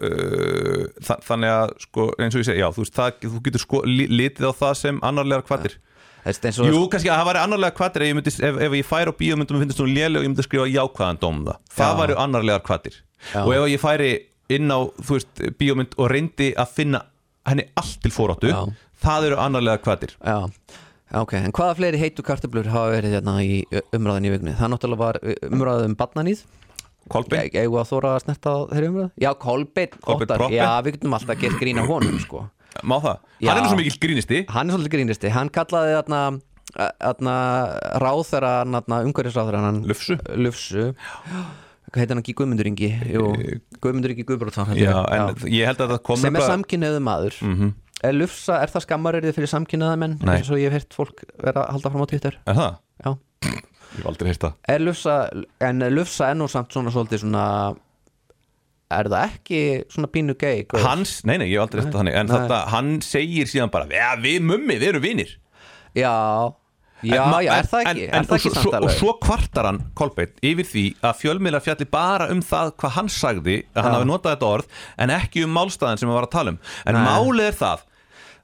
[SPEAKER 1] Uh, þa þannig að sko, eins og ég segi, já, þú veist, það, þú getur sko, li litið á það sem annarlegar kvatir
[SPEAKER 3] Það er eins og
[SPEAKER 1] Jú, kannski að það væri annarlegar kvatir ef, ég myndi, ef, ef ég færi á bíó myndum og finnst hún léleg og ég myndi skrifa jákvæðan dóm um það það væri annarlegar kvatir og ef ég færi inn á, þú veist, bíómynd og reyndi að finna henni allt til fóráttu,
[SPEAKER 3] Já.
[SPEAKER 1] það eru annarlegar kvatir
[SPEAKER 3] Já, Já, ok, en hvaða fleiri heitu kartöblur hafa verið hérna í umræðan í vikunni? Það náttúrulega var umræðan um barnaníð
[SPEAKER 1] Kolbein,
[SPEAKER 3] Egu að þóra að snerta á þeirri umræð? Já, Kolbein,
[SPEAKER 1] Kolbeinn
[SPEAKER 3] Óttar.
[SPEAKER 1] Proppé.
[SPEAKER 3] Já, við getum alltaf að gera grína honum sko.
[SPEAKER 1] má það?
[SPEAKER 3] Já.
[SPEAKER 1] Hann er nú svo mikill grínisti
[SPEAKER 3] Hann er svolítið grínisti, hann kallaði þarna þarna ráðherra þarna umhverjusráðherra hann
[SPEAKER 1] Lufsu?
[SPEAKER 3] Lufsu Hvað heitir hann ekki Guðmundur Ingi? Jú, Guðmundur Ingi Guðbrótsson
[SPEAKER 1] Eh, Já, en ég held að það kom
[SPEAKER 3] sem er
[SPEAKER 1] nefnilega-
[SPEAKER 3] samkynniðu maður er lufsa, er það skammarriðið fyrir samkynniða menn
[SPEAKER 1] Nei.
[SPEAKER 3] eins og ég hef heyrt fólk vera að halda fram á Twitter
[SPEAKER 1] Er það?
[SPEAKER 3] já.
[SPEAKER 1] Ég hef aldrei heyrt það
[SPEAKER 3] er lufsa, en er lufsa ennú samt svona svolítið svona er það ekki svona pínu gay gaur?
[SPEAKER 1] Hans, nei, nei, ég hef aldrei heyrt það þannig En
[SPEAKER 3] Nei.
[SPEAKER 1] þetta, hann segir síðan bara Já, við mummi, við erum vinir
[SPEAKER 3] já, já,
[SPEAKER 1] En ma-
[SPEAKER 3] já, er
[SPEAKER 1] en-
[SPEAKER 3] það ekki,
[SPEAKER 1] en-
[SPEAKER 3] er
[SPEAKER 1] en-
[SPEAKER 3] það ekki
[SPEAKER 1] og,
[SPEAKER 3] samt
[SPEAKER 1] svo, og
[SPEAKER 3] alveg
[SPEAKER 1] svo kvartar hann Kolbeinn yfir því að fjölmiðlar fjalli bara um það hvað hann sagði að hann
[SPEAKER 3] Já.
[SPEAKER 1] hafi notað þetta orð en ekki um málstæðin sem hann var að tala um en
[SPEAKER 3] Nei.
[SPEAKER 1] málið er það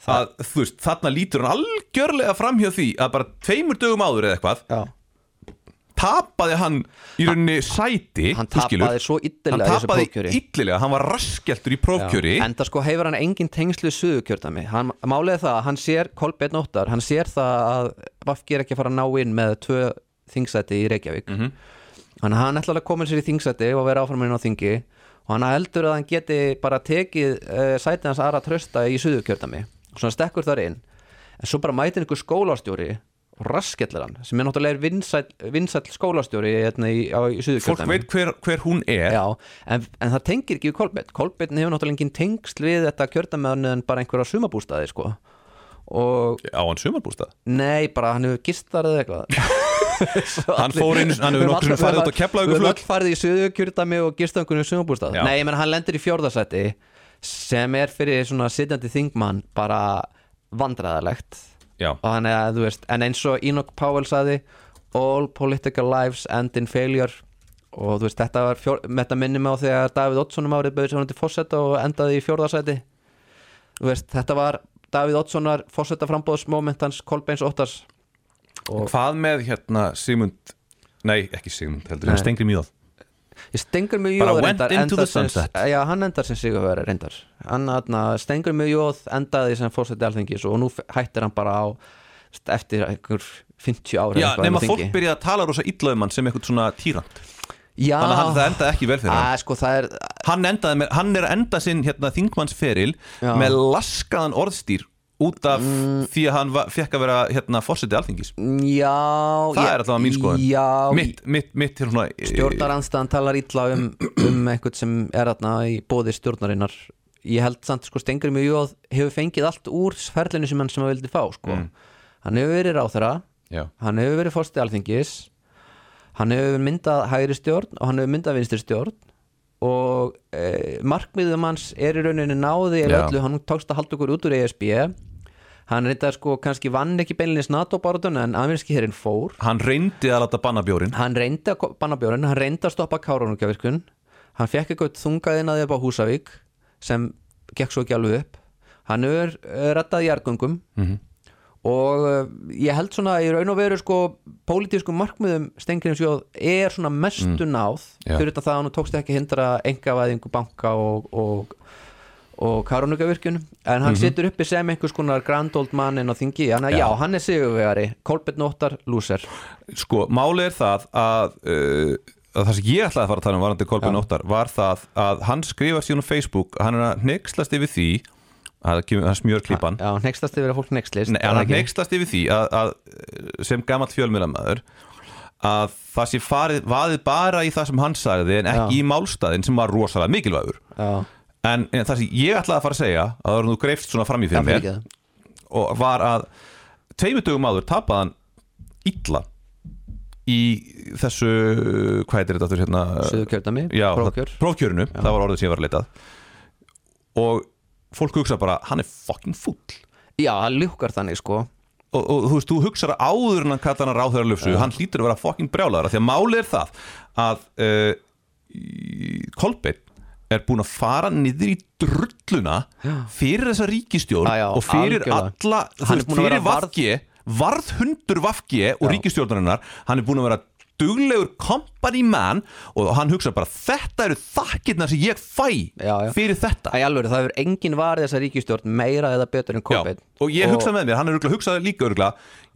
[SPEAKER 1] að þú veist, þarna lítur hann algjörlega framhjá því að bara tveimur dögum áður eða eitthvað
[SPEAKER 3] já.
[SPEAKER 1] tapaði hann í rauninni sæti
[SPEAKER 3] hann
[SPEAKER 1] þú skilur.
[SPEAKER 3] tapaði svo
[SPEAKER 1] hann
[SPEAKER 3] illilega í þessu
[SPEAKER 1] tapaði
[SPEAKER 3] prófkjöri
[SPEAKER 1] illilega, hann var raskjaldur í prófkjöri
[SPEAKER 3] en það sko hefur hann engin tengslu suðukjördami, hann máliði það að hann sér Kolbeinn Óttar, hann sér það að Vafki er ekki að fara að ná inn með tvö þingsæti í Reykjavík
[SPEAKER 1] Mhm.
[SPEAKER 3] þannig að hann ætlar að koma sér í þingsæti og vera áfram inn á þingi og hann heldur að hann geti bara tekið uh, sætið hans aðra trösta í suðukjördami svo hann stekkur þar inn en svo bara mætir einhver skólastjóri og raskellir hann, sem er náttúrulega vinsæll, vinsæll skólastjóri hérna í, á, í
[SPEAKER 1] fólk
[SPEAKER 3] suðurkjördæmi
[SPEAKER 1] veit hver, hver hún er
[SPEAKER 3] Já, en, en það tengir ekki við Kolbett Kolbett hefur náttúrulega engin tengsl við þetta kjördamöðan en bara einhverja sumabústaði sko. og
[SPEAKER 1] á hann sumarbústað
[SPEAKER 3] nei, bara hann hefur gistar
[SPEAKER 1] [LAUGHS]
[SPEAKER 3] eða eitthvað Svo
[SPEAKER 1] Hann
[SPEAKER 3] allir-
[SPEAKER 1] fór einu- hann hefur
[SPEAKER 3] Við höfum
[SPEAKER 1] nokkrum
[SPEAKER 3] alla-
[SPEAKER 1] farið
[SPEAKER 3] við
[SPEAKER 1] út á Keflavíkurflugvöll.
[SPEAKER 3] Við höfum all farið í söðukjördami og gistangunum sumabústað
[SPEAKER 1] Já.
[SPEAKER 3] Nei, ég menn hann lendir í fjórðasæti sem er fyrir svona sitjandi þingmann bara vandræðalegt
[SPEAKER 1] Já.
[SPEAKER 3] og þannig að þú veist en eins og Enoch Powell saði all political lives end in failure og þú veist þetta var fjór, þetta minnum á þegar Davíð Oddsson um árið bauði sér hann til fórseta og endaði í fjórðarsæti þú veist þetta var Davíð Oddssonar fórseta frambóðsmoment hans Kolbeins Óttars
[SPEAKER 1] hvað með hérna Sigmund nei, ekki Sigmund heldur,
[SPEAKER 3] Nei.
[SPEAKER 1] hann stengri mjög
[SPEAKER 3] ég stengur mjög
[SPEAKER 1] Bara
[SPEAKER 3] jóð
[SPEAKER 1] went
[SPEAKER 3] reyndar
[SPEAKER 1] into the
[SPEAKER 3] endar sem-
[SPEAKER 1] sunset.
[SPEAKER 3] já hann endar sem sigurveri reyndar hann atna, stengur mjög jóð endaði sem fórseti alþingis og nú f- hættir hann bara á þú veist, eftir einhver 50 ára
[SPEAKER 1] Já, nema fólk byrja að tala rosa illa um hann sem eitthvað svona týrand
[SPEAKER 3] Já,
[SPEAKER 1] Þannig að hann- það endaði ekki vel fyrir hann
[SPEAKER 3] að, sko, það er,
[SPEAKER 1] Hann, endaði með, hann er að enda sinn hérna, þingmannsferil
[SPEAKER 3] Já. Mm.
[SPEAKER 1] með laskaðan orðstýr út af því að hann va- fékk að vera hérna, fórsetið alþingis
[SPEAKER 3] Já
[SPEAKER 1] Það
[SPEAKER 3] ég-
[SPEAKER 1] er alltaf mín skoðun
[SPEAKER 3] Já,
[SPEAKER 1] Mitt, mitt, mitt hérna svona, eh,
[SPEAKER 3] stjórnaranstaðan talar illa um, um einhvern sem er þarna í bóði stjórnarinnar Ég held samt sko Stengri mjög jóð hefur fengið allt úr ferlinu sem hann sem hann vildi fá sko Hann hefur verið
[SPEAKER 1] Mm.
[SPEAKER 3] ráþara
[SPEAKER 1] Já.
[SPEAKER 3] Hann hefur verið fórstið alþingis Hann hefur myndað hægri stjórn og hann hefur myndað vinstri stjórn og e, markmiðum hans er í rauninni náði
[SPEAKER 1] Já.
[SPEAKER 3] eða öllu, hann tókst að halda okkur út úr ESB hann reynda sko kannski vann ekki beinlinis NATO-báratun en ameríski hérinn fór
[SPEAKER 1] Hann reyndi að láta banna bjórin
[SPEAKER 3] hann reyndi að ko- banna bjórin, hann reyndi að stoppa kárunugjavirkun, hann fekk eitthvað þungaðin að því upp á Húsavík eh, sem gekk svo ekki alveg upp hann er rettað í jargöngum og uh, ég held svona í raun og veru sko pólitískum markmiðum Steingrímsjóð er svona mestu náð
[SPEAKER 1] Já.
[SPEAKER 3] fyrir þetta það að hún tókst ekki að hindra engavæðingu banka og, og og Karónugavirkjun en hann situr uppi sem einhvers konar grand old man inn á þingi, hann, já. já, hann er sigurvegari Kolbett Nóttar, lúser
[SPEAKER 1] sko, málið er það að, uh, að það sem ég ætlaði að fara að tala um varandi Kolbjörn Óttar var það að hann skrifar síðan á Facebook að hann er að neykslast yfir því að það kemur- það smjör klípan
[SPEAKER 3] Já, nextast yfir að fólk nextlist
[SPEAKER 1] Nei, hann neykslast yfir því að, að eh, sem gamall fjölmiðlamæður að það sé farið, vaðið bara í það sem hann sagði en ekki í málstæðin sem var rosalega mikilvægur
[SPEAKER 3] Já,
[SPEAKER 1] en, en það sem ég ætlaði að fara að segja að það var nú greift svona fram í fyrir mér
[SPEAKER 3] fyrirgefðu.
[SPEAKER 1] og var að tveimur dögum áður tapaði hann illa í þessu hvað heitir þetta aftur hérna
[SPEAKER 3] Suðurkjördæmi,
[SPEAKER 1] já,
[SPEAKER 3] prófkjör.
[SPEAKER 1] það- prófkjörinu, það var orðið sem ég var að leitað og fólk hugsa bara hann er fucking fúll
[SPEAKER 3] já, hann ljúkar þannig sko
[SPEAKER 1] og, og þú veist, þú hugsar áður en hann kallar hann ráðherra lufsu, hann hlýtur að vera fucking brjálæðara því að máli er það að uh, Kolbeinn er búin að fara niður í drulluna fyrir þessa ríkistjórn
[SPEAKER 3] Já, já,
[SPEAKER 1] og fyrir
[SPEAKER 3] algjörlega.
[SPEAKER 1] alla, þú
[SPEAKER 3] Hann er
[SPEAKER 1] veist,
[SPEAKER 3] búinn að
[SPEAKER 1] fyrir
[SPEAKER 3] vera varð-
[SPEAKER 1] vafgje varð hundur vafgje og ríkistjórnarinnar hann er búin að vera duglegur company man og hann hugsa bara þetta eru þakkirna sem ég fæ
[SPEAKER 3] Já, já.
[SPEAKER 1] fyrir þetta
[SPEAKER 3] Æ, alveg, það hefur enginn varð þessa ríkistjórn meira eða betur en
[SPEAKER 1] Já,
[SPEAKER 3] COVID
[SPEAKER 1] og ég hugsaði með mér, hann er örugglega- hugsaði líka örgla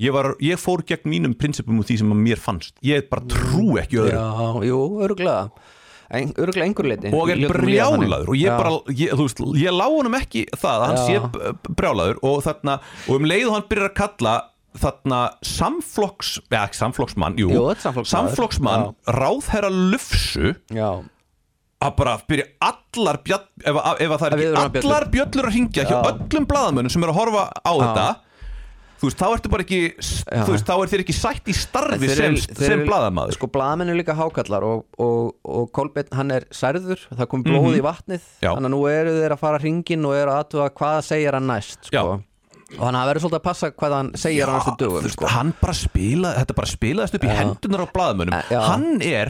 [SPEAKER 1] ég, var, ég fór gegn mínum prinsipum og því sem að mér fannst, ég bara trú ekki öðru
[SPEAKER 3] Já, jú, örgulega en, Örgulega einhver leiti
[SPEAKER 1] og er
[SPEAKER 3] Ég ljótum líða þannig.
[SPEAKER 1] brjálaður og ég bara, ég, þú veist, ég lá honum ekki það að hann
[SPEAKER 3] Já.
[SPEAKER 1] sé b- brjálaður og þarna, og um leið og hann byrjar að kalla þarna samflokks eða ekki samflokksmann, jú,
[SPEAKER 3] Jú, þetta er samflokksmaður.
[SPEAKER 1] samflokksmann ráðherra lufsu
[SPEAKER 3] Já,
[SPEAKER 1] að bara byrja allar bjall, ef, að- ef að það
[SPEAKER 3] Að
[SPEAKER 1] er
[SPEAKER 3] við erum að
[SPEAKER 1] ekki
[SPEAKER 3] bjöllur.
[SPEAKER 1] allar bjöllur að hringja hjá öllum blaðamönnum sem eru að horfa á þetta þú veist, þá ertu bara ekki þú veist, þá er þér ekki sætt í starfi
[SPEAKER 3] Þeir
[SPEAKER 1] sem,
[SPEAKER 3] eru- þeir
[SPEAKER 1] sem
[SPEAKER 3] eru-
[SPEAKER 1] blaðamaður
[SPEAKER 3] Sko blaðamenn er líka hákallar og, og, og Kolbeinn hann er særður það kom blóð í vatnið
[SPEAKER 1] Mhm. Já.
[SPEAKER 3] þannig að nú eru þeir að fara hringin og eru að aðtuga hvað segir hann næst
[SPEAKER 1] Já.
[SPEAKER 3] sko. og þannig að það verður svolítið að passa hvað hann segir hann næstu dögum
[SPEAKER 1] Ah, Þú veist,
[SPEAKER 3] sko.
[SPEAKER 1] hann bara spila, þetta bara spilaðist upp í hendunar á blaðamönnum,
[SPEAKER 3] Eh, Já.
[SPEAKER 1] hann er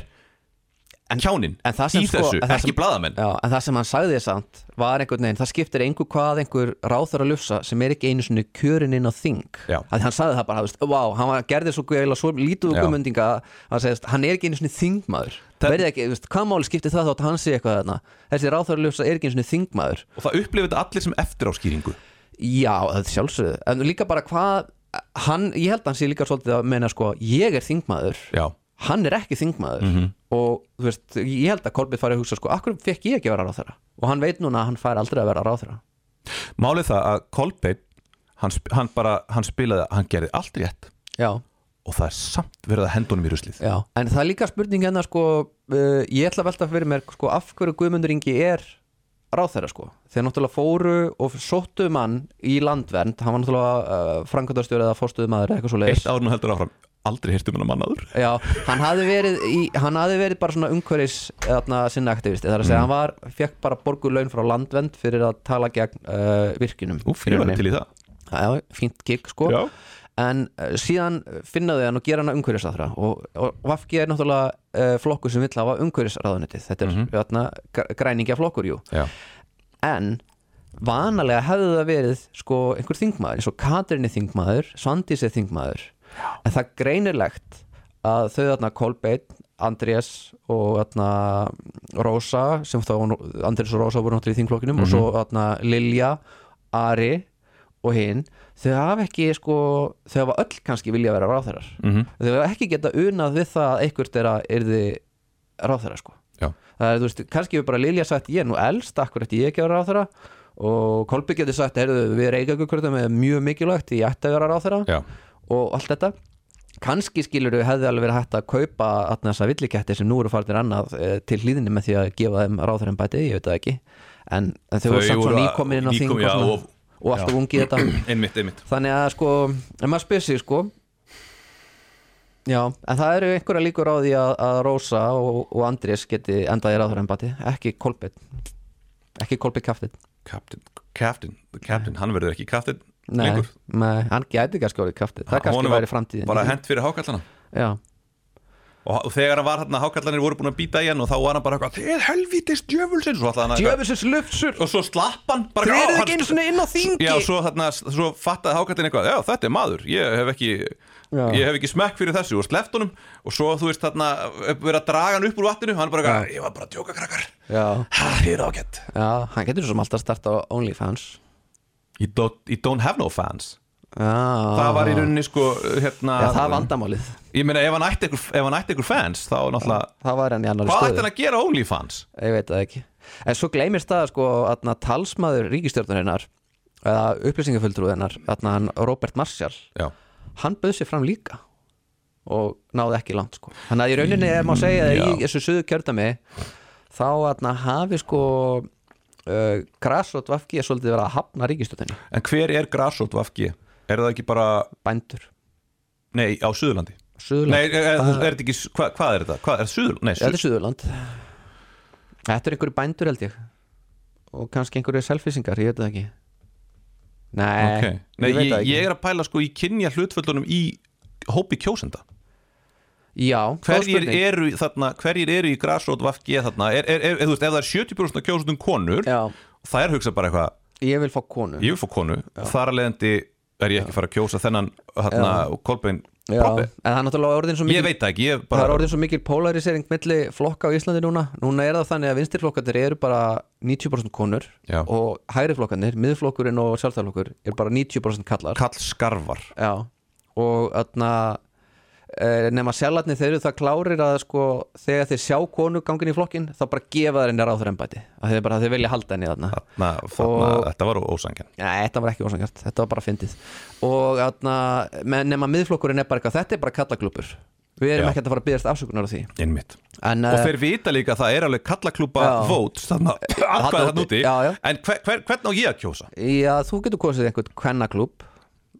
[SPEAKER 1] kjáninn
[SPEAKER 3] en það sem
[SPEAKER 1] í
[SPEAKER 3] sko-
[SPEAKER 1] þessu,
[SPEAKER 3] en það
[SPEAKER 1] ekki
[SPEAKER 3] sem-
[SPEAKER 1] blaðamenn
[SPEAKER 3] Já, en það sem hann sagði samt var einhvern veginn, það skiptir einhver hvað einhver ráþur að lufsa sem er ekki einu svona kjörin inn á þing
[SPEAKER 1] Já.
[SPEAKER 3] að hann sagði það bara, þú veist, vá, hann var, gerði svo gæla svo lítið úr
[SPEAKER 1] Já.
[SPEAKER 3] guðmundinga að segist, hann er ekki einu svona þingmaður
[SPEAKER 1] Það-
[SPEAKER 3] verði ekki, þú veist, hvað máli skiptir það þótt hann sé eitthvað þarna þessi ráþur að lufsa er ekki einu svona þingmaður
[SPEAKER 1] og það upplifir þetta allir sem eftir áskýringu
[SPEAKER 3] Já, það er sjálfsögðu, en líka bara hvað hann, ég held að hann sé líka svolítið að meina sko, ég er þingmaður
[SPEAKER 1] Já,
[SPEAKER 3] hann er ekki þingmaður og þú veist, ég held að Kolbjörn fari að hugsa sko, akkur fekk ég ekki að vera ráþæra og hann veit núna að hann fær aldrei að vera ráþæra
[SPEAKER 1] málið það að Kolbeinn hann, sp- hann bara, hann spilaði, hann gerði allt rétt
[SPEAKER 3] já,
[SPEAKER 1] og það er samt verið að hendunum í ruslið
[SPEAKER 3] já, en það er líka spurning hérna sko, uh, ég ætla að velta fyrir mér sko, af hverju Guðmundur Ingi er ráþæra sko, þeir náttúrulega fóru og sóttu mann í landvernd hann var náttúrulega uh, frankvæmtastjóri eða fórstuðu maður eitthvað svo leiðis
[SPEAKER 1] Eitt árun heldur áfram, aldrei um hirtum hennar mannaður
[SPEAKER 3] Já, hann hafði verið, í, hann hafði verið bara svona umhverjis þarna, sinna aktivisti þar að
[SPEAKER 1] Mm.
[SPEAKER 3] segja hann var, fekk bara borgu laun frá landvend fyrir að tala gegn uh, virkinum
[SPEAKER 1] Úf, ég var til í það
[SPEAKER 3] Já, fínt gig sko
[SPEAKER 1] Já.
[SPEAKER 3] En uh, síðan finnaðu hann og gera hann að umhverjusráðra og, og Vafki er náttúrulega uh, flokkur sem vill hafa umhverjusráðunitið Þetta er
[SPEAKER 1] Mhm.
[SPEAKER 3] mm græningja flokkur, jú
[SPEAKER 1] Já.
[SPEAKER 3] En vanalega hefði það verið sko einhver þingmaður eins og Katrinni þingmaður, Svandís er þingmaður Já. en það er greinilegt að þau þarna Kolbeinn, Andrés og þarna Rósa sem þá Andrés og Rósa voru náttúrulega í þingflokkinum og svo þarna Lilja, Ari og hinn þau hafa ekki sko, þau hafa öll kannski vilja vera ráþærar -hmm. þau hafa ekki geta unað við það að einhvert þeirra yrði ráþærar sko
[SPEAKER 1] Já.
[SPEAKER 3] það er, þú veist, kannski við bara Lilja sagt ég er nú elst, akkur eftir ég ekki að vera ráþæra og Kolby getur sagt, heyrðu, við reykjagurkvörðum er mjög mikilvægt, ég ætti að vera ráþæra
[SPEAKER 1] Já.
[SPEAKER 3] og allt þetta kannski skilur við hefði alveg verið hægt að kaupa þarna þessa villiketti sem nú eru farnir annað eh, til hlýðinni með því að gefa þeim ráþærum bæti, ég veit það ekki en, en þau
[SPEAKER 1] Þau
[SPEAKER 3] voru samt
[SPEAKER 1] voru
[SPEAKER 3] svona
[SPEAKER 1] að-
[SPEAKER 3] nýkomin inn á þing
[SPEAKER 1] nýkomin, já,
[SPEAKER 3] og,
[SPEAKER 1] og-
[SPEAKER 3] og, og alltaf ungið
[SPEAKER 1] [CLEARS THROAT]
[SPEAKER 3] þetta
[SPEAKER 1] Einmitt, einmitt
[SPEAKER 3] þannig að sko, en maður spyr sig sko já, en það eru einhverja líkur á því að, að Rósa og, og Andrés geti endað í ráðurembati, ekki Kolbett ekki Kolbett kaftið
[SPEAKER 1] Captain, Captain, the Captain, hann verður ekki Captain
[SPEAKER 3] nei,
[SPEAKER 1] lengur
[SPEAKER 3] nei, hann gæti kannski orðið kaftið það
[SPEAKER 1] Honum
[SPEAKER 3] kannski
[SPEAKER 1] var
[SPEAKER 3] væri framtíðin
[SPEAKER 1] Bara hent fyrir hákallana
[SPEAKER 3] já
[SPEAKER 1] og og þegar hann var hérna, hákallanir voru búin að býta í hann og þá var hann bara eitthvað, þið helvítist djöfulsins og, ætlaði hann að-
[SPEAKER 3] Djöfusins lufsur
[SPEAKER 1] og svo slapp hann bara,
[SPEAKER 3] Þeir
[SPEAKER 1] "Já,
[SPEAKER 3] eru
[SPEAKER 1] hann-
[SPEAKER 3] ekki einu svona inn á þingi
[SPEAKER 1] Já, svo, þarna, svo fattaði hákallin eitthvað Já, þetta er maður, ég hef ekki Ég hef ekki smekk fyrir þessu og sleppt honum Og svo, þú veist, þarna, verið að draga hann upp úr vatninu Hann bara, eitthvað, ég var bara að djóka krakkar
[SPEAKER 3] Já.
[SPEAKER 1] Ha, þið eru ágætt
[SPEAKER 3] Já, hann getur svo sem alltaf að starta á OnlyFans
[SPEAKER 1] You don't, you don't have no fans
[SPEAKER 3] Já,
[SPEAKER 1] Það var í rauninni, sko, hérna
[SPEAKER 3] Já, það er vandamálið
[SPEAKER 1] Ég meina, ef hann ætti ykkur, ef hann ætti ykkur fans Þá náttúrulega,
[SPEAKER 3] Það var hann í annari
[SPEAKER 1] hvað
[SPEAKER 3] stöðu
[SPEAKER 1] ætti hann að gera OnlyFans?
[SPEAKER 3] Ég veit það ekki En svo gleymist það sko að talsmaður ríkistjórnarinnar eða upplýsingafulltrúðinnar hann Robert Marshall
[SPEAKER 1] Já
[SPEAKER 3] hann bauð sér fram líka og náði ekki langt sko þannig að í rauninni er maður að segja að í
[SPEAKER 1] Já.
[SPEAKER 3] þessu söðu kjördami þá atna, hafi sko uh, Grassot Vafki er svolítið verið að hafna ríkistöðinu
[SPEAKER 1] En hver er grassot Vafki? Er það ekki bara,
[SPEAKER 3] bændur
[SPEAKER 1] nei, á Suðurlandi? Nei,
[SPEAKER 3] Suðurland,
[SPEAKER 1] er, er, er, þetta ekki, hvað, hvað er þetta? Hvað, er Suður, nei,
[SPEAKER 3] þetta
[SPEAKER 1] Suður
[SPEAKER 3] er Suðurland Þetta er einhverju bændur held ég og kannski einhverju selfisingar, ég veit það ekki Nei,
[SPEAKER 1] okay. Nei,
[SPEAKER 3] ég veit
[SPEAKER 1] ég,
[SPEAKER 3] það
[SPEAKER 1] ég,
[SPEAKER 3] ekki
[SPEAKER 1] er að pæla sko í kynja hlutföllunum í hópi kjósenda
[SPEAKER 3] Já, góð
[SPEAKER 1] hverjir
[SPEAKER 3] spurning.
[SPEAKER 1] eru, þarna, hverjir eru í grassrót VFG þarna, er, er, er, er, þú veist, ef það er 70% af kjósendum konur
[SPEAKER 3] Já.
[SPEAKER 1] það er hugsa bara eitthvað,
[SPEAKER 3] Ég vil fá konu
[SPEAKER 1] ég vil fá konu þar að leiðandi er ég ekki að fara að kjósa þennan þarna, Kolbein
[SPEAKER 3] Já,
[SPEAKER 1] Proppi
[SPEAKER 3] en það er náttúrulega orðin svo mikil
[SPEAKER 1] ég veit það ekki, ég
[SPEAKER 3] það er
[SPEAKER 1] bara
[SPEAKER 3] orðin svo mikil polarisering milli flokka á Íslandi núna núna er það þannig að vinstirflokkarnir eru bara 90% konur
[SPEAKER 1] Já.
[SPEAKER 3] og hægriflokkarnir, miðflokkurinn og sjálftæðflokkur er bara 90% kallar
[SPEAKER 1] kall skarvar
[SPEAKER 3] Já. og öðna, nema sjálfarnir þeir eru það klárir að sko, þegar þeir sjá konu gangin í flokkin þá bara gefa þeir henni ráður embæti að þeir bara þeir vilja halda henni þarna
[SPEAKER 1] Na, þarna,
[SPEAKER 3] Og-
[SPEAKER 1] þetta var ósangjarn
[SPEAKER 3] Nei, þetta var ekki ósangjart, þetta var bara fyndið og atna, menn, nema miðflokkurinn er bara eitthvað, þetta er bara kallaklubur við erum
[SPEAKER 1] Já.
[SPEAKER 3] ekki að fara að byggjast afsökunar á því
[SPEAKER 1] innmitt
[SPEAKER 3] En,
[SPEAKER 1] og
[SPEAKER 3] eh,
[SPEAKER 1] þeir vita líka að það er alveg kallaklúpa
[SPEAKER 3] Já.
[SPEAKER 1] vót,
[SPEAKER 3] [LAUGHS]
[SPEAKER 1] þannig að atkvæða
[SPEAKER 3] úti.
[SPEAKER 1] þann úti
[SPEAKER 3] Já, já.
[SPEAKER 1] en hver, hver, hvern á ég að kjósa?
[SPEAKER 3] Já, þú getur kosið einhvern kvennaklúb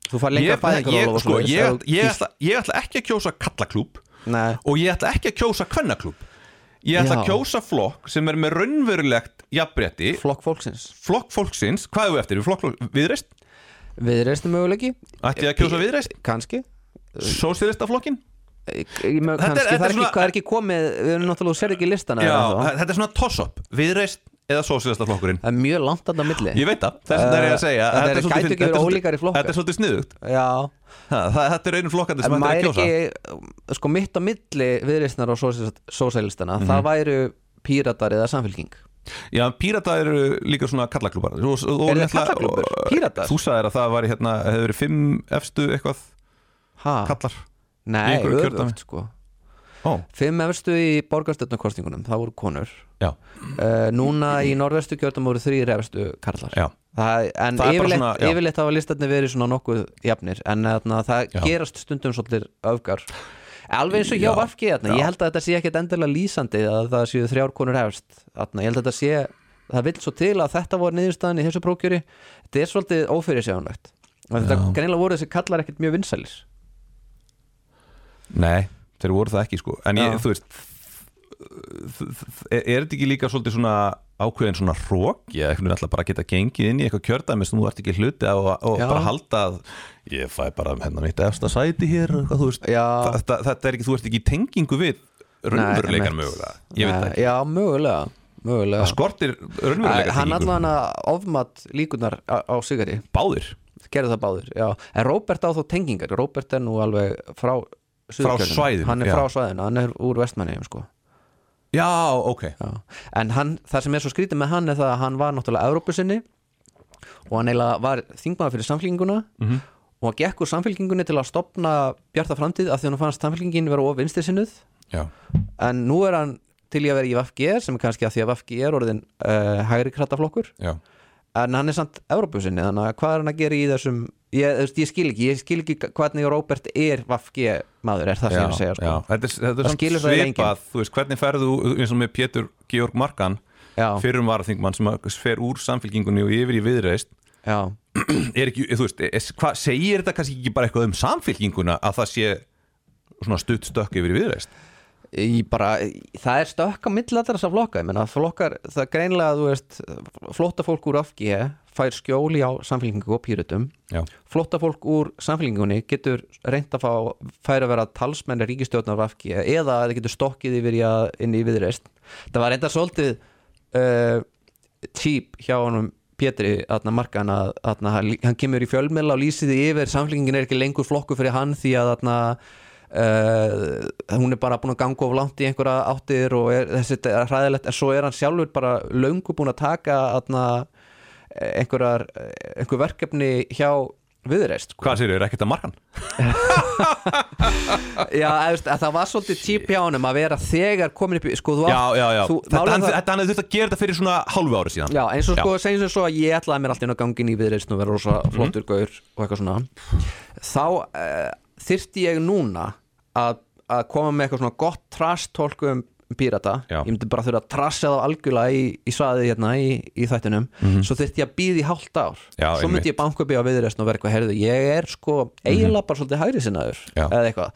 [SPEAKER 3] Þú far
[SPEAKER 1] ég,
[SPEAKER 3] lengra
[SPEAKER 1] ég,
[SPEAKER 3] fæðingarólof og
[SPEAKER 1] sko,
[SPEAKER 3] svoleiðis,
[SPEAKER 1] ég,
[SPEAKER 3] ef
[SPEAKER 1] ætla-
[SPEAKER 3] þú
[SPEAKER 1] ég,
[SPEAKER 3] kýst.
[SPEAKER 1] ætla, ég ætla ekki að kjósa kallaklúb
[SPEAKER 3] Nei.
[SPEAKER 1] og ég ætla ekki að kjósa kvennaklúb ég ætla að
[SPEAKER 3] Já.
[SPEAKER 1] kjósa flokk sem er með raunverulegt jafnbretti,
[SPEAKER 3] Flokk fólksins
[SPEAKER 1] flokk fólksins hvað er við eftir, Við flokk viðreist
[SPEAKER 3] Viðreistum möguleiki
[SPEAKER 1] ætti ég að kjósa viðreist,
[SPEAKER 3] Kanski
[SPEAKER 1] sósýðista flokkin
[SPEAKER 3] Kanski,
[SPEAKER 1] þetta er
[SPEAKER 3] það er ekki,
[SPEAKER 1] svona-
[SPEAKER 3] það er ekki komið Við erum náttúrulega, þú sér ekki listana
[SPEAKER 1] já,
[SPEAKER 3] þeirra þá.
[SPEAKER 1] þetta er svona toss-up, viðreist eða sósýðista flokkurinn
[SPEAKER 3] Það er mjög langt þarna á milli
[SPEAKER 1] ég veit það, þess vegna er ég að segja
[SPEAKER 3] Þetta
[SPEAKER 1] svolítið
[SPEAKER 3] er- gætu
[SPEAKER 1] fyndið-
[SPEAKER 3] ekki verið
[SPEAKER 1] þetta er svolítið-
[SPEAKER 3] ólíkari flokkar.
[SPEAKER 1] þetta er svolítið sniðugt
[SPEAKER 3] Já,
[SPEAKER 1] Ha, það- þetta er einu flokkandi
[SPEAKER 3] en
[SPEAKER 1] sem þetta er
[SPEAKER 3] maður
[SPEAKER 1] að kjósa
[SPEAKER 3] er ekki Sko mitt á milli viðreistnar og sósælistana
[SPEAKER 1] Mhm.
[SPEAKER 3] Það væru píratar eða samfélking
[SPEAKER 1] Já, en píratar eru líka svona kallaklúpar Eru
[SPEAKER 3] Eru þeir kallaklúbbar? Píratar?
[SPEAKER 1] hérna- Þú sagðir að það var hérna, hefur verið fimm efstu eitthvað
[SPEAKER 3] Ha?
[SPEAKER 1] kallar Í
[SPEAKER 3] Nei,
[SPEAKER 1] einhverju kjördæmi?
[SPEAKER 3] öfugt sko
[SPEAKER 1] Ó,
[SPEAKER 3] Fimm efstu í borgarstjórnarkostingunum Það voru konur
[SPEAKER 1] já,
[SPEAKER 3] uh,
[SPEAKER 1] [CLEARS THROAT]
[SPEAKER 3] núna í norðvestu kjördum voru þrýr efstu karlar
[SPEAKER 1] já
[SPEAKER 3] það,
[SPEAKER 1] Það er
[SPEAKER 3] en
[SPEAKER 1] bara
[SPEAKER 3] yfirleitt,
[SPEAKER 1] svona- já.
[SPEAKER 3] yfirleitt hafa listarnir verið svona nokkuð jafnir en þarna, það
[SPEAKER 1] Já.
[SPEAKER 3] gerast stundum svolítið öfgar alveg eins og hjá
[SPEAKER 1] Já,
[SPEAKER 3] Vafki þarna.
[SPEAKER 1] já.
[SPEAKER 3] ég held að þetta sé ekkit endilega lýsandi að það séu þrjár konur efst þarna. ég held að þetta sé það vill svo til að þetta voru niðurstaðan í þessu prókjöri þetta er svolítið ófyrir sjáunlegt þetta greinilega voru þessi kallar ekkit mjög vinsælis
[SPEAKER 1] Nei, þeir voru það ekki sko En ég,
[SPEAKER 3] Já.
[SPEAKER 1] þú veist þ- þ- þ- Er er þetta ekki líka svolítið svona ákveðin svona rók Ég eitthvað alltaf bara að geta gengið inn í eitthvað kjördæmi sem þú ert ekki hluti af og, og
[SPEAKER 3] Já.
[SPEAKER 1] bara halda að ég fæ bara hérna mitt efsta sæti hér og eitthvað, þú veist,
[SPEAKER 3] Já.
[SPEAKER 1] þetta, þetta er ekki, þú ert ekki í tengingu við raunveruleikar mögulega Ég veit það ekki
[SPEAKER 3] já, mögulega, mögulega.
[SPEAKER 1] Það skortir raunveruleika
[SPEAKER 3] hann allan að ofmat líkunar á, á sigari
[SPEAKER 1] báðir
[SPEAKER 3] gerðu það báðir, já en Róbert á þó tengingar, Róbert er nú alveg frá Suðurkjördæmi.
[SPEAKER 1] svæðinu,
[SPEAKER 3] hann er
[SPEAKER 1] já.
[SPEAKER 3] frá svæðinu, hann er úr vestmanniðum sko
[SPEAKER 1] Já, ok
[SPEAKER 3] já. en hann, það sem er svo skrítið með hann er það að hann var náttúrulega Evrópusinni og hann eiginlega var þingmaður fyrir samfélkinguna
[SPEAKER 1] Mhm.
[SPEAKER 3] og hann gekk úr samfélkingunni til að stopna Bjarta framtíð af því hann fannst samfélkingin vera of vinstisinnuð
[SPEAKER 1] Já,
[SPEAKER 3] en nú er hann til í að vera í VFG sem er kannski að því að VFG er orðin uh, hægri krattaflokkur
[SPEAKER 1] já
[SPEAKER 3] en hann er samt Evrópusinni þannig að hvað er hann að gera í þessum ég, þú veist, ég skil ekki, ég skil ekki hvernig Róbert er Vafge maður er það sem
[SPEAKER 1] já,
[SPEAKER 3] ég er að segja
[SPEAKER 1] já.
[SPEAKER 3] sko.
[SPEAKER 1] Þetta er, þetta
[SPEAKER 3] Það
[SPEAKER 1] er samt
[SPEAKER 3] skilur það eiginlega
[SPEAKER 1] svipað Þú veist, hvernig ferðu eins og með Pétur Georg Markan
[SPEAKER 3] Já.
[SPEAKER 1] fyrrum varaþingmann sem að fer úr samfélkingunni og yfir í viðreist
[SPEAKER 3] já.
[SPEAKER 1] [CLEARS THROAT] er ekki, þú veist, er, hva, segir þetta kannski ekki bara eitthvað um samfélkinguna að það sé svona stutt stökk yfir í viðreist
[SPEAKER 3] í bara, það er stökk á milli allra þessar flokka, ég menna flokkar það er greinlega að þú veist flóttafólk úr FG fær skjóli á samfélkingu og pýrutum,
[SPEAKER 1] Já.
[SPEAKER 3] flóttafólk úr samfélkingunni getur reynt að fá fær að vera talsmenn ríkistjórnar af FG eða að þið getur stokkið yfir í að inn í viðreist, það var reynda svolítið uh, típ hjá honum Pétri aðna markan að aðna, hann kemur í fjölmiðla og lýsir því yfir samfélkingin er ekki lengur flokku fyrir hann því að aðna, uh, hún er bara búin að ganga of langt í einhverja áttir og er, þessi þetta er hræðilegt en svo er hann sjálfur bara löngu búin að taka aðna, einhverjar eh, einhver verkefni hjá viðreist
[SPEAKER 1] Hvað sér, er ekkert að markan?
[SPEAKER 3] Já, að, veist, að það var svolítið típ hjá honum að vera þegar komin upp í sko, þú átt-
[SPEAKER 1] Já, já, já
[SPEAKER 3] þú,
[SPEAKER 1] Þetta
[SPEAKER 3] málið
[SPEAKER 1] hann
[SPEAKER 3] það-
[SPEAKER 1] þetta hann hefði þurft að gera þetta fyrir svona hálfu ári síðan
[SPEAKER 3] Já, eins og sko, segjum sem svo að ég ætlaði mér alltaf inn á gangin í viðreist og vera rosa
[SPEAKER 1] Mhm.
[SPEAKER 3] flottur gaur og eitthvað svona þá uh, þyrfti ég núna að, að koma með eitthvað svona gott trash tólku um pírata
[SPEAKER 1] Já.
[SPEAKER 3] ég myndi bara þurfa að trasja þá algjörlega í, í svaðið hérna í, í þættinum svo þyrfti ég að býða í hálft ár
[SPEAKER 1] Mhm. Já, Mhm.
[SPEAKER 3] svo myndi ég banka upp í á viðreist og vera eitthvað herðu, ég er sko eiginlega bara svolítið hægri sinnaður
[SPEAKER 1] Já.
[SPEAKER 3] eða eitthvað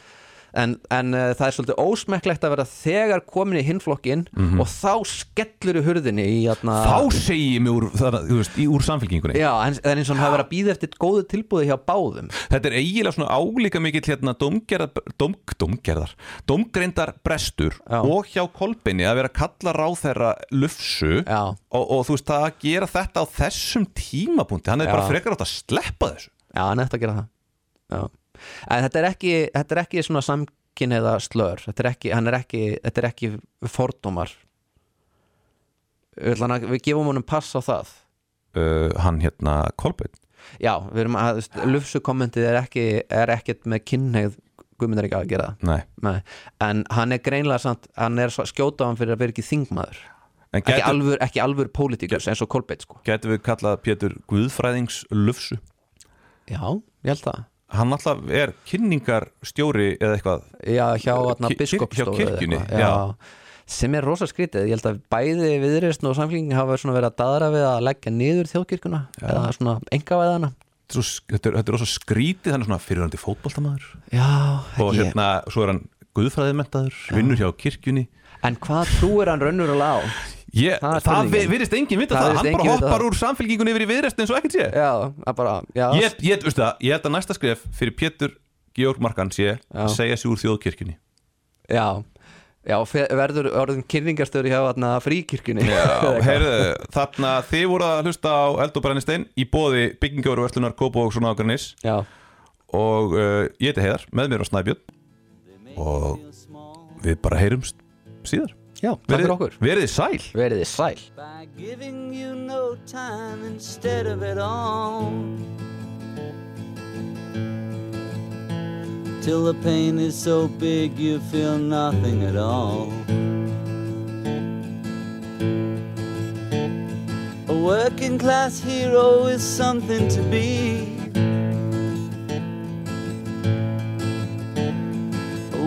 [SPEAKER 3] En, en uh, það er svolítið ósmekklegt að vera þegar komin í hinflokkin og þá skellur í hurðinni í, hérna, atna,
[SPEAKER 1] Mhm. Þá segi ég mig úr, þarna, þú veist, í- úr samfélkingunni
[SPEAKER 3] Já, en, en eins og hann hafa verið að býða eftir góðu tilbúði hjá báðum
[SPEAKER 1] Þetta er eiginlega svona álíka mikill hérna dómgerðar, dóm, dómgerðar dómgrindar brestur
[SPEAKER 3] Já.
[SPEAKER 1] og hjá kolbinni að vera að kalla ráð þeirra lufsu
[SPEAKER 3] Já.
[SPEAKER 1] og, og þú veist að gera þetta á þessum tímapunkti hann er
[SPEAKER 3] Já.
[SPEAKER 1] bara frekar átt að sleppa þessu
[SPEAKER 3] Já, hann eftir að gera það Já. En þetta er ekki, þetta er ekki svona samkynniða slör þetta er ekki, hann er ekki, þetta er ekki fordómar Þannig að við gefum honum pass á það
[SPEAKER 1] uh, hann hérna kolbinn
[SPEAKER 3] Já, við erum að, lufsu kommentið er ekki, er ekkert með kynneið Guðmundar ekki að gera það
[SPEAKER 1] Nei.
[SPEAKER 3] Nei. En hann er greinlega samt, hann er svo- skjóta á hann fyrir að vera ekki þingmaður
[SPEAKER 1] en
[SPEAKER 3] Ekki
[SPEAKER 1] gætu,
[SPEAKER 3] alvör, ekki alvör pólitíkus eins og Kolbeitt sko
[SPEAKER 1] gætu við kallað Pétur Guðfræðings lufsu
[SPEAKER 3] Já, ég held það
[SPEAKER 1] hann alltaf er kynningarstjóri eða eitthvað
[SPEAKER 3] Já, hjá atna,
[SPEAKER 1] Ki- kir-
[SPEAKER 3] biskopstofu
[SPEAKER 1] hjá kirkjunni,
[SPEAKER 3] eða eitthvað, sem er rosa skrítið, ég held að bæði viðreist og samfélging hafa svona verið að daðra við að leggja niður þjóðkirkjuna eða svona engavæðana
[SPEAKER 1] þetta er svo- þetta er þetta er rosa skrítið hann er svona fyrirhandi fótboltamaður
[SPEAKER 3] Já,
[SPEAKER 1] og
[SPEAKER 3] ég,
[SPEAKER 1] hérna, svo er hann guðfræðimentaður, vinnur hjá kirkjunni
[SPEAKER 3] en hvað trúir hann raunverulega á?
[SPEAKER 1] ég,
[SPEAKER 3] Það er
[SPEAKER 1] það, vi-
[SPEAKER 3] spurningin.
[SPEAKER 1] virðist enginn vita
[SPEAKER 3] Það
[SPEAKER 1] það,
[SPEAKER 3] virðist
[SPEAKER 1] hann bara
[SPEAKER 3] enginn vita
[SPEAKER 1] hoppar
[SPEAKER 3] það.
[SPEAKER 1] úr samfélkingunni yfir í viðrest eins og ekkert sé
[SPEAKER 3] Já, að bara, já,
[SPEAKER 1] ég, ég, veistu það, ég held að næsta skref fyrir Pétur Georg Markan sé að segja sig úr þjóðkirkjunni
[SPEAKER 3] já Já, fe- verður orðin kynningastöður hjá atna, fríkirkjunni [LAUGHS]
[SPEAKER 1] Já, heyrðu, þarna þið voru að hlusta á Eld og Brennistein í bóði byggingjör og verslunar Kópa og svona ákveðnis
[SPEAKER 3] já,
[SPEAKER 1] og uh, ég heiti Heiðar, með mér á Snæbjörn og við bara heyrumst síðar
[SPEAKER 3] já takk fyrir okkur
[SPEAKER 1] Verið sæl
[SPEAKER 3] Verið þið sæl
[SPEAKER 6] by giving you no time instead of it all. Till the pain is so big you feel nothing at all. A working class hero is something to be. A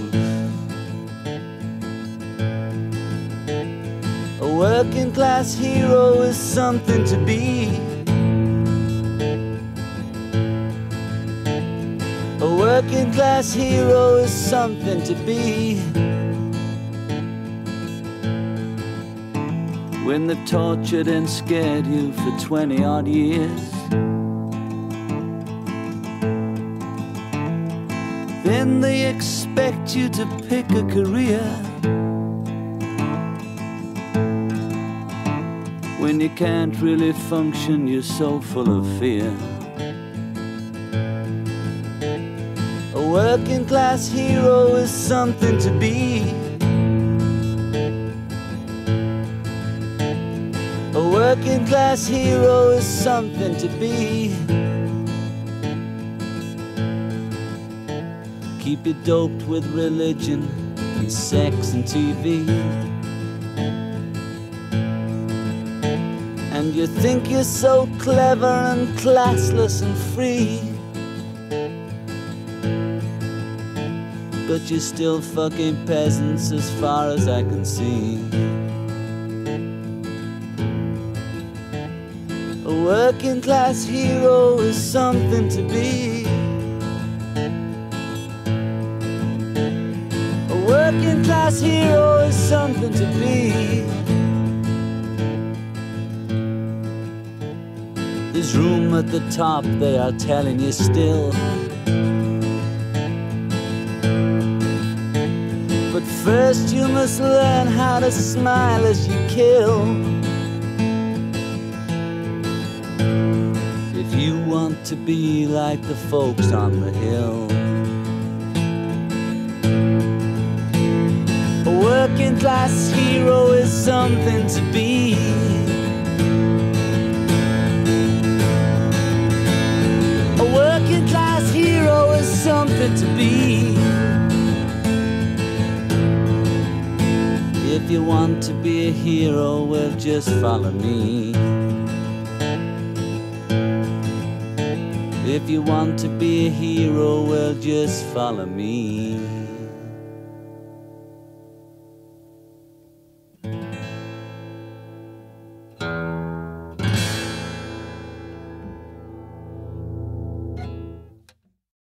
[SPEAKER 6] A working class hero is something to be. A working class hero is something to be. When they've tortured and scared you for 20 odd years, then they expect you to pick a career. When you can't really function, you're so full of fear. A working class hero is something to be. A working class hero is something to be. Keep you doped with religion and sex and TV. And you think you're so clever and classless and free. But you're still fucking peasants as far as I can see. A working class hero is something to be. A working class hero is something to be. There's room at the top, they are telling you still. But first, you must learn how to smile as you kill. If you want to be like the folks on the hill. A working class hero is something to be. A working class hero is something to be. If you want to be a hero, well, just follow me. If you want to be a hero, well, just follow me.